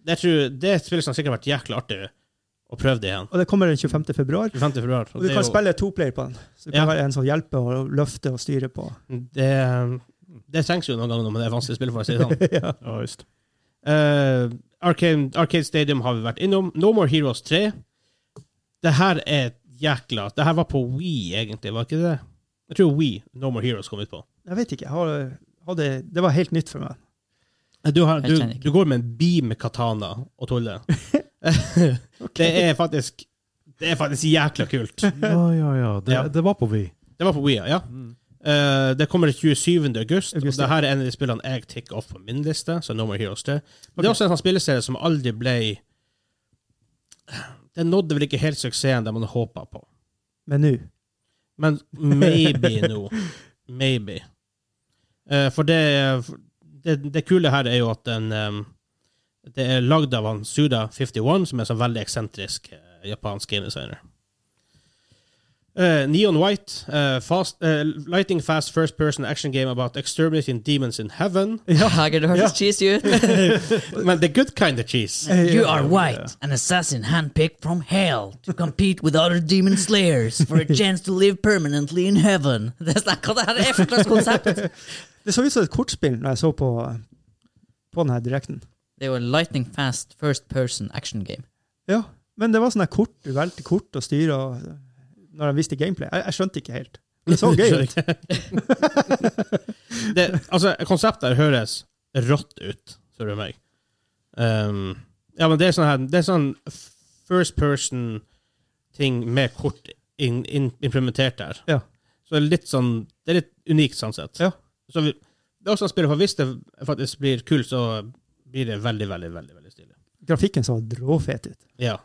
S1: Det, tror, det er et spill som sikkert har vært jækla artig å prøve det igjen.
S5: Og det kommer den 25. februar.
S1: 25. februar.
S5: Og du
S1: det er
S5: kan
S1: jo-
S5: spille toplayer på den. Så du kan
S1: Ja.
S5: være en som hjelper og løfter og styrer på.
S1: Det, det trengs jo noen ganger når man er vanskelig å spille for, å si det sånn.
S5: ja.
S4: Ja, just.
S1: Eh, Arcane, Arcade Stadium har vi vært innom. No More Heroes 3. Det her er jækla Det her var på We, egentlig, var ikke det? Jeg tror We, No More Heroes, kom ut på.
S5: Jeg vet ikke. Jeg har, hadde, det var helt nytt for meg.
S1: Eh, Du, har,
S2: Jeg
S1: du,
S2: kjenner ikke.
S1: du går med en beam katana og tuller. Det er faktisk Det er faktisk jækla kult.
S4: Ja, ja, ja. Det,
S1: Ja.
S4: det var på vi.
S1: Det var på Wii, ja. Eh, det kommer 27. august.
S5: Mm. August,
S1: og
S5: ja.
S1: det her er en av de spillene jeg tikker off på min liste. så No More Heroes 3. Men Det er også en sånn spilleserie som aldri ble Den nådde vel ikke helt suksessen de hadde håpa på.
S5: Men nå
S1: Men maybe nå. Maybe. Eh, for det, det Det kule her er jo at den eh, Det er lagd av han Suda51, som er en sånn veldig eksentrisk eh, japansk gamedesigner. Eh, Neon White, eh, fast, eh, lighting fast first person action game about exterminating demons in heaven.
S2: Hager, det hørtes cheesy ut.
S1: Men the good kind of cheese.
S2: You
S5: Eh,
S2: are white, an assassin handpicked from hell to compete with other demon slayers for a chance to live permanently in heaven. Det er sånn, Hva det her er for slags konsept?
S5: Det så ut som et kortspill når jeg så på, på denne direkten.
S2: Det er jo en lightning fast first person action game.
S5: Ja, men det var sånne kort, du valgte kort og styre og når de viste gameplay. Jeg, jeg skjønte ikke helt. Det så gøy ut.
S1: det, altså, konseptet her høres rått ut, spør du meg. Um, ja, men det er sånn her Det er sånn first person-ting med kort in, in, implementert der.
S5: Ja.
S1: Så det er litt sånn Det er litt unikt, sånn sett.
S5: Ja.
S1: Så vi, det er også et spill, for hvis det faktisk blir kult, så blir det veldig, veldig, veldig veldig stilig.
S5: Grafikken så dråfet ut.
S1: Ja.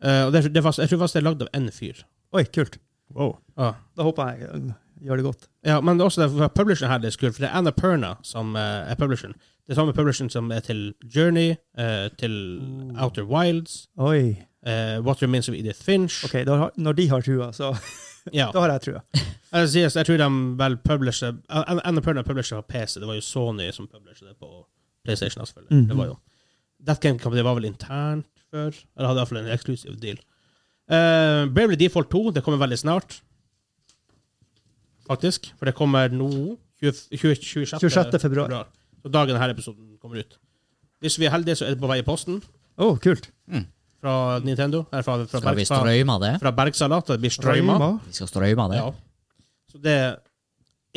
S1: Eh, og det, er- det er fast, jeg tror faktisk det er lagd av én fyr.
S5: Oi, kult.
S4: Wow.
S1: Ah.
S5: Da håper jeg øh, gjør det godt.
S1: Ja, men det er også derfor publisheren her det er skult, for det er Anna Perna som eh, er publisheren. Det er samme publisheren som er til Journey, eh, til
S5: Oh.
S1: Outer Wilds,
S5: Oi.
S1: eh, What Remains of Edith Finch.
S5: Ok, da, har- når de har trua, så
S1: Ja.
S5: da har jeg trua.
S1: Jeg, sier, så jeg tror de vel publisher An- Anna Perna publisher på PC. Det var jo Sony som publisher det på PlayStation. selvfølgelig.
S5: Mhm.
S1: Det var jo That Game Company var vel internt før? Eller hadde iallfall en eksklusiv deal. Eh, Bravely Default 2 det kommer veldig snart. Faktisk. For det kommer nå 20, 20,
S5: 26. februar.
S1: Så dagen denne episoden kommer ut. Hvis vi er heldige, så er det på vei i posten
S5: Å, kult.
S1: fra Nintendo. Eller fra, fra,
S2: Skal vi
S1: Berg, fra,
S2: strøyme det?
S1: fra Bergsala. så Det blir strøyma.
S2: Vi skal strøyme det.
S1: Ja. Så det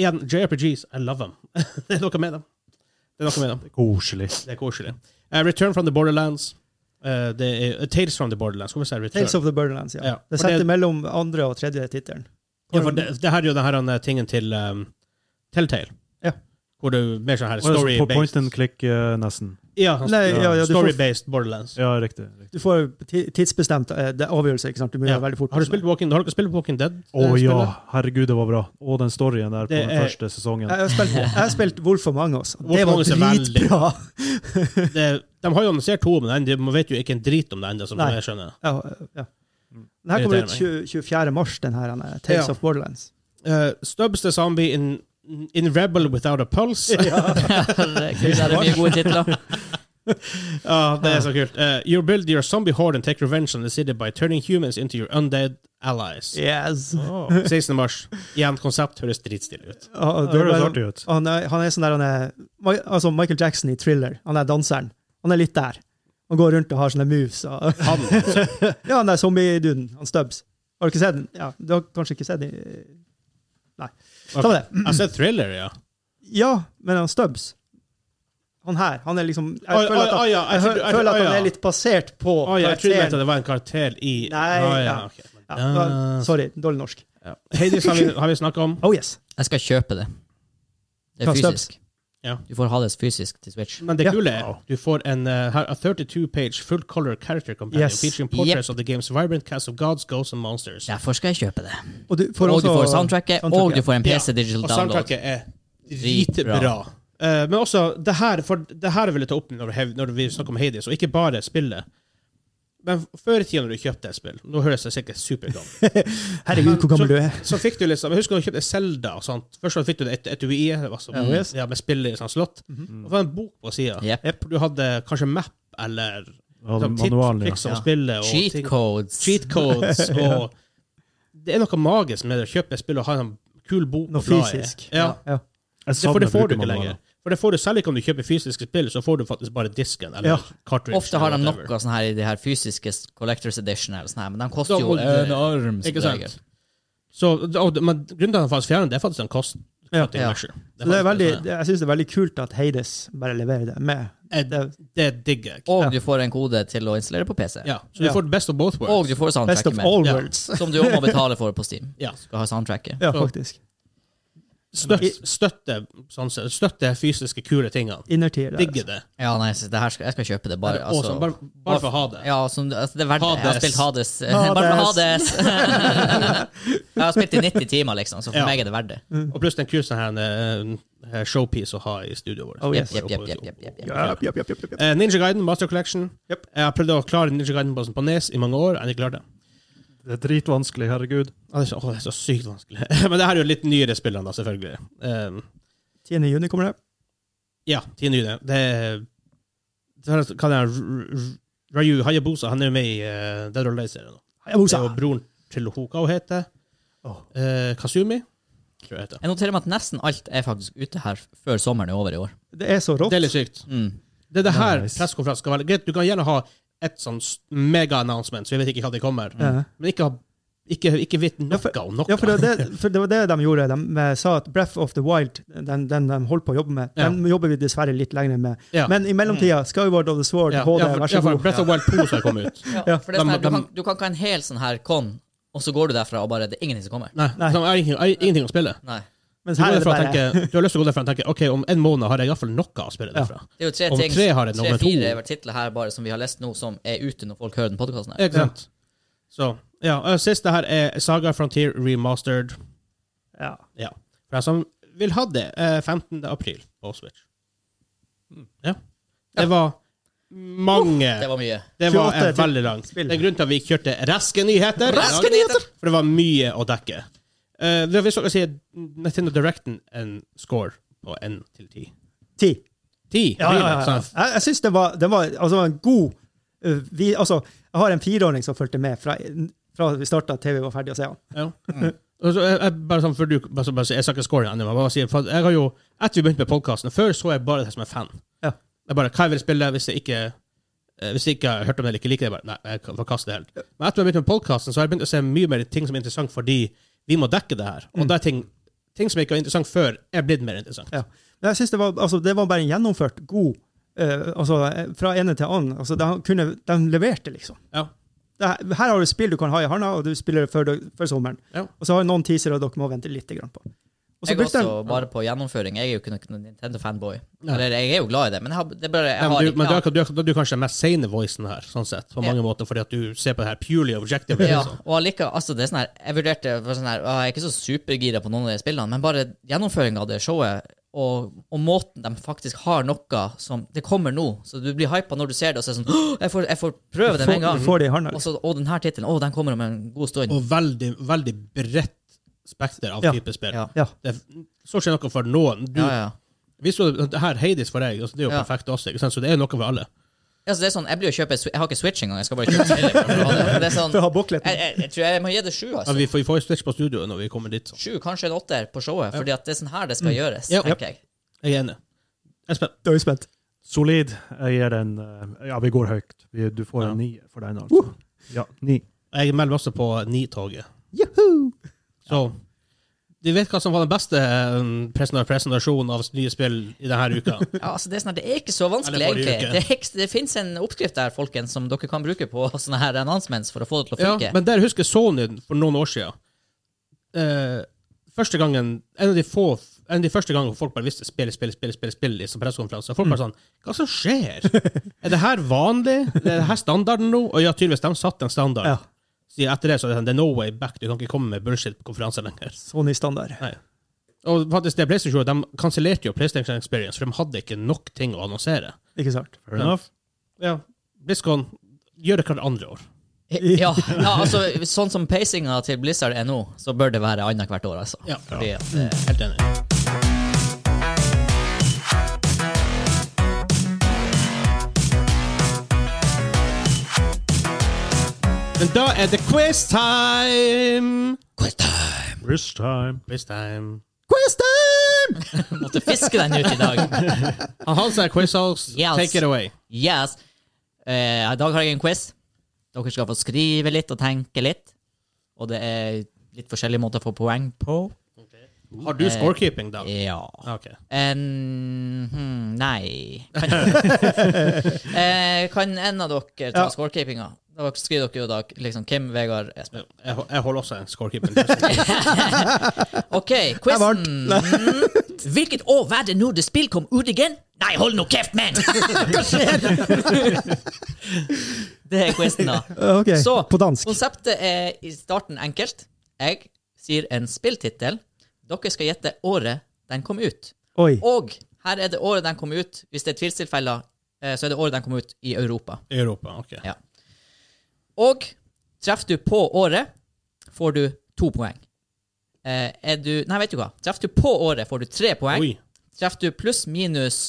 S1: Igjen, JRPGs, I love them. det er noe med dem. Det er noe med dem.
S4: Koselig.
S1: Det er koselig. Eh, Return from the Borderlands. Eh, det er eh, Tales from the Borderlands. Hvorfor sier jeg Return?
S5: Tales of the Borderlands, ja.
S1: Ja,
S5: Det
S1: for det-
S5: setter mellom andre og tredje tittelen.
S1: ja, for det, det her er jo den her eh, tingen til um, Telltale.
S5: Ja.
S1: Hvor du mer sånn her
S4: Og det er sånn på point
S1: story-based
S4: and click, eh, nesten.
S1: Ja, sånn-
S5: Nei, ja, ja, du får-
S1: story-based Borderlands.
S4: Ja, riktig. riktig.
S5: Du får ti- tidsbestemt eh, det er avgjørelse, ikke sant? Du må
S1: Ja.
S5: gjøre veldig fort.
S1: Har du spilt Walking, har du ikke spilt Walking Dead? eh,
S4: Å ja,
S1: spillet?
S4: herregud, det var bra. Og den storyen der på
S1: Det
S4: den
S1: er-
S4: første sesongen.
S5: Jeg har spilt, jeg har spilt Wolf Among Us. og
S1: Wolf
S5: Det
S1: Among
S5: var
S1: Us er veldig-
S5: dritbra!
S1: Det, de har jo annonsert to, men enda- man vet jo ikke en drit om det ennå, som
S5: Nei.
S1: jeg skjønner.
S5: Ja, ja. Den her kommer
S1: Irriterer
S5: ut 20, 24. mars, den her, denne Tales
S1: Ja.
S5: of Borderlands.
S1: Eh, Stubbs the Zombie in, in Rebel Without a Pulse.
S2: Herregud, det er mye gode titler.
S1: Ja, det er så kult. Uh, you build your zombie horde and take revenge on the city by turning humans into your undead allies.
S5: Yes!
S4: Å,
S1: 16. mars. Igjen, konsept høres dritstilig ut.
S5: Ah,
S4: det høres
S5: bare-
S4: artig ut.
S5: han, er, han er sånn der han er, Ma- altså Michael Jackson i Thriller. Han er danseren. Han er litt der. Han går rundt og har sånne moves. Og,
S1: Han, altså.
S5: ja, han der zombieduden. Han Stubbs. Har du ikke sett den? Ja, du har kanskje ikke sett den? Nei. Ta med det.
S1: Jeg ser thriller, ja.
S5: Ja, men han Stubbs Han her, han er liksom Jeg
S1: Oi,
S5: føler at
S1: oi,
S5: han,
S1: oi, ja, jeg
S5: jeg
S1: trodde-
S5: hø-
S1: jeg
S5: føler
S1: trodde-
S5: at
S1: oi,
S5: han
S1: ja.
S5: er litt basert på
S1: Å, ja, Ah, jeg trodde at
S5: karakteren.
S1: det var en karakter i
S5: Nei,
S1: Å,
S5: ja.
S1: ok. Eh.
S5: Ja, da- sorry, dårlig norsk.
S1: Ja. Hades har vi, har vi snakka om.
S5: Oh yes.
S2: Jeg skal kjøpe det. Det er
S5: Kan stabs.
S2: fysisk.
S1: Ja.
S2: Du får ha det fysisk til Switch.
S1: Men det
S5: Ja.
S1: kule er du får en uh, her- a 32-page full color character companion
S5: Yes.
S1: featuring portraits of the game's vibrant cast of gods, ghosts and monsters.
S2: Derfor skal jeg kjøpe det.
S5: Og du
S2: Og
S5: får
S2: du
S5: også
S2: får soundtracket,
S5: soundtracket,
S2: og du får en
S1: Ja.
S2: PC digital
S1: Og
S2: download.
S1: soundtracket er
S2: Dritbra.
S1: dritbra. Eh, men også det her, for det her vil jeg ta opp når, hev- når vi snakker om Hades, og ikke bare spillet. Men før i tida når du kjøpte et spill Nå høres jeg sikkert supergammel ut.
S5: Herregud, hvor gammel du er.
S1: Så fikk du liksom, jeg husker når du kjøpte Zelda og sånt. Først så fikk du et etui altså,
S5: Ja, yes.
S1: ja, med spillet i sånn slott. Og så var det en bok på sida.
S2: Yep.
S1: Du hadde kanskje map eller
S4: Ja,
S1: sånn
S4: den manualen, ja.
S1: tips, triks om
S2: Ja.
S1: spillet. og
S2: Cheat
S1: ting-
S2: codes.
S1: cheat codes og Det er noe magisk med det å kjøpe et spill og ha en kul bok.
S5: Noe
S1: å bla i.
S5: fysisk.
S1: Ja.
S5: Ja.
S4: Jeg
S1: Det, for
S4: savner
S1: det får du ikke
S4: brukermanualen.
S1: lenger. For det får du selv ikke om du kjøper fysiske spill, så får du faktisk bare disken eller
S4: Ja.
S1: cartridge.
S2: Ofte har de
S1: eller
S2: noe
S1: whatever.
S2: sånn her i de her fysiske Collectors Edition, eller sånn her, men de koster jo
S1: Double-
S2: en arm. som
S1: Ikke
S2: regel.
S1: sant? Så, og, men grunnen til at han faktisk fjerner det, er faktisk en kost.
S4: Ja.
S1: cutting
S2: Ja.
S1: measure.
S5: Så det er veldig,
S1: faktisk- altså
S5: det, jeg syns det er veldig kult at Heides bare leverer det med.
S1: Eh,
S5: Det,
S1: Det digger jeg.
S2: Og du får en kode til å installere på PC.
S1: Ja, så du
S5: Ja.
S1: får best of both
S2: Og
S1: worlds.
S2: du får
S5: best
S2: soundtracket
S5: of
S2: med,
S5: all
S1: Ja.
S5: worlds.
S2: som du også må betale for på Steam.
S1: Ja.
S2: Skal ha soundtracket.
S5: Ja,
S1: Så-
S5: faktisk.
S1: Støtt, støtte, sånn sett, støtte fysiske, kule tingene.
S5: Innertier. der,
S1: Digger det.
S2: Ja, nei, så det her skal, jeg skal kjøpe det bare.
S1: Det er
S2: Altså,
S1: awesome. bare, bare for å ha det.
S2: ja, som, altså, det er verdt det. Jeg har
S1: Hades.
S2: spilt Hades. bare for Hades! jeg har spilt i 90 timer, liksom, så for
S1: Ja.
S2: meg er det verdt det.
S1: Og pluss den kursen her, en, eh, showpiece å ha i studioet vårt.
S5: Oh,
S2: Jepp,
S5: yes.
S2: jepp, jepp, jepp, jepp, jepp, jepp.
S5: Japp, japp, japp, japp, japp.
S1: Eh, Ninja Guiden, Master Collection.
S5: Yep.
S1: Jeg har prøvd å klare Ninja Guiden på- på Nes i mange år. Jeg har ikke klart det.
S4: Det er dritvanskelig, herregud.
S1: Å, det, er så, å, det er så sykt vanskelig. Men det her er jo litt nyere spillene, da, selvfølgelig. Eh,
S5: 10. juni kommer det.
S1: ja, tiende juni. Det er det Hva er det R- R- Ryu Hayabusa, han er jo med i eh, Dead or Alive-serien. nå. Det
S5: Hayabusa.
S1: er jo broren til hun, hva hun heter
S5: Åh.
S1: Eh, Kasumi, tror jeg heter.
S2: Jeg noterer meg at nesten alt er faktisk ute her før sommeren er over i år.
S5: Det er så rått.
S1: Det er litt sykt.
S2: Mm.
S1: Det er det her
S4: Nice.
S1: pressekonferansen skal være. Greit, du kan gjerne ha et sånn s- mega-announcement, så vi vet ikke hva det kommer,
S5: Ja.
S1: men ikke, ha- ikke, ikke vit noe
S5: Ja, for-
S1: om noe.
S5: Ja, for det, var det, for det var det de gjorde. De eh, sa at Breath of the Wild, den, den de holdt på å jobbe med, den jobber vi dessverre litt lenger med.
S1: Ja. Mm.
S5: Men i mellomtida, Skyward of the Sword,
S1: ja,
S5: HD,
S1: ja, for,
S5: vær så
S1: ja, for
S5: god.
S1: Breath of Wild 2 skal komme ut.
S2: Ja, for det er sånn her, du,
S1: Dem-
S2: kan, du kan ikke ha en hel sånn her con, og så går du derfra og bare Det er ingenting som kommer.
S1: Nei,
S5: Nei.
S1: sånn, jeg har ingenting, jeg har ingenting å spille.
S2: Nei.
S5: Mens
S1: Du, går
S5: her er det
S1: derfra og
S5: bare
S1: tenker, du har lyst til å gå derfra og tenke ok, om en måned har jeg iallfall noe å spille
S5: Ja.
S1: derfra.
S2: Det er jo tre
S1: Om
S2: ting,
S1: tre har det nummer to.
S2: fire titler her bare som vi har lest nå, som er ute når folk hører den podkasten.
S1: Ikke sant? Så, ja, og Siste her er Saga Frontier Remastered.
S5: ja.
S1: Ja. For deg som vil ha det, eh, 15. april på Switch. Ja. Det var mange
S2: Oh, Det var mye.
S1: Det var
S5: 28
S1: en veldig lang. Det
S5: spill.
S1: er grunnen til at vi kjørte raske nyheter.
S2: Raske nyheter!
S1: For det var mye å dekke. Eh, det er hvis dere sier Nintendo Directen en score på 1 til 10.
S5: Ti.
S1: 10?
S5: Ja, ja, ja, ja.
S1: Sånn.
S5: Jeg, jeg syns det var, det var altså, en god uh, vi, altså, Jeg har en fireåring som fulgte med fra, fra vi starta til vi var ferdig å se han.
S1: Ja. Og så, jeg, jeg, bare sånn for du, bare, så- bare, så- jeg skal ikke score ennå, men jeg bare sier, for at jeg har jo, etter vi begynte med podkasten, før så jeg bare det som en fan.
S5: Ja.
S1: Jeg bare, hva jeg vil spille hvis jeg ikke eh, hvis jeg ikke har hørt om det eller ikke liker det, bare, nei, jeg kan forkaste det helt. Men etter vi begynte med podkasten, så har jeg begynt å se mye mer ting som er interessant, fordi vi må dekke det her. Og da er ting, ting som ikke var interessant før, er blitt mer interessant.
S5: Mm. Ja. Men jeg synes det, var, altså, det var bare en gjennomført god uh, altså, Fra ene til annen. Altså, de, kunne, de leverte, liksom.
S1: Ja.
S5: Det, her- her har du spill du kan ha i hånda, og du spiller det før, du- før sommeren.
S1: Ja.
S5: Og så har du noen teasere dere må vente litt grann på. Og så
S2: Jeg er
S5: brukte de-
S2: også bare på gjennomføring. Jeg er jo ikke noen Nintendo-fanboy.
S1: Nei.
S2: Eller jeg er jo glad i det, men jeg har, det er bare, jeg
S1: Men,
S2: har
S1: du, men du, er,
S2: ikke
S1: du, er, du er kanskje den mest sane voicen her, sånn sett, på
S2: Ja.
S1: mange måter, fordi at du ser på det her purely objective.
S2: ja,
S1: liksom.
S2: og allikevel, altså det er sånn her, Jeg vurderte for sånn her, å, jeg er ikke så supergira på noen av de spillene, men bare gjennomføringa av det showet, og, og måten de faktisk har noe som Det kommer nå, så du blir hypa når du ser det, og så er det sånn «Åh, jeg får, jeg får prøve det med en
S5: får,
S2: gang.
S5: får det i hånda.
S2: Og,
S5: Liksom.
S2: så, og den her tittelen, å, den kommer om en god stund.
S1: Og veldig, veldig bredt spekter av
S5: Ja.
S1: type spill.
S2: Ja.
S5: Ja.
S1: Det er så ikke noe for noen. Du,
S2: Ja, ja.
S1: Hvis du det her Hades for deg, altså, det er jo
S2: Ja.
S1: perfekt også, ikke sant? så det er noe for alle.
S2: Ja, så det er sånn, jeg blir jo kjøpe, jeg har ikke Switch engang, jeg skal bare kjøpe spillet. for å ha det. Det er sånn,
S5: For å ha bokleten.
S2: jeg, jeg, jeg tror jeg må gi det sju,
S1: Ja,
S2: altså.
S1: vi får vi får jo stretch på studioet når vi kommer dit. Så.
S2: Sju, kanskje en åtter på showet, fordi at det er sånn her det skal gjøres,
S1: Mm. Ja.
S2: tenker jeg.
S1: Jeg er enig. Espen,
S5: Da er vi spent.
S4: Solid. Jeg gir den eh, Ja, vi går høyt. Vi, du får
S1: Ja.
S4: en nier for den, altså. Ja, ni.
S1: jeg melder også på Ni-toget.
S5: Juhu!
S1: Så du vet hva som var den beste eh, presen- presentasjonen av nye spill i denne uka?
S2: Ja, altså det, er sånn, her, det er ikke så vanskelig,
S1: Eller forrige
S2: egentlig. Det, er, ikke- det finnes en oppskrift der, folkens, som dere kan bruke på sånne her announcements for å få det til å
S1: ja,
S2: funke.
S1: men der husker jeg Sony for noen år siden. Eh, første gangen En av de få En av de første gangene folk bare visste spill, spill, spill, spill, spill i sånn pressekonferanse. Folk bare sånn Hva som skjer? er det her vanlig? Er det her standarden nå? Og ja, tydeligvis, de satte en standard.
S5: Ja.
S1: Så etter det så er det sånn, det er no way back. Du kan ikke komme med bullshit på konferanser lenger.
S5: Sony standard.
S1: Nei. Og faktisk det PlayStation gjorde, de kansellerte jo PlayStation Experience, for de hadde ikke nok ting å annonsere.
S5: Ikke sant?
S4: Fair enough.
S1: Ja, BlizzCon gjør det hvert andre år.
S2: Ja, ja, altså sånn som pacinga til Blizzard er nå, så bør det være annethvert år, altså.
S1: Ja.
S2: Fordi at, eh,
S1: Helt enig. Men da er det quiz time!
S4: This time.
S1: Quiz time.
S5: Quiz time!
S2: Måtte fiske den ut i dag.
S1: Hans er Quizhouse,
S2: Yes.
S1: take it away.
S2: Yes. Eh, I dag har jeg en quiz. Dere skal få skrive litt og tenke litt. Og det er litt forskjellige måter å få poeng på.
S1: Har du scorekeeping, da?
S2: Ja.
S1: Ok.
S2: En, hmm, nei kan, eh, kan en av dere ta
S5: Ja.
S2: scorekeepinga? Da skriver dere jo da liksom, Kim, Vegard, Espen.
S1: Jeg, jeg holder også en scorekeeping.
S2: OK, quizen. Hvilket år var det når det spill kom ut igjen? Nei, hold nå kjeft, men! Hva skjer? det er quizen, da.
S5: Eh, Ok,
S2: Så,
S5: på dansk.
S2: Konseptet er i starten enkelt. Jeg sier en spilltittel. Dere skal gjette året den kom ut.
S5: Oi.
S2: Og her er det året den kom ut. Hvis det er tvilstilfeller, eh, så er det året den kom ut i Europa.
S1: I Europa, ok.
S2: Ja. Og treffer du på året, får du to poeng. Eh, Er du Nei, vet du hva. Treffer du på året, får du tre poeng.
S1: Oi.
S2: Treffer du pluss minus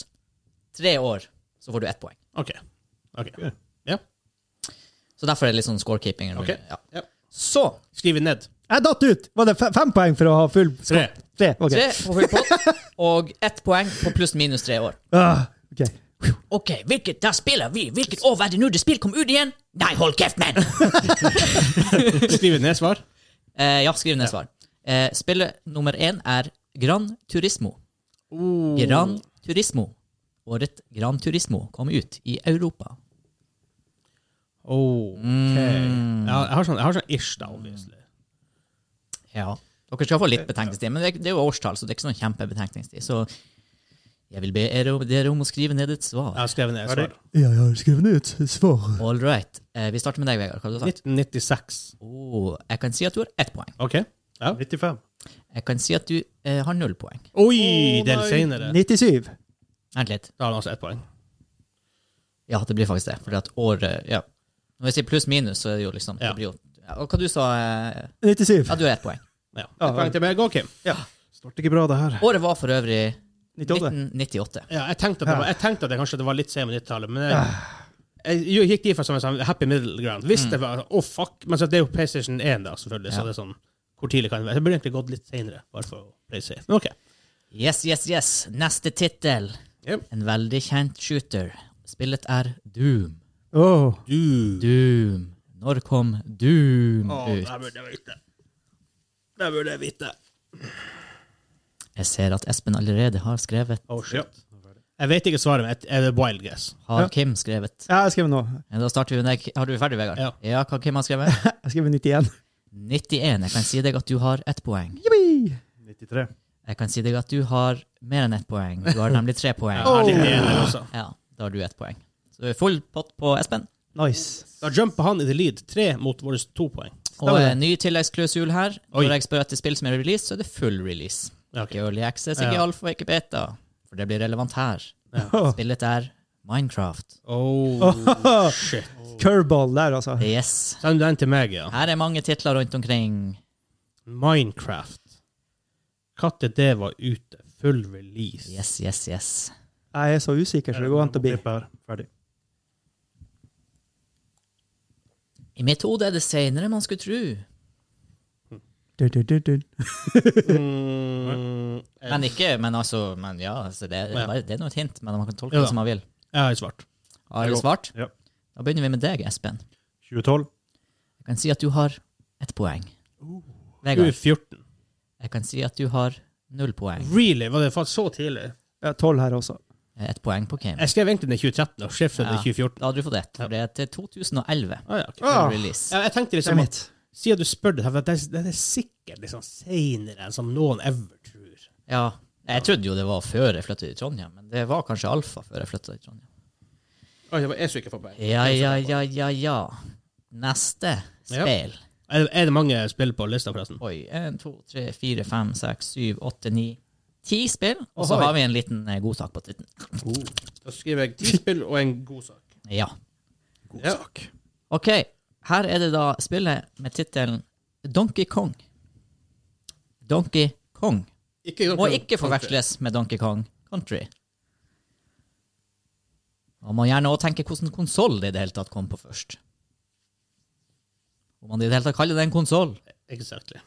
S2: tre år, så får du ett poeng.
S1: Ok. Ok. Ja.
S2: Så derfor er det litt sånn scorekeeping.
S1: Ok.
S2: Ja.
S1: Ja.
S2: Så
S1: Skriv ned.
S5: Jeg datt ut! Var det fe- fem poeng for å ha full skap?
S1: Tre.
S5: Tre. ok.
S2: tre på full pott, og ett poeng på pluss minus tre år.
S5: Ah, ok.
S2: Ok, hvilket da spiller vi? Hvilket år var det nå det spill kom ut igjen? Nei, hold kjeft, men!
S1: Skriv ned svar.
S2: Eh, ja, skriv ned svar. Eh, spillet nummer én er Gran Turismo. Gran Turismo. Året Gran Turismo kom ut i Europa.
S1: Oh, ok. Ja, jeg har sånn, jeg har sånn ish, da, obviously.
S2: Ja. Dere skal få litt betenkningstid, men det, er- det er jo årstall, så det er ikke sånn kjempebetenkningstid. Så jeg vil be dere om- dere om å skrive ned et
S1: Jeg
S2: svar.
S1: har skrevet ned
S4: Ferdig.
S1: svar.
S5: Ja, jeg har skrevet ut svar.
S2: All right. Eh, vi starter med deg, Vegard. Hva har du sagt?
S1: 1996.
S2: Oh, jeg kan si at du har ett poeng.
S1: Ok. Ja.
S4: 95.
S2: Jeg kan si at du eh, har null poeng.
S1: Oi, det er
S4: nei.
S1: litt senere.
S5: 97.
S2: Vent litt.
S1: Da har han altså ett poeng.
S2: Ja, det blir faktisk det. Fordi at året Ja. Når jeg sier pluss-minus, så er det jo liksom
S1: Ja.
S2: det blir jo, ja, Og hva du sa eh,
S5: 97.
S2: Ja, du har ett poeng.
S1: Ja. Ett poeng til meg. Gå, Kim.
S4: Starter ikke bra, det her.
S2: Året var for øvrig
S5: 98.
S2: 1998.
S1: Ja, jeg tenkte at det, var, jeg tenkte at det kanskje det var litt sent på 90-tallet, men jeg, jeg gikk dit for som en sånn happy middle ground. Hvis det var Å, fuck! Men så det er jo PlayStation 1, da, selvfølgelig,
S2: Ja.
S1: så det er sånn Hvor tidlig kan det være? Jeg burde egentlig gått litt senere, bare for å play safe. Men OK.
S2: Yes, yes, yes. Neste tittel.
S1: Yep.
S2: En veldig kjent shooter. Spillet er Doom.
S5: Åh.
S1: Du
S2: Doom. Når kom Doom
S1: Å, det
S2: ut?
S1: her burde jeg vite. Det her burde jeg vite.
S2: Jeg ser at Espen allerede har skrevet.
S1: Oh, shit. Jeg vet ikke svaret, men jeg- er det wild guess?
S2: Har Kim skrevet?
S5: Ja, jeg har skrevet noe.
S2: Ja, Da starter vi med deg. Har du ferdig, Vegard?
S1: Ja.
S2: ja hva Kim har skrevet?
S5: Jeg har skrevet 91.
S2: 91. Jeg kan si deg at du har ett poeng.
S5: Jippi!
S4: 93.
S2: Jeg kan si deg at du har mer enn ett poeng. Du har nemlig tre poeng.
S1: Jeg har litt enig også.
S2: Ja, da har du ett poeng. Så det er full pott på Espen.
S5: Nice.
S1: Da jumper han i the lead. Tre mot våre to poeng.
S2: Og
S5: Stemmer det.
S2: en ny tilleggsklausul her.
S1: Oi.
S2: Når jeg spør etter spill som er release, så er det full release.
S1: Ja, ok.
S2: Ikke early access, ikke
S1: Ja.
S2: alfa, ikke beta. For det blir relevant her.
S5: Åh.
S2: Spillet er Minecraft.
S1: Oh, shit.
S5: Curveball der, altså.
S2: Yes.
S1: Send den til meg, ja.
S2: Her er mange titler rundt omkring.
S1: Minecraft. Katte det var ute. Full release.
S2: Yes, yes, yes.
S5: Jeg er så usikker, så det går an til å bli.
S4: Jeg må klippe her. Ferdig.
S2: I mitt hode er det seinere man skulle tro.
S1: Eh.
S5: Du, du, du, du.
S1: Mm,
S2: Men ikke, men altså Men ja, altså det,
S1: Ja.
S2: det er nå et hint, men man kan tolke
S1: Ja da.
S2: det som man vil.
S1: jeg har svart.
S2: Har du
S4: Jo.
S2: svart?
S4: Ja.
S2: Da begynner vi med deg, Espen.
S4: 2012.
S2: Jeg kan si at du har ett poeng. Vegard,
S1: 2014.
S2: jeg kan si at du har null poeng.
S1: Really? Var det faen så tidlig?
S5: Jeg har 12 her også.
S2: Eh, Ett poeng på Kim.
S1: Jeg skrev egentlig den i 2013 og skiftet den i 2014.
S2: Da hadde du fått ett. For det er til 2011.
S1: Ah, ja, ok.
S5: Ah.
S2: Release.
S1: Jeg, jeg tenkte
S5: Det er
S1: liksom at
S5: mitt.
S1: siden du spør det, her, for det, er- det er sikkert liksom senere enn som noen ever tror.
S2: Ja. Jeg trodde jo det var før jeg flyttet til Trondheim, men det var kanskje alfa før jeg flyttet til Trondheim.
S1: Oi, det var jeg som ikke får poeng.
S2: Ja, ja, ja, ja, ja. Neste spill.
S1: Er, det- er det mange spill på lista, forresten?
S2: Oi. Én, to, tre, fire, fem, seks, syv, åtte, ni. Ti spill, og så
S1: Ohoi.
S2: har vi en liten eh, godsak på titten.
S1: Da skriver jeg ti spill og en god sak.
S2: Ja.
S1: God sak.
S2: OK. Her er det da spillet med tittelen Donkey Kong. Donkey Kong.
S1: Ikke,
S2: Må ikke forveksles med Donkey Kong Country. Man må gjerne også tenke hvordan konsoll det i det hele tatt kom på først. Om man i det hele tatt kaller det en konsoll.
S1: Exactly.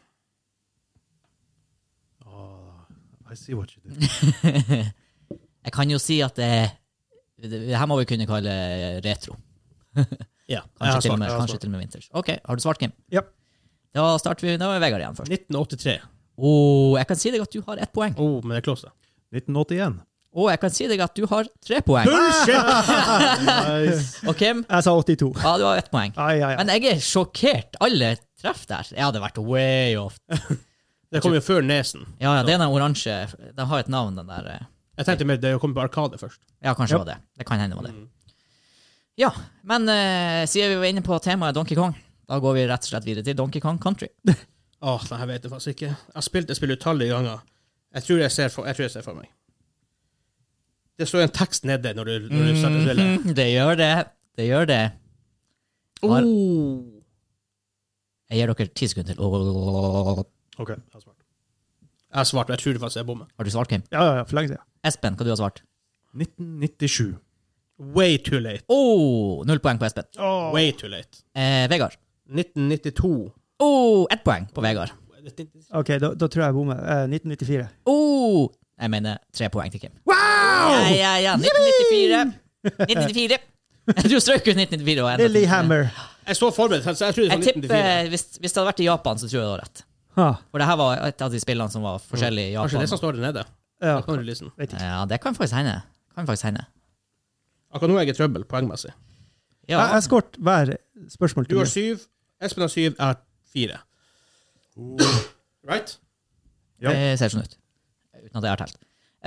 S4: I see what you did.
S2: Jeg kan jo si at det det det her må vi kunne kalle retro.
S1: Ja.
S2: Kanskje,
S4: har
S2: til, og
S4: svart,
S2: med,
S4: jeg har
S2: kanskje
S4: svart.
S2: til og med vinters. OK, har du svart, Kim?
S5: Ja.
S2: Da starter vi da er Vegard igjen først.
S1: 1983.
S2: Og jeg kan si deg at du har ett poeng.
S1: Oh, men det er close, da.
S4: 1981.
S2: Og jeg kan si deg at du har tre poeng.
S4: Nice.
S2: Og Kim,
S5: Jeg sa 82.
S2: ja, du har ett poeng.
S5: Ai, ai, ai.
S2: Men jeg er sjokkert. Alle treff der. Jeg hadde vært way off.
S1: Det kom jo før nesen.
S2: Ja, ja, det er den oransje De har et navn, den der. eh.
S1: Jeg tenkte mer det å komme på Arkade først.
S2: Ja, kanskje det var det. Det kan hende det var det. Ja, men eh, siden vi var inne på temaet Donkey Kong, da går vi rett og slett videre til Donkey Kong Country.
S1: Åh, det her vet jeg faktisk ikke. Jeg har spilt det spillet utallige ganger. Jeg tror jeg ser for, jeg tror jeg ser for meg. Det står en tekst nede når du, når du starter spillet.
S2: Mhm, det gjør det. Det gjør det. Har-
S1: Oh.
S2: Jeg gir dere ti sekunder til. Åh.
S4: OK, jeg har svart.
S1: Jeg har svart, men jeg tror faktisk jeg bommer.
S2: Har du svart, Kim?
S5: Ja, ja, ja, for lenge siden.
S2: Espen, hva du har svart?
S4: 1997.
S1: Way too late.
S2: Oh, null poeng på Espen.
S1: Way too late.
S2: Eh, Vegard.
S1: 1992.
S2: Oh, ett poeng på Vegard.
S5: OK, da, da tror jeg jeg bommer. Eh, 1994.
S2: Oh, jeg mener tre poeng til Kim. Wow! Ja, ja, ja. 1994. 1994. Du strøk ut 1994. og enda-
S5: Lily Hammer.
S1: Jeg så forberedt, så jeg tror det sånn var 1994.
S2: Jeg tipper, hvis, hvis det hadde vært i Japan, så tror jeg det var rett.
S5: Ha.
S2: For det her var et av de spillene som var forskjellige i
S1: Kanskje det
S2: Japan.
S1: som står der nede.
S5: Ja.
S1: Da kan du listen.
S5: Vet ikke.
S2: Ja, det kan faktisk hende. Kan faktisk hende.
S1: Akkurat nå er jeg i trøbbel, poengmessig.
S2: Ja.
S5: Jeg har skåret hver spørsmål
S1: Du
S5: til
S1: har
S5: meg.
S1: syv, Espen har syv, jeg har fire. Right?
S4: Ja.
S2: Det ser sånn ut. Uten at jeg har telt.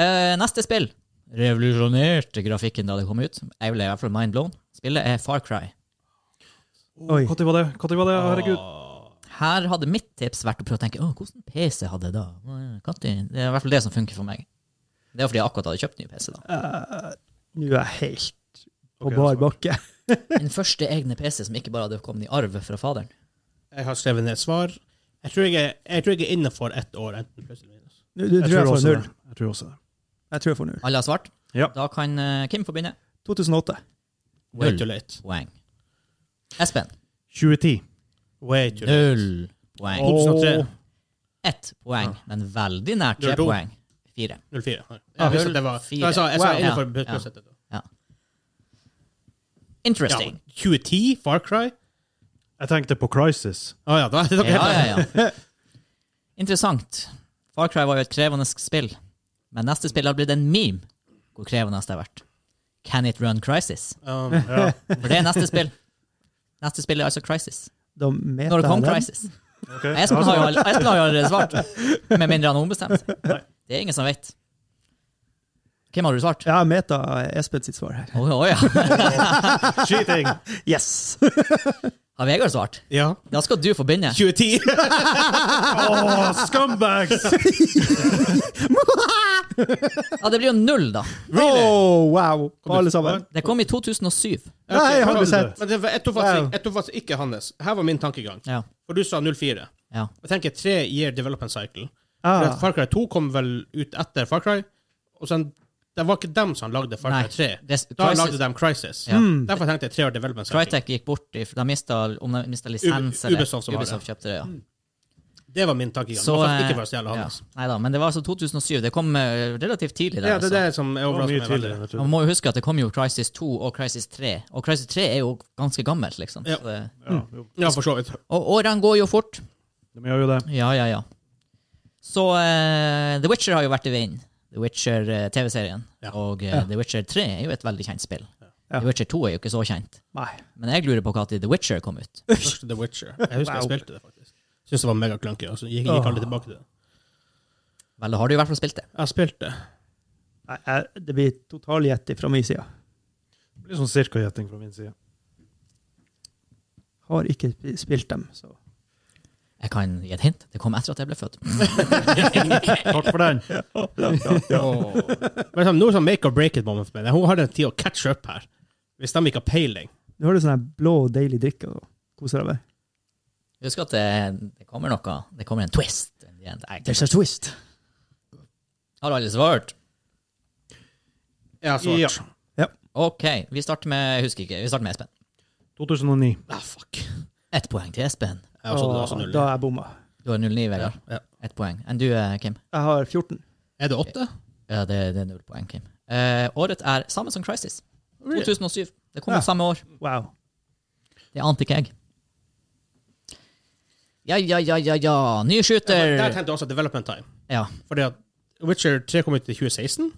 S2: Eh, neste spill revolusjonerte grafikken da det kom ut. Jeg ble i hvert fall mindblown. Spillet er Far Cry.
S5: Oi.
S4: Når var det? Når var det?
S5: Ah.
S4: Herregud.
S2: Her hadde mitt tips vært å prøve å tenke Åh, hvordan PC hadde jeg da? Åh, Katt i-" Det er i hvert fall det som funker for meg. Det er fordi jeg akkurat hadde kjøpt ny PC. da.
S5: Nå er jeg helt på
S4: Ok,
S5: bar
S4: jeg har svart.
S5: bakke.
S2: Min første egne PC som ikke bare hadde kommet i arv fra faderen.
S1: Jeg har skrevet ned svar. Jeg tror jeg er, jeg tror jeg er innenfor ett år, enten pluss eller minus.
S5: Nå, du
S4: Jeg
S5: tror jeg
S4: tror
S5: får
S4: også det.
S5: null.
S4: Jeg tror også det.
S5: Jeg tror jeg får null.
S2: Alle har svart?
S4: Ja.
S2: Da kan eh, Kim få begynne.
S5: 2008.
S1: Way
S2: Null.
S1: too late.
S2: Poeng. Espen.
S4: 2010.
S1: Way too late.
S2: Null poeng.
S1: 2003.
S2: Ett poeng, men veldig nært
S1: Null
S2: tre
S1: to.
S2: poeng. Fire.
S1: 04. Ja,
S2: Ah,
S1: Jeg visste at det var
S2: null fire.
S1: Jeg sa, jeg sa
S2: Wow.
S1: innenfor
S2: Ja,
S1: pluss ett. Ja,
S2: Interesting.
S1: 2010? Far Cry?
S4: Jeg tenkte på Crisis.
S1: Å ja, da er det
S2: Ja,
S1: dere
S2: ja,
S1: helt
S2: ja. Interessant. Far Cry var jo et krevende spill, men neste spill har blitt en meme hvor krevende det har vært. Can It Run Crisis?
S1: Um,
S4: Ja.
S2: For det er neste spill. Neste spill er altså Crisis.
S5: Da meta
S2: Når det kom
S5: jeg den.
S2: Crisis.
S4: ok.
S2: Espen har jo all- Espen har jo allerede svart, med mindre han har ombestemt seg. Det er ingen som vet. Hvem har du svart?
S5: Ja, meta er Espen sitt svar her.
S2: Å å, ja.
S4: Cheating!
S5: Yes!
S2: Har Vegard svart?
S1: ja.
S2: Da skal du få begynne.
S1: 2010.
S4: Åh, scumbags!
S2: Ja, det blir jo null, da.
S1: Really?
S5: Oh, wow! På alle sammen.
S2: Det kom i 2007.
S5: Nei, jeg har
S4: kom
S5: aldri
S4: du.
S5: sett.
S1: Men det var, jeg tok faktisk,
S5: Wow.
S1: jeg tok faktisk ikke hans. Her var min tankegang.
S2: Ja.
S1: For du sa 04.
S2: ja.
S1: Jeg tenker tre year development cycle. For at
S5: Ah,
S1: Far Cry 2 kom vel ut etter Far Cry. Og sen, det var ikke dem som lagde Far
S2: Nei.
S1: Cry 3.
S2: Det,
S1: Da
S2: Crysis,
S1: lagde de Crisis.
S2: Ja.
S1: Derfor tenkte jeg tre år development cycle.
S2: Crytek gikk bort i, De mista, om de mistet lisens
S1: Ub-
S2: eller
S1: Ubisoft som har det. Mm.
S2: kjøpte det, ja.
S1: Det var min tankegang.
S2: Så,
S1: det var faktisk
S2: eh,
S1: ikke for å stjele
S2: ja.
S1: hans.
S2: Nei da, men det var altså 2007. Det kom eh, relativt tidlig. Der,
S1: Ja, det er det som er
S4: Det var
S1: overraskende.
S4: mye
S1: meg veldig.
S4: tidligere.
S2: altså. Man må jo huske at det kom jo Crisis 2 og Crisis 3. Og Crisis 3 er jo ganske gammelt, liksom.
S1: Ja.
S2: Så det-
S4: Ja, jo.
S1: Ja, for så vidt.
S2: Og årene går jo fort.
S4: De gjør jo det.
S2: Ja, ja, ja. Så eh, The Witcher har jo vært i vinden. The Witcher eh, TV-serien.
S1: Ja.
S2: Og eh, The Witcher 3 er jo et veldig kjent spill.
S5: Ja.
S2: The Witcher 2 er jo ikke så kjent.
S5: nei.
S2: Men jeg lurer på når The Witcher kom ut.
S1: Først The Witcher. Jeg husker jeg
S5: Wow.
S1: spilte det, faktisk. Syns det var megaklunky. Og så gikk, gikk aldri tilbake til det.
S2: Vel, da har du i hvert fall spilt det.
S1: Jeg spilte.
S5: Nei, jeg- Det blir totalgjetti fra min side.
S4: Det blir sånn cirka-gjetting fra min side.
S5: Har ikke sp- spilt dem, så
S2: Jeg kan gi et hint. Det kom etter at jeg ble født.
S4: Takk for den.
S1: Åh. Men sånn, noe sånn make or break it moment for meg. Hun har en tid å catch up her. Hvis de ikke har peiling.
S5: Nå har du sånn her blå, deilig drikke og koser deg med.
S2: Husk at det, det kommer noe. Det kommer en twist. Nei,
S5: There's a twist.
S2: har alle svart?
S1: Jeg har svart. Ja.
S2: OK, vi starter med jeg husker ikke, vi starter med Espen.
S4: 2009.
S1: Ah, fuck.
S2: Ett poeng til Espen.
S1: Jeg har også, det var
S5: Åh,
S1: også null.
S5: da er jeg bomma.
S2: Du har 09,
S1: ja.
S2: Vegard.
S1: Ja.
S2: Ett poeng. Enn du, eh, Kim?
S5: Jeg har 14.
S1: Er det åtte?
S2: Ja, det, det er null poeng, Kim. Eh, året er samme som Crisis. 2007. Det kom
S5: Ja.
S2: ut samme år.
S5: Wow.
S2: Det ante ikke jeg. Ja, ja, ja, ja, ja. Ny skyter!
S1: Der tenkte jeg også development time.
S2: Ja.
S1: Fordi at Witcher 3 kom ut i 2016.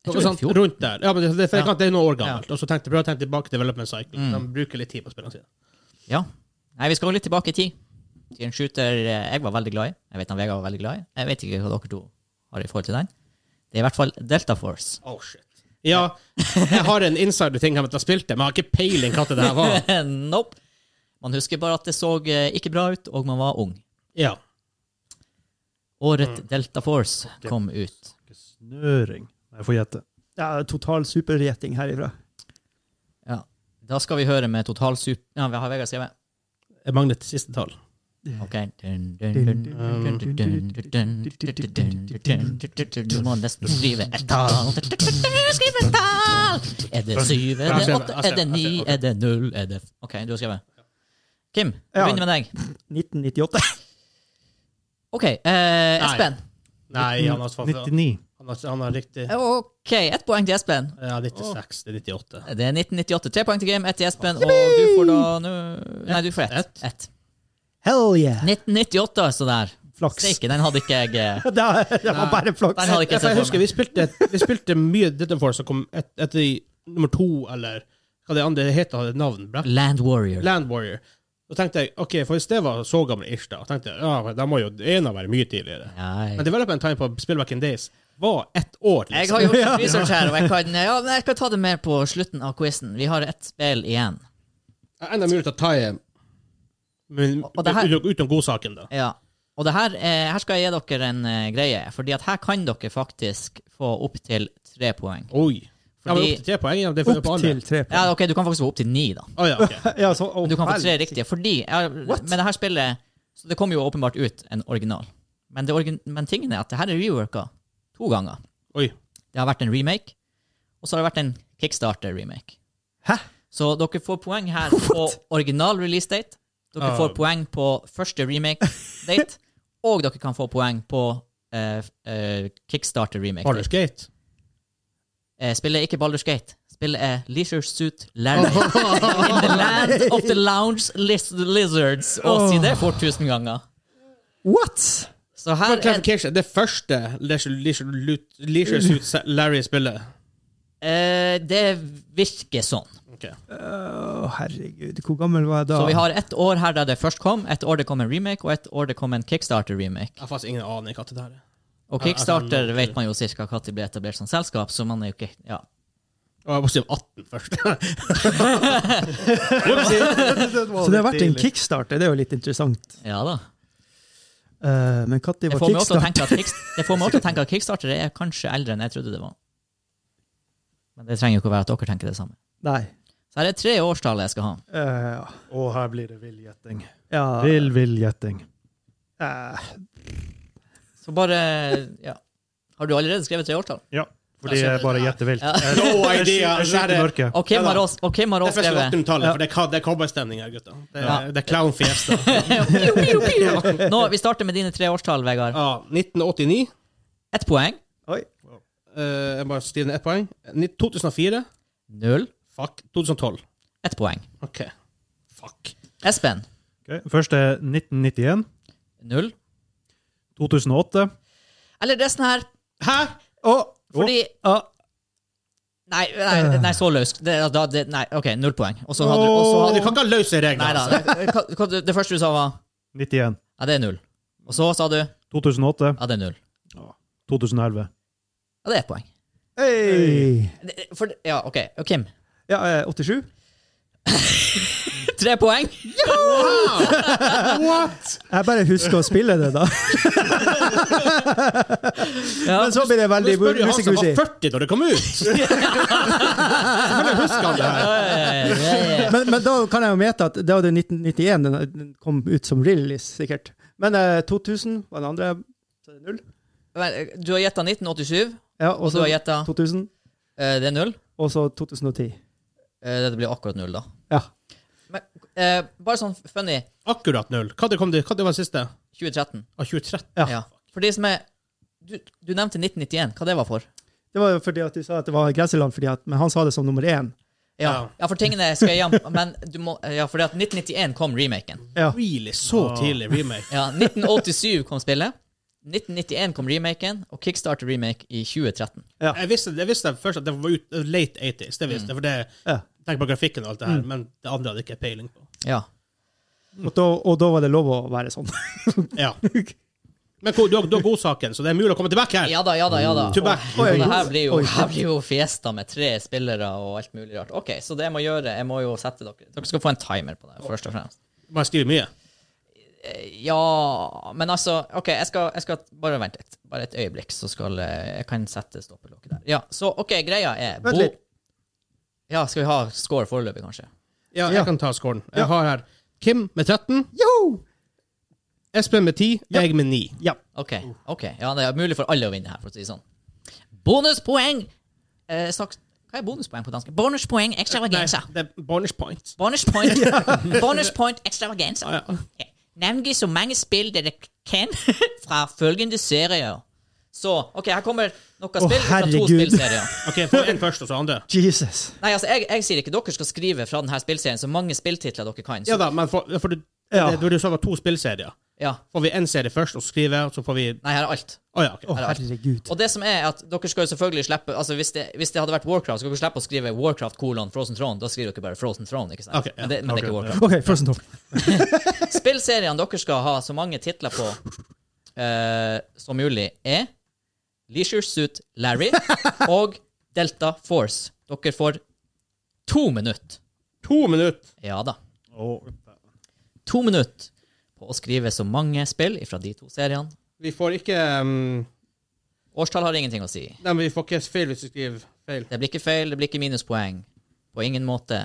S2: Jeg
S1: Noe
S2: tror det er i
S1: sånt,
S2: fjor.
S1: rundt der. Ja, Mm. men det, det, for jeg
S2: Ja.
S1: kan- det er noen år gammelt. Og så tenkte jeg prøv å tenke tilbake til development cycle. De bruker litt tid på spillene sine.
S2: Ja. Nei, vi skal litt tilbake i tid. Til en shooter eh, jeg var veldig glad i. Jeg vet han Vegard var veldig glad i. Jeg vet ikke hva dere to har i forhold til den. Det er i hvert fall Delta Force.
S1: Oh, shit. Ja, jeg har en insider-ting her med at jeg spilte, men jeg har ikke peiling hva det der var.
S2: nope. Man husker bare at det så eh, ikke bra ut, og man var ung.
S1: Ja.
S2: Året Delta Force kom ut.
S4: Ikke Snøring. Jeg får gjette.
S5: Ja, total supergjetting herifra.
S2: Ja. Da skal vi høre med Total Super... Ja, vi har Vegard skrevet.
S1: Jeg mangler et siste tall.
S2: Ok. Dun, dun, dun, dun, dun, dun, dun, dun, dun, dun, dun, dun. Du må nesten skrive et tall. Skriv et tall! Er det syv? Er det åtte? Er det ni? Er det null? Er det Ok, du har skrevet. Kim, vi
S5: Ja.
S2: begynner med deg.
S5: 1998.
S2: OK, eh,
S1: Nei.
S2: Espen.
S1: Nei, han har, han
S4: 99.
S1: har, han har riktig
S2: OK, ett poeng til Espen.
S1: Ja, 96. Det er 98.
S2: Det er 1998. Tre poeng til Kim, ett til Espen, og du får da nå Nei, du får ett.
S1: Ett.
S2: Ett.
S5: Hell yeah!
S2: 1998, altså der.
S5: Flaks.
S2: Steike, den hadde ikke jeg eh,
S5: Det er- det var bare flaks.
S2: Den hadde ikke
S1: Ja, for jeg
S2: jeg sett for
S1: husker
S2: meg.
S1: vi spilte, vi spilte mye Dead Force som kom et, etter i nummer to, eller hva det andre heter, hadde et navn. Black
S2: Land Warrior.
S1: Land Warrior. Da tenkte jeg, ok, for hvis det var så gammel ish da, tenkte jeg, ja, da må jo en av være mye tidligere.
S2: Nei.
S1: Men development time på Spillback in Days var ett år, liksom.
S2: Jeg har gjort litt research her, og jeg kan, ja, men jeg kan ta det mer på slutten av quizen. Vi har ett spill igjen.
S1: har enda mulig til å ta i men
S2: Og- og det her-
S1: ut- utenom godsaken, da.
S2: Ja. Og det her, eh, her skal jeg gi dere en eh, greie, fordi at her kan dere faktisk få opptil tre poeng.
S1: Oi. Ja, men
S2: Fordi-
S1: opp til tre poeng. Ja, det får vi på
S5: Opp
S1: alle.
S5: til tre poeng.
S2: Ja, ok, Du kan faktisk få opptil ni, da.
S1: Å ja, ok.
S5: Ja, så- å,
S2: Men du kan få tre
S5: vel.
S2: riktige. Fordi ja, Men det her spillet Så det kom jo åpenbart ut en original. Men, det origin men tingen er at det her er reworka to ganger.
S1: Oi.
S2: Det har vært en remake, og så har det vært en kickstarter-remake.
S5: Hæ?
S2: Så dere får poeng her på original release date. Dere
S1: Ah.
S2: får poeng på første remake date, og dere kan få poeng på eh, f- eh, Kickstarter remake. date.
S1: Baldur's Gate.
S2: Eh, spillet er ikke Baldur's Gate. Spillet er Leisure Suit Larry. In the land of the lounge lis lizards. Og si det for tusen ganger.
S5: What?!
S2: Så her
S1: For
S2: er
S1: clarification, det første Leisure Leisure Lut- Leisure Suit Sa- Larry spiller
S2: eh, Det virker sånn.
S1: Ok.
S5: Å, herregud, hvor gammel var jeg da?
S2: Så vi har ett år her der det først kom, ett år det kom en remake, og ett år det kom en Kickstarter-remake.
S1: Jeg har faktisk ingen aning hva det der er.
S2: Og
S1: Ja,
S2: Kickstarter
S1: altså,
S2: vet man jo cirka når de ble etablert som selskap, så man er jo ikke ja.
S1: Og jeg må si om 18 først.
S5: så det har vært en kickstarter, det er jo litt interessant.
S2: ja da.
S5: Eh, men når
S2: Det
S5: var
S2: får meg også å tenke
S5: kickstarter?
S2: at, kicks, det får meg også å tenke at Kickstarter er kanskje eldre enn jeg trodde det var. Men det trenger jo ikke å være at dere tenker det samme.
S5: Nei.
S2: Så her er tre årstall jeg skal ha.
S5: Eh, ja.
S4: Og her blir det vill gjetting.
S5: ja.
S4: Vill, vill gjetting.
S5: eh,
S2: Så bare ja. Har du allerede skrevet tre årstall?
S4: Ja. Fordi
S1: Jeg skjønner
S4: jeg bare
S1: det.
S4: gjetter vilt.
S2: Ja.
S4: Jeg-
S1: No
S4: jeg skyter-
S1: idea.
S4: Jeg skyter i mørket.
S2: Og Kim
S1: Ja da.
S2: har også, og Kim har
S1: Det er
S2: også
S1: først
S2: skrevet
S1: 1800-tallet, for det er, ka- det er cowboystemning her, gutta. Det er,
S2: Ja.
S1: det er clown fiesta.
S2: Nå, Vi starter med dine tre årstall, Vegard.
S1: Ja, 1989.
S2: Ett poeng.
S5: Oi.
S1: eh, jeg bare skriver ned ett poeng. Ni- 2004.
S2: Null.
S1: Fuck. 2012.
S2: Ett poeng.
S1: OK. Fuck.
S2: Espen.
S4: Ok, Først er 1991.
S2: Null.
S4: 2008.
S2: Eller det er sånn her
S1: Hæ?
S5: Å,
S2: Fordi
S5: Ah,
S2: Nei, nei, nei, så løst. Det, da, det, nei, OK, null poeng. Og så hadde du og så
S1: Men Du
S2: hadde,
S1: kan ikke ha løse regler.
S2: Nei da.
S1: altså.
S2: hva- hva du- Det første du sa, var
S4: 91.
S2: Ja, det er null. Og så sa du Ja,
S4: 2008.
S2: det er null.
S4: 2011.
S2: Ja, det er ett poeng.
S5: Hey.
S2: Det- For, ja, OK. Og Kim.
S5: Ja, eh, 87?
S2: Tre poeng.
S5: Jeg bare husker å spille det, da.
S2: Ja.
S5: Men så blir det
S1: Du
S5: veldig
S1: spør jo han som var
S5: musikkmusikk.
S1: 40 da det kom ut! Selvfølgelig husker han det her.
S2: Ja, ja, ja.
S5: Men, men da kan jeg jo mete at det var det 1991 den, den kom ut som release, sikkert. Men eh, 2000 var den andre. Så det er null.
S2: Men, eh, Du har gjetta 1987,
S5: Ja,
S2: og
S5: og
S2: du
S5: så
S2: har gjetta
S5: 2000,
S2: Det er null.
S5: og så 2010.
S2: Eh, Det blir akkurat null, da.
S5: Ja.
S2: Men eh, bare sånn funny
S1: Akkurat null. Hva det kom det, hva det var det siste?
S2: 2013.
S1: Ah, 2013.
S5: Ja.
S2: Ja. For de som er Du, du nevnte 1991. Hva det var for?
S5: Det var jo fordi at du sa at det var grenseland, fordi at, men han sa det som nummer én.
S2: Ja,
S1: Ja.
S2: ja for tingene skal jeg hjem, men du må Ja, for at 1991 kom remaken.
S5: Ja.
S1: Really, så
S4: Ah.
S1: tidlig remake.
S2: Ja, 1987 kom spillet. 1991 kom remaken, og Kickstarter remake i 2013.
S5: Ja. Mm.
S1: Jeg visste, jeg visste først at det var ut, late 80s, det visste jeg, for det
S5: Ja. Mm.
S1: Tenk på grafikken og alt det her, men det andre hadde jeg ikke peiling på.
S2: Ja.
S5: Og, da, og da var det lov å være sånn.
S1: Ja. Men ko- du har, du har godsaken, så det er mulig å komme tilbake her.
S2: ja da, ja da, ja da.
S1: To back.
S2: Og
S5: Oi,
S2: det her
S5: oi,
S2: blir jo,
S5: oi.
S2: her blir jo fiesta med tre spillere og alt mulig rart. Ok, Så det jeg må gjøre, jeg må jo sette dere Dere skal få en timer på det, først og fremst.
S1: Man skriver mye.
S2: Eh, Ja Men altså, OK, jeg skal, jeg skal bare vente litt. Bare et øyeblikk, så skal eh, jeg kan sette stoppelokket der. Ja, Så OK, greia er
S5: Vent litt.
S2: Ja, skal vi ha score foreløpig, kanskje?
S1: Ja, jeg
S5: Ja.
S1: kan ta scoren.
S5: Ja.
S1: Jeg har her Kim med 13,
S5: Joho!
S1: Espen med 10,
S5: Ja.
S1: jeg med 9.
S5: Ja.
S2: OK.
S5: Oh.
S2: ok Ja, det er mulig for alle å vinne her, for å si det sånn. Bonuspoeng! Eh, saks... Hva er bonuspoeng på dansk? Bonuspoeng extravaganza.
S5: Eh,
S1: det er bonus point.
S2: Bonus point, bonus point extravaganza.
S1: Ah, ja.
S2: Ja. Nevn så mange spill dere kan fra følgende serier. Så OK, her kommer noe spill fra to
S5: herregud.
S2: spillserier.
S1: OK, få en først, og så andre.
S5: Jesus.
S2: Nei, altså, jeg, jeg sier ikke dere skal skrive fra denne spillserien så mange spilltitler dere kan.
S1: Ja
S2: Så,
S1: da, men for, for du,
S5: Ja.
S1: det, du sa det var to spillserier.
S2: ja.
S1: Får vi én serie først og skriver, og så får vi Å
S2: Nei, her er alt.
S1: ja, OK.
S5: Å, herregud.
S2: Og det som er at dere skal jo selvfølgelig slippe Altså Hvis det, hvis det hadde vært Warcraft, så skal dere slippe å skrive Warcraft kolon Frozen Throne. Da skriver dere bare Frozen Throne, ikke sant?
S1: Ok, ja.
S2: Men, det, men det er ikke Warcraft.
S5: OK, Frozen Top.
S2: Spillseriene dere skal ha så mange titler på eh, som mulig, er Leisure Suit Larry og Delta Force. Dere får to minutter.
S1: To minutter.
S2: Ja da.
S4: Og-
S2: To minutter på å skrive så mange spill fra de to seriene.
S1: Vi får ikke um,
S2: Årstall har ingenting å si.
S1: Nei, men vi får ikke feil hvis vi skriver feil.
S2: Det blir ikke feil, det blir ikke minuspoeng. På ingen måte.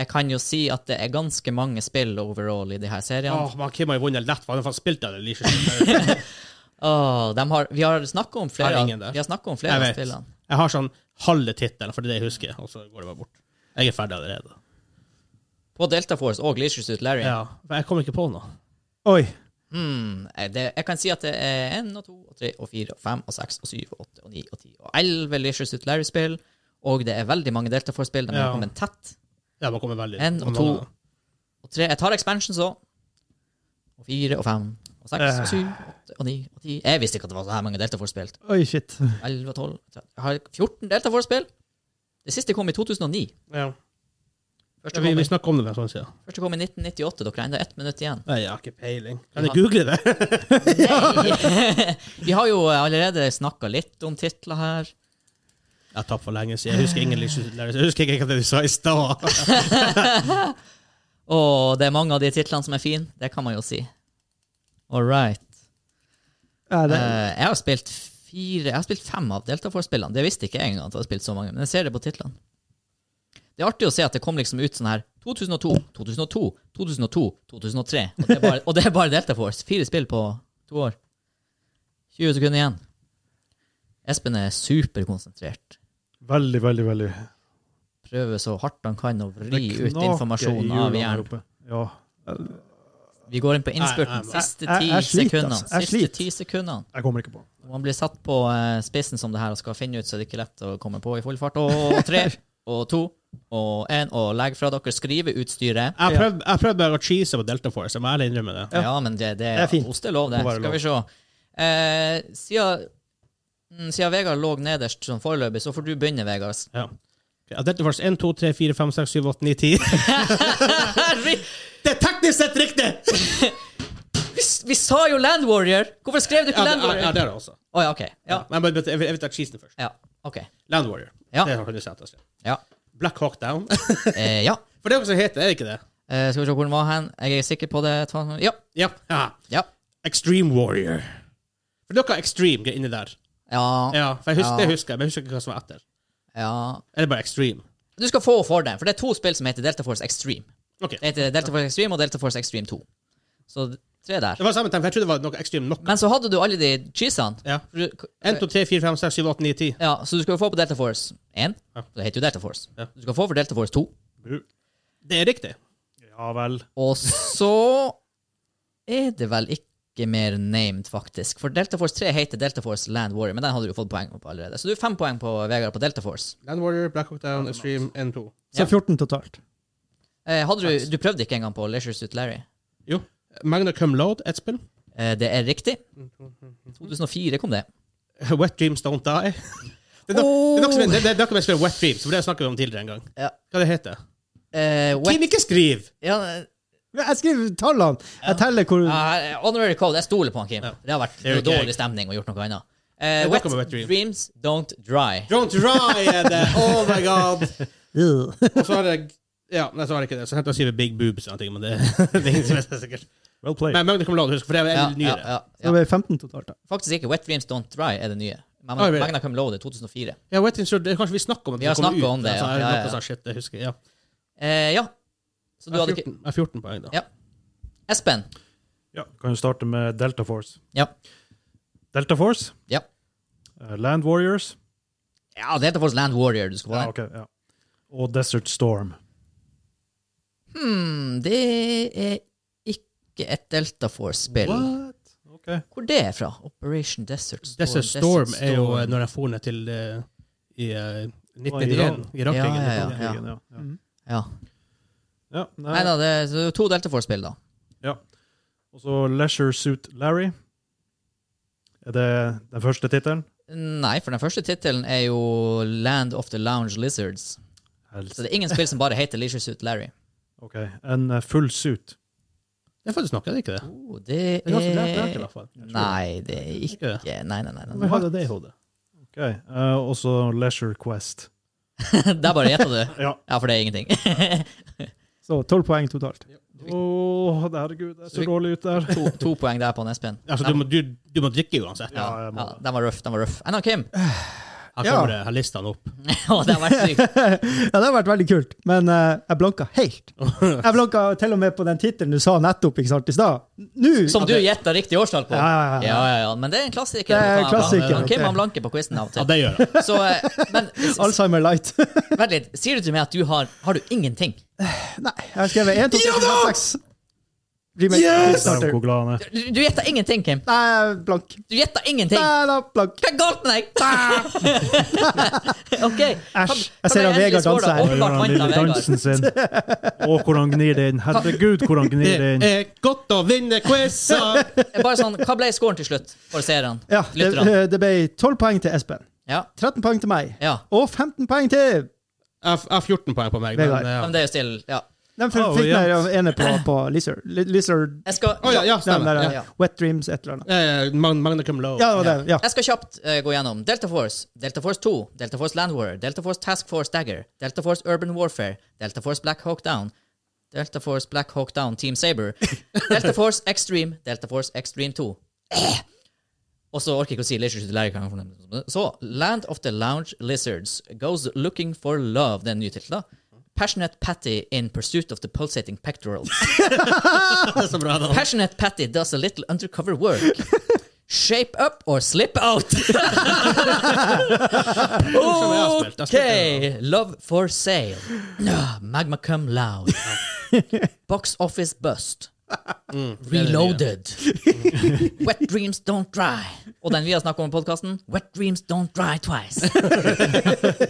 S2: Jeg kan jo si at det er ganske mange spill overall i de her seriene.
S1: Åh, man, Kim har jo vunnet lett, for han har faen spilt av det. Leisure Suit Larry.
S2: Åh, de har, vi har snakka om
S1: Har
S2: flere, av-
S1: ingen der.
S2: vi har snakket om
S1: Jeg
S2: flere av
S1: vet.
S2: spillene.
S1: Jeg har sånn halve tittelen, for det er det jeg husker, og så går det bare bort. Jeg er ferdig allerede.
S2: På Delta Force og Leisure Suit Larry.
S1: Ja, for jeg kommer ikke på noe.
S5: Oi.
S2: Hmm, eh, det, jeg kan si at det er 1 og 2 og 3 og 4 og 5 og 6 og 7 og 8 og 9 og 10 og 11 Leisure Suit Larry-spill, og det er veldig mange Delta Force-spill. De
S1: Ja.
S2: har kommet tett.
S1: Ja, man kommer veldig
S2: En og
S1: man-
S2: to. Og 3, jeg tar expansions òg. Og 4 og 5 og 6 og 7 og 8 og 9 og 10 Jeg visste ikke at det var så her mange Delta Force-spill.
S5: Oi, shit.
S2: 11 og 12 13. Jeg har 14 Delta Force-spill. Det siste kom i 2009.
S1: Ja.
S2: Første
S1: Ja,
S2: kom,
S1: vi, vi
S2: i,
S1: snakker om det med sånn siden.
S2: første kom i 1998. Dere har enda ett minutt igjen.
S1: Nei, jeg har ikke peiling. Kan jeg google det?
S2: Nei. Vi har jo allerede snakka litt om titler her.
S1: Jeg har tapt for lenge siden. Jeg husker ingen Leisure Suit Larry. Jeg husker ikke hva du sa i stad.
S2: Og det er mange av de titlene som er fine. Det kan man jo si. All right.
S5: Ja, det,
S2: Eh, jeg har spilt fire Jeg har spilt fem av Delta Force-spillene. Det visste ikke jeg engang. at jeg hadde spilt så mange Men jeg ser det på titlene. Det er artig å se at det kom liksom ut sånn her 2002, 2002, 2002, 2003. Og det er bare, og det er bare Delta Force. Fire spill på to år. 20 sekunder igjen. Espen er superkonsentrert.
S4: Veldig, veldig, veldig.
S2: Prøver så hardt han kan å vri
S4: Det
S2: ut
S4: knaker i
S2: informasjon av
S4: hjulene her
S2: hjernen.
S4: oppe. Ja.
S2: Vi går inn på innspurten.
S1: Nei, nei, nei.
S2: Siste
S5: Jeg-
S2: ti
S5: jeg sliter,
S2: sekundene.
S5: altså. Jeg
S2: Siste
S5: sliter.
S2: ti sekundene.
S4: Jeg kommer ikke på.
S2: Når man blir satt på eh, spissen som det her og skal finne ut, så er det ikke lett å komme på i full fart. Og tre, og to, og én, og legg fra dere skriveutstyret.
S1: Jeg prøvde, jeg prøvde bare å cheese på Delta Force, jeg må ærlig innrømme det.
S2: Ja, men det, det,
S5: Det er fint.
S2: Ostelov, det.
S4: Må være
S2: Skal vi se. Eh, siden, mm, siden Vegard lå nederst sånn foreløpig, så får du begynne, Vegard.
S1: Ja. Ok, Delta Force 1, 2, 3, 4, 5, 6, 7, 8, 9, 10.
S2: Herre,
S1: Det er teknisk sett riktig!
S2: vi, s- vi sa jo Land Warrior! Hvorfor skrev du
S1: Ja,
S2: ikke
S1: det,
S2: Land
S1: ja,
S2: Warrior?
S1: det er det også.
S2: Å ja, OK. Ja.
S1: Men jeg vil- jeg vil jeg vil ta cheesen først.
S2: ja. OK.
S1: Land Warrior.
S2: Ja.
S1: Det har du sett. altså.
S2: Ja.
S1: Black Hawk Down.
S2: Eh, ja.
S1: For det er jo hva som heter, er det ikke det?
S2: Eh, skal vi se hvor den var hen. Jeg er sikker på det. Ta- Ja.
S1: Ja. ja.
S2: Ja.
S1: Extreme Warrior. For dere har Extreme inni der.
S2: Ja.
S1: Ja, for jeg husker,
S2: Ja.
S1: Det husker jeg, men jeg husker ikke hva som var etter.
S2: ja.
S1: Eller bare Extreme.
S2: Du skal få for den, for det er to spill som heter Delta Force Extreme.
S1: Ok.
S2: Det heter Delta Force Extreme og Delta Force Extreme 2. Så tre der.
S1: Det var samme tegn, for jeg trodde det var noe Extreme nok.
S2: Men så hadde du alle de cheesene.
S1: Ja.
S2: For du-
S1: 1, 2, 3, 4, 5, 6, 7, 8, 9, 10.
S2: Ja, så du skal jo få på Delta Force 1.
S1: Ja.
S2: Det heter jo Delta Force.
S1: Ja.
S2: Du skal få for Delta Force 2.
S4: Bu.
S1: Det er riktig.
S4: Ja vel.
S2: Og så er det vel ikke ikke mer named, faktisk. For Delta Force 3 heter Delta Force Land Warrior, men den hadde du fått poeng på allerede. Så du er fem poeng på Vegard på Delta Force.
S1: Land Warrior, Black Hawk Down, Extreme, N2.
S5: Så
S2: Ja.
S5: 14 totalt.
S2: Eh, hadde du, du prøvde ikke engang på Leisure Suit Larry.
S1: Jo. Magna Cum Load, ett spill.
S2: Eh, det er riktig.
S1: Mm,
S2: 2004 kom det.
S1: Wet Dreams Don't Die. Det er nok- det er nok som er- det- det er noe med spillet Wet Dreams, for det snakket vi om tidligere en gang.
S2: Ja.
S1: Hva det heter
S2: Eh,
S1: Kim,
S2: wet,
S1: ikke skriv!
S2: ja,
S5: Men Jeg skriver tallene! Jeg teller hvor
S2: eh, honorary Code, jeg stoler på han, Kim.
S1: Ja.
S2: Det har vært
S1: Det er jo ikke
S2: dårlig
S1: jeg.
S2: stemning og gjort noe annet. Eh,
S1: Det er
S2: wet,
S1: noe med Wet Dreams.
S2: Dreams Don't Dry.
S1: Don't try er det! Oh my god!
S5: Øh.
S1: Og så har jeg Ja, nei, så har jeg ikke det. Så henter jeg skriver Big Boobs og noe, men det, det er ingen som er sikkert.
S4: Well played.
S1: Men Magna Cum Load, husk, for det er
S2: Ja,
S1: litt
S2: ja,
S1: nyere.
S2: ja,
S5: Så
S2: ja.
S5: det ble 15 totalt. da.
S2: Faktisk ikke. Wet Dreams Don't Dry er det nye.
S1: Ah,
S2: Magna,
S1: det-
S2: Magna Cum Laude 2004.
S1: Ja, Wet Dreams, det- kanskje vi snakker om at
S2: Vi har
S1: det kommer
S2: snakket
S1: ut,
S2: om det,
S1: altså,
S2: ja.
S1: er det
S2: Ja, ja,
S1: noe
S2: ja.
S1: sånn shit, det husker jeg. Ja.
S2: Eh, ja. Så du
S1: Jeg har
S2: hadde ikke
S1: 14, jeg har 14 poeng, da.
S2: Ja. Espen.
S4: Ja, kan jo starte med Delta Force.
S2: Ja.
S4: Delta Force,
S2: Ja.
S4: eh, Land Warriors
S2: Ja, det heter faktisk Land Warrior. du skal få den.
S4: ja, ok, ja. og Desert Storm.
S2: Hmm, det er ikke et Delta Force-spill.
S4: What? Ok.
S2: Hvor det er fra? Operation Desert Storm.
S1: Desert Storm er jo eh, når jeg for ned til eh, i eh, 1991, Irak-krigen.
S2: Ja, ja,
S4: Den
S2: ja.
S4: krigen, ja. ja.
S2: Ja.
S4: ja nei.
S2: Nei da, det er så det er to Delta Force-spill, da.
S4: Og så Leisure Suit Larry. Er det den første tittelen?
S2: Nei, for den første tittelen er jo Land of the Lounge Lizards. Så det er ingen spill som bare heter Leisure Suit Larry.
S4: Ok, en eh, full suit.
S1: Det er faktisk noe, er det ikke det?
S2: Oh, det
S1: Det er ganske bra klart, i
S2: er
S1: hvert fall.
S2: Nei, det er
S1: Ikke det.
S2: ikke Nei, nei, nei. nei.
S1: Vi hadde det i hodet.
S4: Ok, eh, Og så Leisure Quest.
S2: Der bare gjetta du.
S4: Ja.
S2: Ja, for det er ingenting.
S5: Så 12 poeng totalt.
S4: Å, herregud, jeg
S2: Så
S4: ser
S2: vi-
S4: dårlig ut der.
S2: To, to poeng der på Espen.
S1: Altså, du må, du, du må drikke uansett.
S4: Ja,
S2: Ja,
S4: jeg må det.
S2: den var røff. Den var røff. Enda Kim.
S1: Her kommer det, her lister han opp.
S2: Å, det har vært sykt.
S5: Ja, det har vært veldig kult, men eh, jeg blanka helt. Jeg blanka til og med på den tittelen du sa nettopp ikke sant, i stad. Nå! Altså,
S2: Som du gjetta riktig årstall på.
S5: Ja, ja, ja.
S2: ja, ja. Men det er en klassiker.
S5: Det er en klassiker.
S2: Han- Kim han blanke på quizen av og
S1: Ja,
S2: til.
S1: det gjør han.
S2: Så, eh, men s- s-
S5: Alzheimer light.
S2: vent litt. Sier du til meg at du har Har du ingenting?
S5: Nei, jeg har skrevet 1, 2, 3, 4, 6. Remake.
S4: Der er
S5: Kickstarter.
S4: hvor glad han er.
S2: Du, du gjetta ingenting, Kim.
S5: Nei, jeg er blank.
S2: Du gjetta ingenting.
S5: Nei, da, blank.
S2: Hva er galt med deg? OK. Kan-
S5: Æsj.
S2: kan
S5: Jeg ser at
S2: endelig
S5: Vegard
S2: score, da?
S5: danser her.
S4: Gjør
S2: Åpenbart
S4: han
S2: vant
S4: lille
S2: av Vegard.
S4: dansen sin. Å, hvor han gnir det inn. Herregud, hvor han gnir det inn.
S1: Det er godt å vinne quizer!
S2: Bare sånn, hva ble scoren til slutt for seerne?
S5: Ja, det, eh,
S2: Lytterne?
S5: det ble 12 poeng til Espen,
S2: Ja.
S5: 13 poeng til meg
S2: ja.
S5: og 15 poeng til
S1: Jeg har 14 poeng på meg. Men,
S5: Vegard.
S1: ja.
S2: Men det er jo still Ja.
S5: De fikk
S4: Å,
S5: fikk
S4: jevnt.
S5: meg av ene på, på Lizard. Li- Lizard
S2: Jeg skal
S1: Å, ja, ja,
S5: den
S1: stemmer.
S5: der,
S1: Ja.
S2: ja.
S5: Wet Dreams, et eller annet.
S1: Eh, Mag- Magna Cum Low.
S5: Ja, det var den. Ja.
S2: Jeg skal kjapt eh, gå gjennom Delta Force, Delta Force 2, Delta Force Land Warrior, Delta Force Task Force Dagger, Delta Force Urban Warfare, Delta Force Black Hawk Down, Delta Force Black Hawk Down Team Saber, Delta Force Extreme, Delta Force Extreme 2. Eh! Og så orker jeg ikke å si Leisure Suit Larry. kan jeg fornemme. Så Land of the Lounge Lizards Goes Looking for Love, det er en ny tittel, da. Passionate Patty in Pursuit of the Pulsating Pectorals.
S1: Det er så bra, da.
S2: Passionate Patty does a little undercover work. Shape up or slip out.
S1: jeg har spilt. Jeg har spilt det,
S2: okay. Love for sale. Ah, Magma cum loud. Box office bust.
S1: Mm,
S2: Reloaded. Wet dreams don't dry. Og den vi har snakket om i podcasten Wet dreams don't dry twice.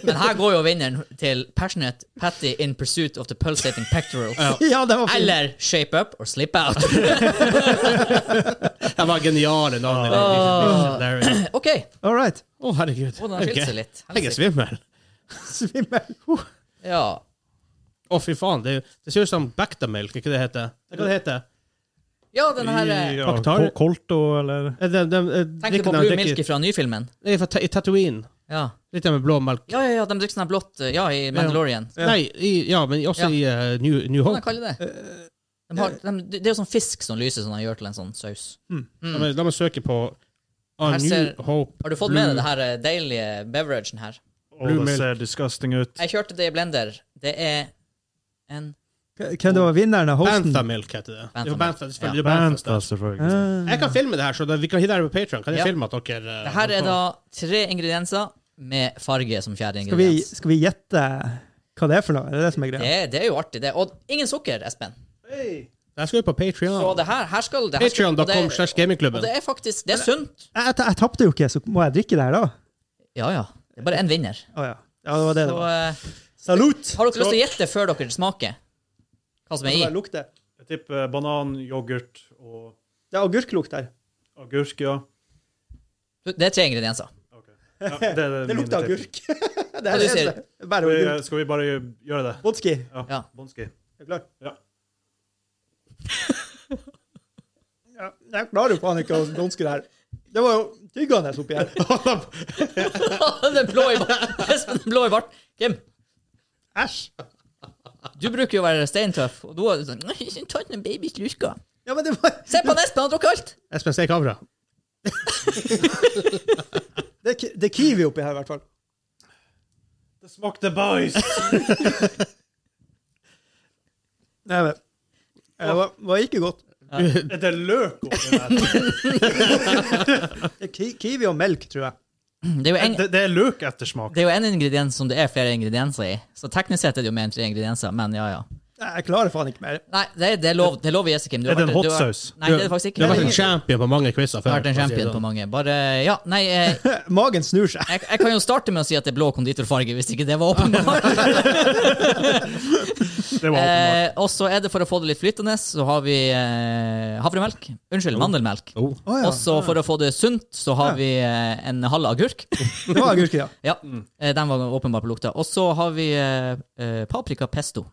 S2: Men her går jo vinneren til Passionate Patty in pursuit of the pulsating pectorals.
S5: ja, det var fint.
S2: Eller Shape up or slip out.
S1: Det var geniale navn. Å,
S2: OK.
S5: All right.
S1: herregud.
S2: Å, den har skilt seg
S1: Ok.
S2: litt.
S1: Jeg er svimmel.
S5: Svimmel. Huh.
S2: Ja.
S1: Å, fy faen. Det, er jo- det ser ut som Bactamilk, ikke det heter? Hva det heter
S2: ja, den her eh,
S4: Ja,
S1: Paktar-
S4: Col- Colto, eller
S1: Eh, de- de- eh,
S2: Tenk
S1: drikker
S2: på
S1: den-
S2: Blue
S1: drikker-
S2: Milk fra nyfilmen.
S1: Nei, fra Ta- I Tatooine.
S2: Ja.
S1: Litt med blå melk.
S2: ja, ja, ja, de drikker sånn her blått eh, Ja, i Mandalorian.
S5: Ja.
S1: Nei, i, ja, men også
S2: Ja.
S1: i eh, New, New
S2: Hva
S1: Hope.
S2: kaller de det? De
S5: Eh,
S2: har, de, det er jo sånn fisk som lyser som de gjør til en sånn saus.
S1: La, meg, la meg søke på A
S2: Her
S1: New
S2: ser-
S1: Hope.
S2: Har du fått med
S5: Mm.
S2: deg det her eh, deilige beveragen her?
S4: Å,
S1: Blue
S4: det
S1: Milk.
S4: ser disgusting ut.
S2: Jeg kjørte det i blender. Det er en
S5: Hvem det var vinneren av hosten?
S1: Bantha Milk heter det. det, er jo Bantha,
S2: Bantha Milk,
S1: selvfølgelig, det er Bantha,
S4: Banta,
S1: det.
S4: selvfølgelig.
S5: Ah.
S1: Jeg kan filme det her, så da, vi kan hitte det på Patreon Kan jeg
S2: Ja.
S1: filme at dere eh,
S2: Det her er da tre ingredienser med farge som fjerde
S5: Skal vi,
S2: ingrediens.
S5: skal vi gjette hva det er for noe? Er det det som er
S2: Det,
S5: greia?
S2: er- det er jo artig, det. Og ingen sukker, Espen.
S1: Det skal jo på
S2: Så
S1: Patreon
S2: det her, her skal det her skal- og
S1: Patreon.com
S2: det-
S1: slash gamingklubben.
S2: Og det er faktisk Det er sunt.
S5: Jeg, jeg, jeg tapte jo ikke, så må jeg drikke det her da?
S2: Ja, ja. Det er bare én vinner.
S5: Å ja. ja, det var det
S2: Så
S5: det var.
S2: eh,
S5: Salut!
S2: har dere lyst til å gjette før dere smaker hva som er i?
S5: lukter.
S4: Jeg tipper banan, yoghurt og
S5: Det er agurklukt der.
S4: agurk, ja.
S2: Det er tre ingredienser.
S4: Ok. ja det, er mine tipp.
S5: det
S2: er det eneste.
S5: Bare
S4: Skal vi, skal vi bare gjøre det?
S5: Vodski.
S4: Ja.
S2: Ja.
S4: Bonski.
S5: Er du klar?
S4: Ja.
S5: Ja, jeg klarer jo faen ikke å danske det her. Det var jo tyggende oppi her.
S2: den blå i bart- Espen, den blå i bart. Kim,
S5: Æsj.
S2: du bruker jo å være steintøff, og du er sånn «Nei, Ta den babys luska.
S5: Ja, men det var
S2: Se på han Espen, han drukket alt!
S1: Espen, se i kamera.
S5: Det, er ki- det er kiwi oppi her, i hvert fall.
S4: Det smakte bæsj!
S5: Nei, men. Det var, var ikke godt.
S4: Er det løk oppi der?
S5: Det er ki kiwi og melk, tror jeg.
S2: Det er jo en,
S4: Det, det er løkettersmak.
S2: det er jo en ingrediens som det er flere ingredienser i, så teknisk sett er det jo mer enn tre ingredienser, men ja, ja.
S5: Nei, Jeg klarer faen ikke mer.
S2: Nei, det, det er lov, det er lov å gjesse, Kim. Du
S4: Er
S2: har
S4: det en
S2: vært- du har-
S4: hotsaus?
S2: Nei, det er det faktisk ikke.
S1: Du har vært
S2: Du
S1: en champion på mange quizer før.
S2: har vært
S1: for å si
S2: en
S1: det
S2: champion på
S1: sånn.
S2: mange. Bare, ja, nei, eh,
S5: Magen snur seg.
S2: jeg, jeg kan jo starte med å si at det er blå konditorfarge, hvis ikke det var åpenbart.
S4: Det var åpenbart.
S2: eh, og så er det for å få det litt flytende, så har vi eh, havremelk. Unnskyld, mandelmelk.
S1: Oh.
S5: Å ja.
S2: Og så for å få det sunt, så har vi eh, en halv agurk.
S5: Det var agurk, ja.
S2: Ja, eh, den var åpenbart på lukta. Og så har vi eh, eh, paprika pesto.
S5: Oh.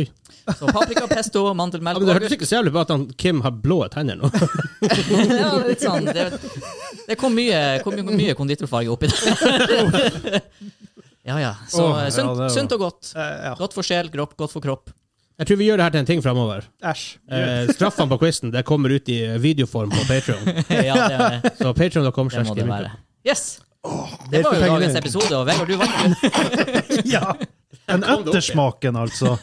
S1: Oi.
S2: Så paprika pesto,
S1: Ja,
S2: mandelmelk
S1: men
S2: og
S1: det
S2: agurk.
S1: hørtes ikke så jævlig bra ut at han, Kim har blå tenner nå.
S2: ja, litt sånn. Det, det kom mye, kom mye- mye konditorfarge oppi der. ja, ja. Så
S4: Åh,
S2: eh, sunt,
S4: ja, det var-
S2: sunt og godt.
S5: Eh, ja.
S2: Godt for sjel, kropp, godt for kropp.
S1: Jeg tror vi gjør det her til en ting framover.
S5: Æsj.
S1: Eh, straffene på quizen det kommer ut i eh, videoform på Patreon.
S2: ja, det,
S1: Så patreon.com
S2: det må det være. Yes!
S5: det
S2: Det
S5: er
S2: var jo
S5: for
S2: dagens
S5: pengene.
S2: episode, og Vegard, du vant.
S5: Ja.
S1: kom
S4: Den
S1: det opp i.
S4: ettersmaken, altså.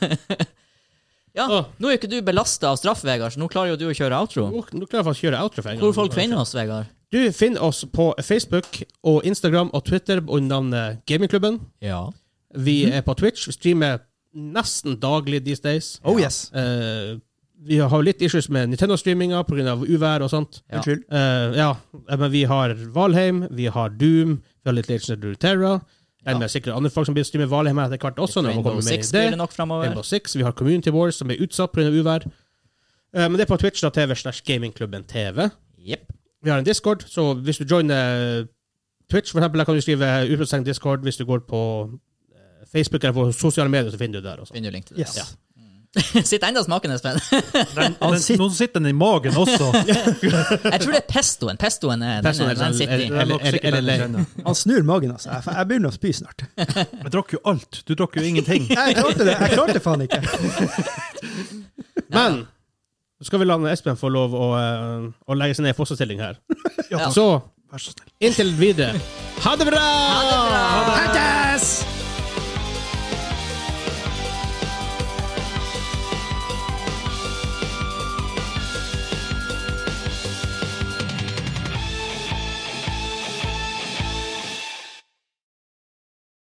S2: Ja, nå er jo ikke du belasta av straff, Vegard, så nå klarer jo du å kjøre outro.
S1: Nå klarer jeg faktisk å kjøre outro for en gang.
S2: Hvor folk finner oss, Vegard?
S1: Du finner oss på Facebook og Instagram og Twitter under navnet Gamingklubben.
S2: Ja.
S1: Vi er på Twitch. Vi streamer nesten daglig these days.
S5: Oh yes.
S1: Eh, vi har jo litt issues med Nintendo-streaminga pga. uvær og sånt.
S2: Ja.
S5: Unnskyld.
S1: Eh, ja, eh, men vi har Valheim, vi har Doom, vi har litt Legends of Runeterra. Ja. Det er sikkert andre folk som blir streamer Valheim her etter hvert også. når man
S2: Rainbow
S1: kommer med
S2: Six
S1: i det.
S2: blir det nok framover.
S1: Rainbow Six. Vi har Community Wars, som er utsatt pga. uvær. Eh, men det er på Twitch.tv slash Gamingklubben TV.
S2: Jepp.
S1: Vi har en Discord, så hvis du joiner eh, Twitch, for eksempel, der kan du skrive utropstegn Discord. Hvis du går på eh, Facebook eller på sosiale medier, så finner du det der. Også.
S2: Begynner jo link til det.
S5: Yes.
S1: Ja.
S2: Sitt enda smaken, Espen.
S4: Den,
S5: Han
S4: den,
S5: sitter-
S4: nå sitter den i magen også.
S2: Jeg tror det er pestoen. Pestoen er, den,
S1: Pestoen
S2: er,
S1: er
S2: den
S1: sånn-
S2: sitter i.
S1: er-
S4: Det er nok
S1: Eller-
S4: sikkert den
S1: eller-
S4: jeg kjenner.
S5: Han snur magen, altså. Jeg, jeg begynner å spy snart.
S4: Jeg drakk jo alt. Du drakk jo ingenting.
S5: Jeg klarte det. Jeg klarte faen ikke.
S1: Men så skal vi la Espen få lov å, eh, å legge seg ned i fosterstilling her.
S4: Ja,
S1: Så
S4: Vær så snill.
S1: inntil videre, ha det bra!
S2: Ha det bra!
S5: Hattes!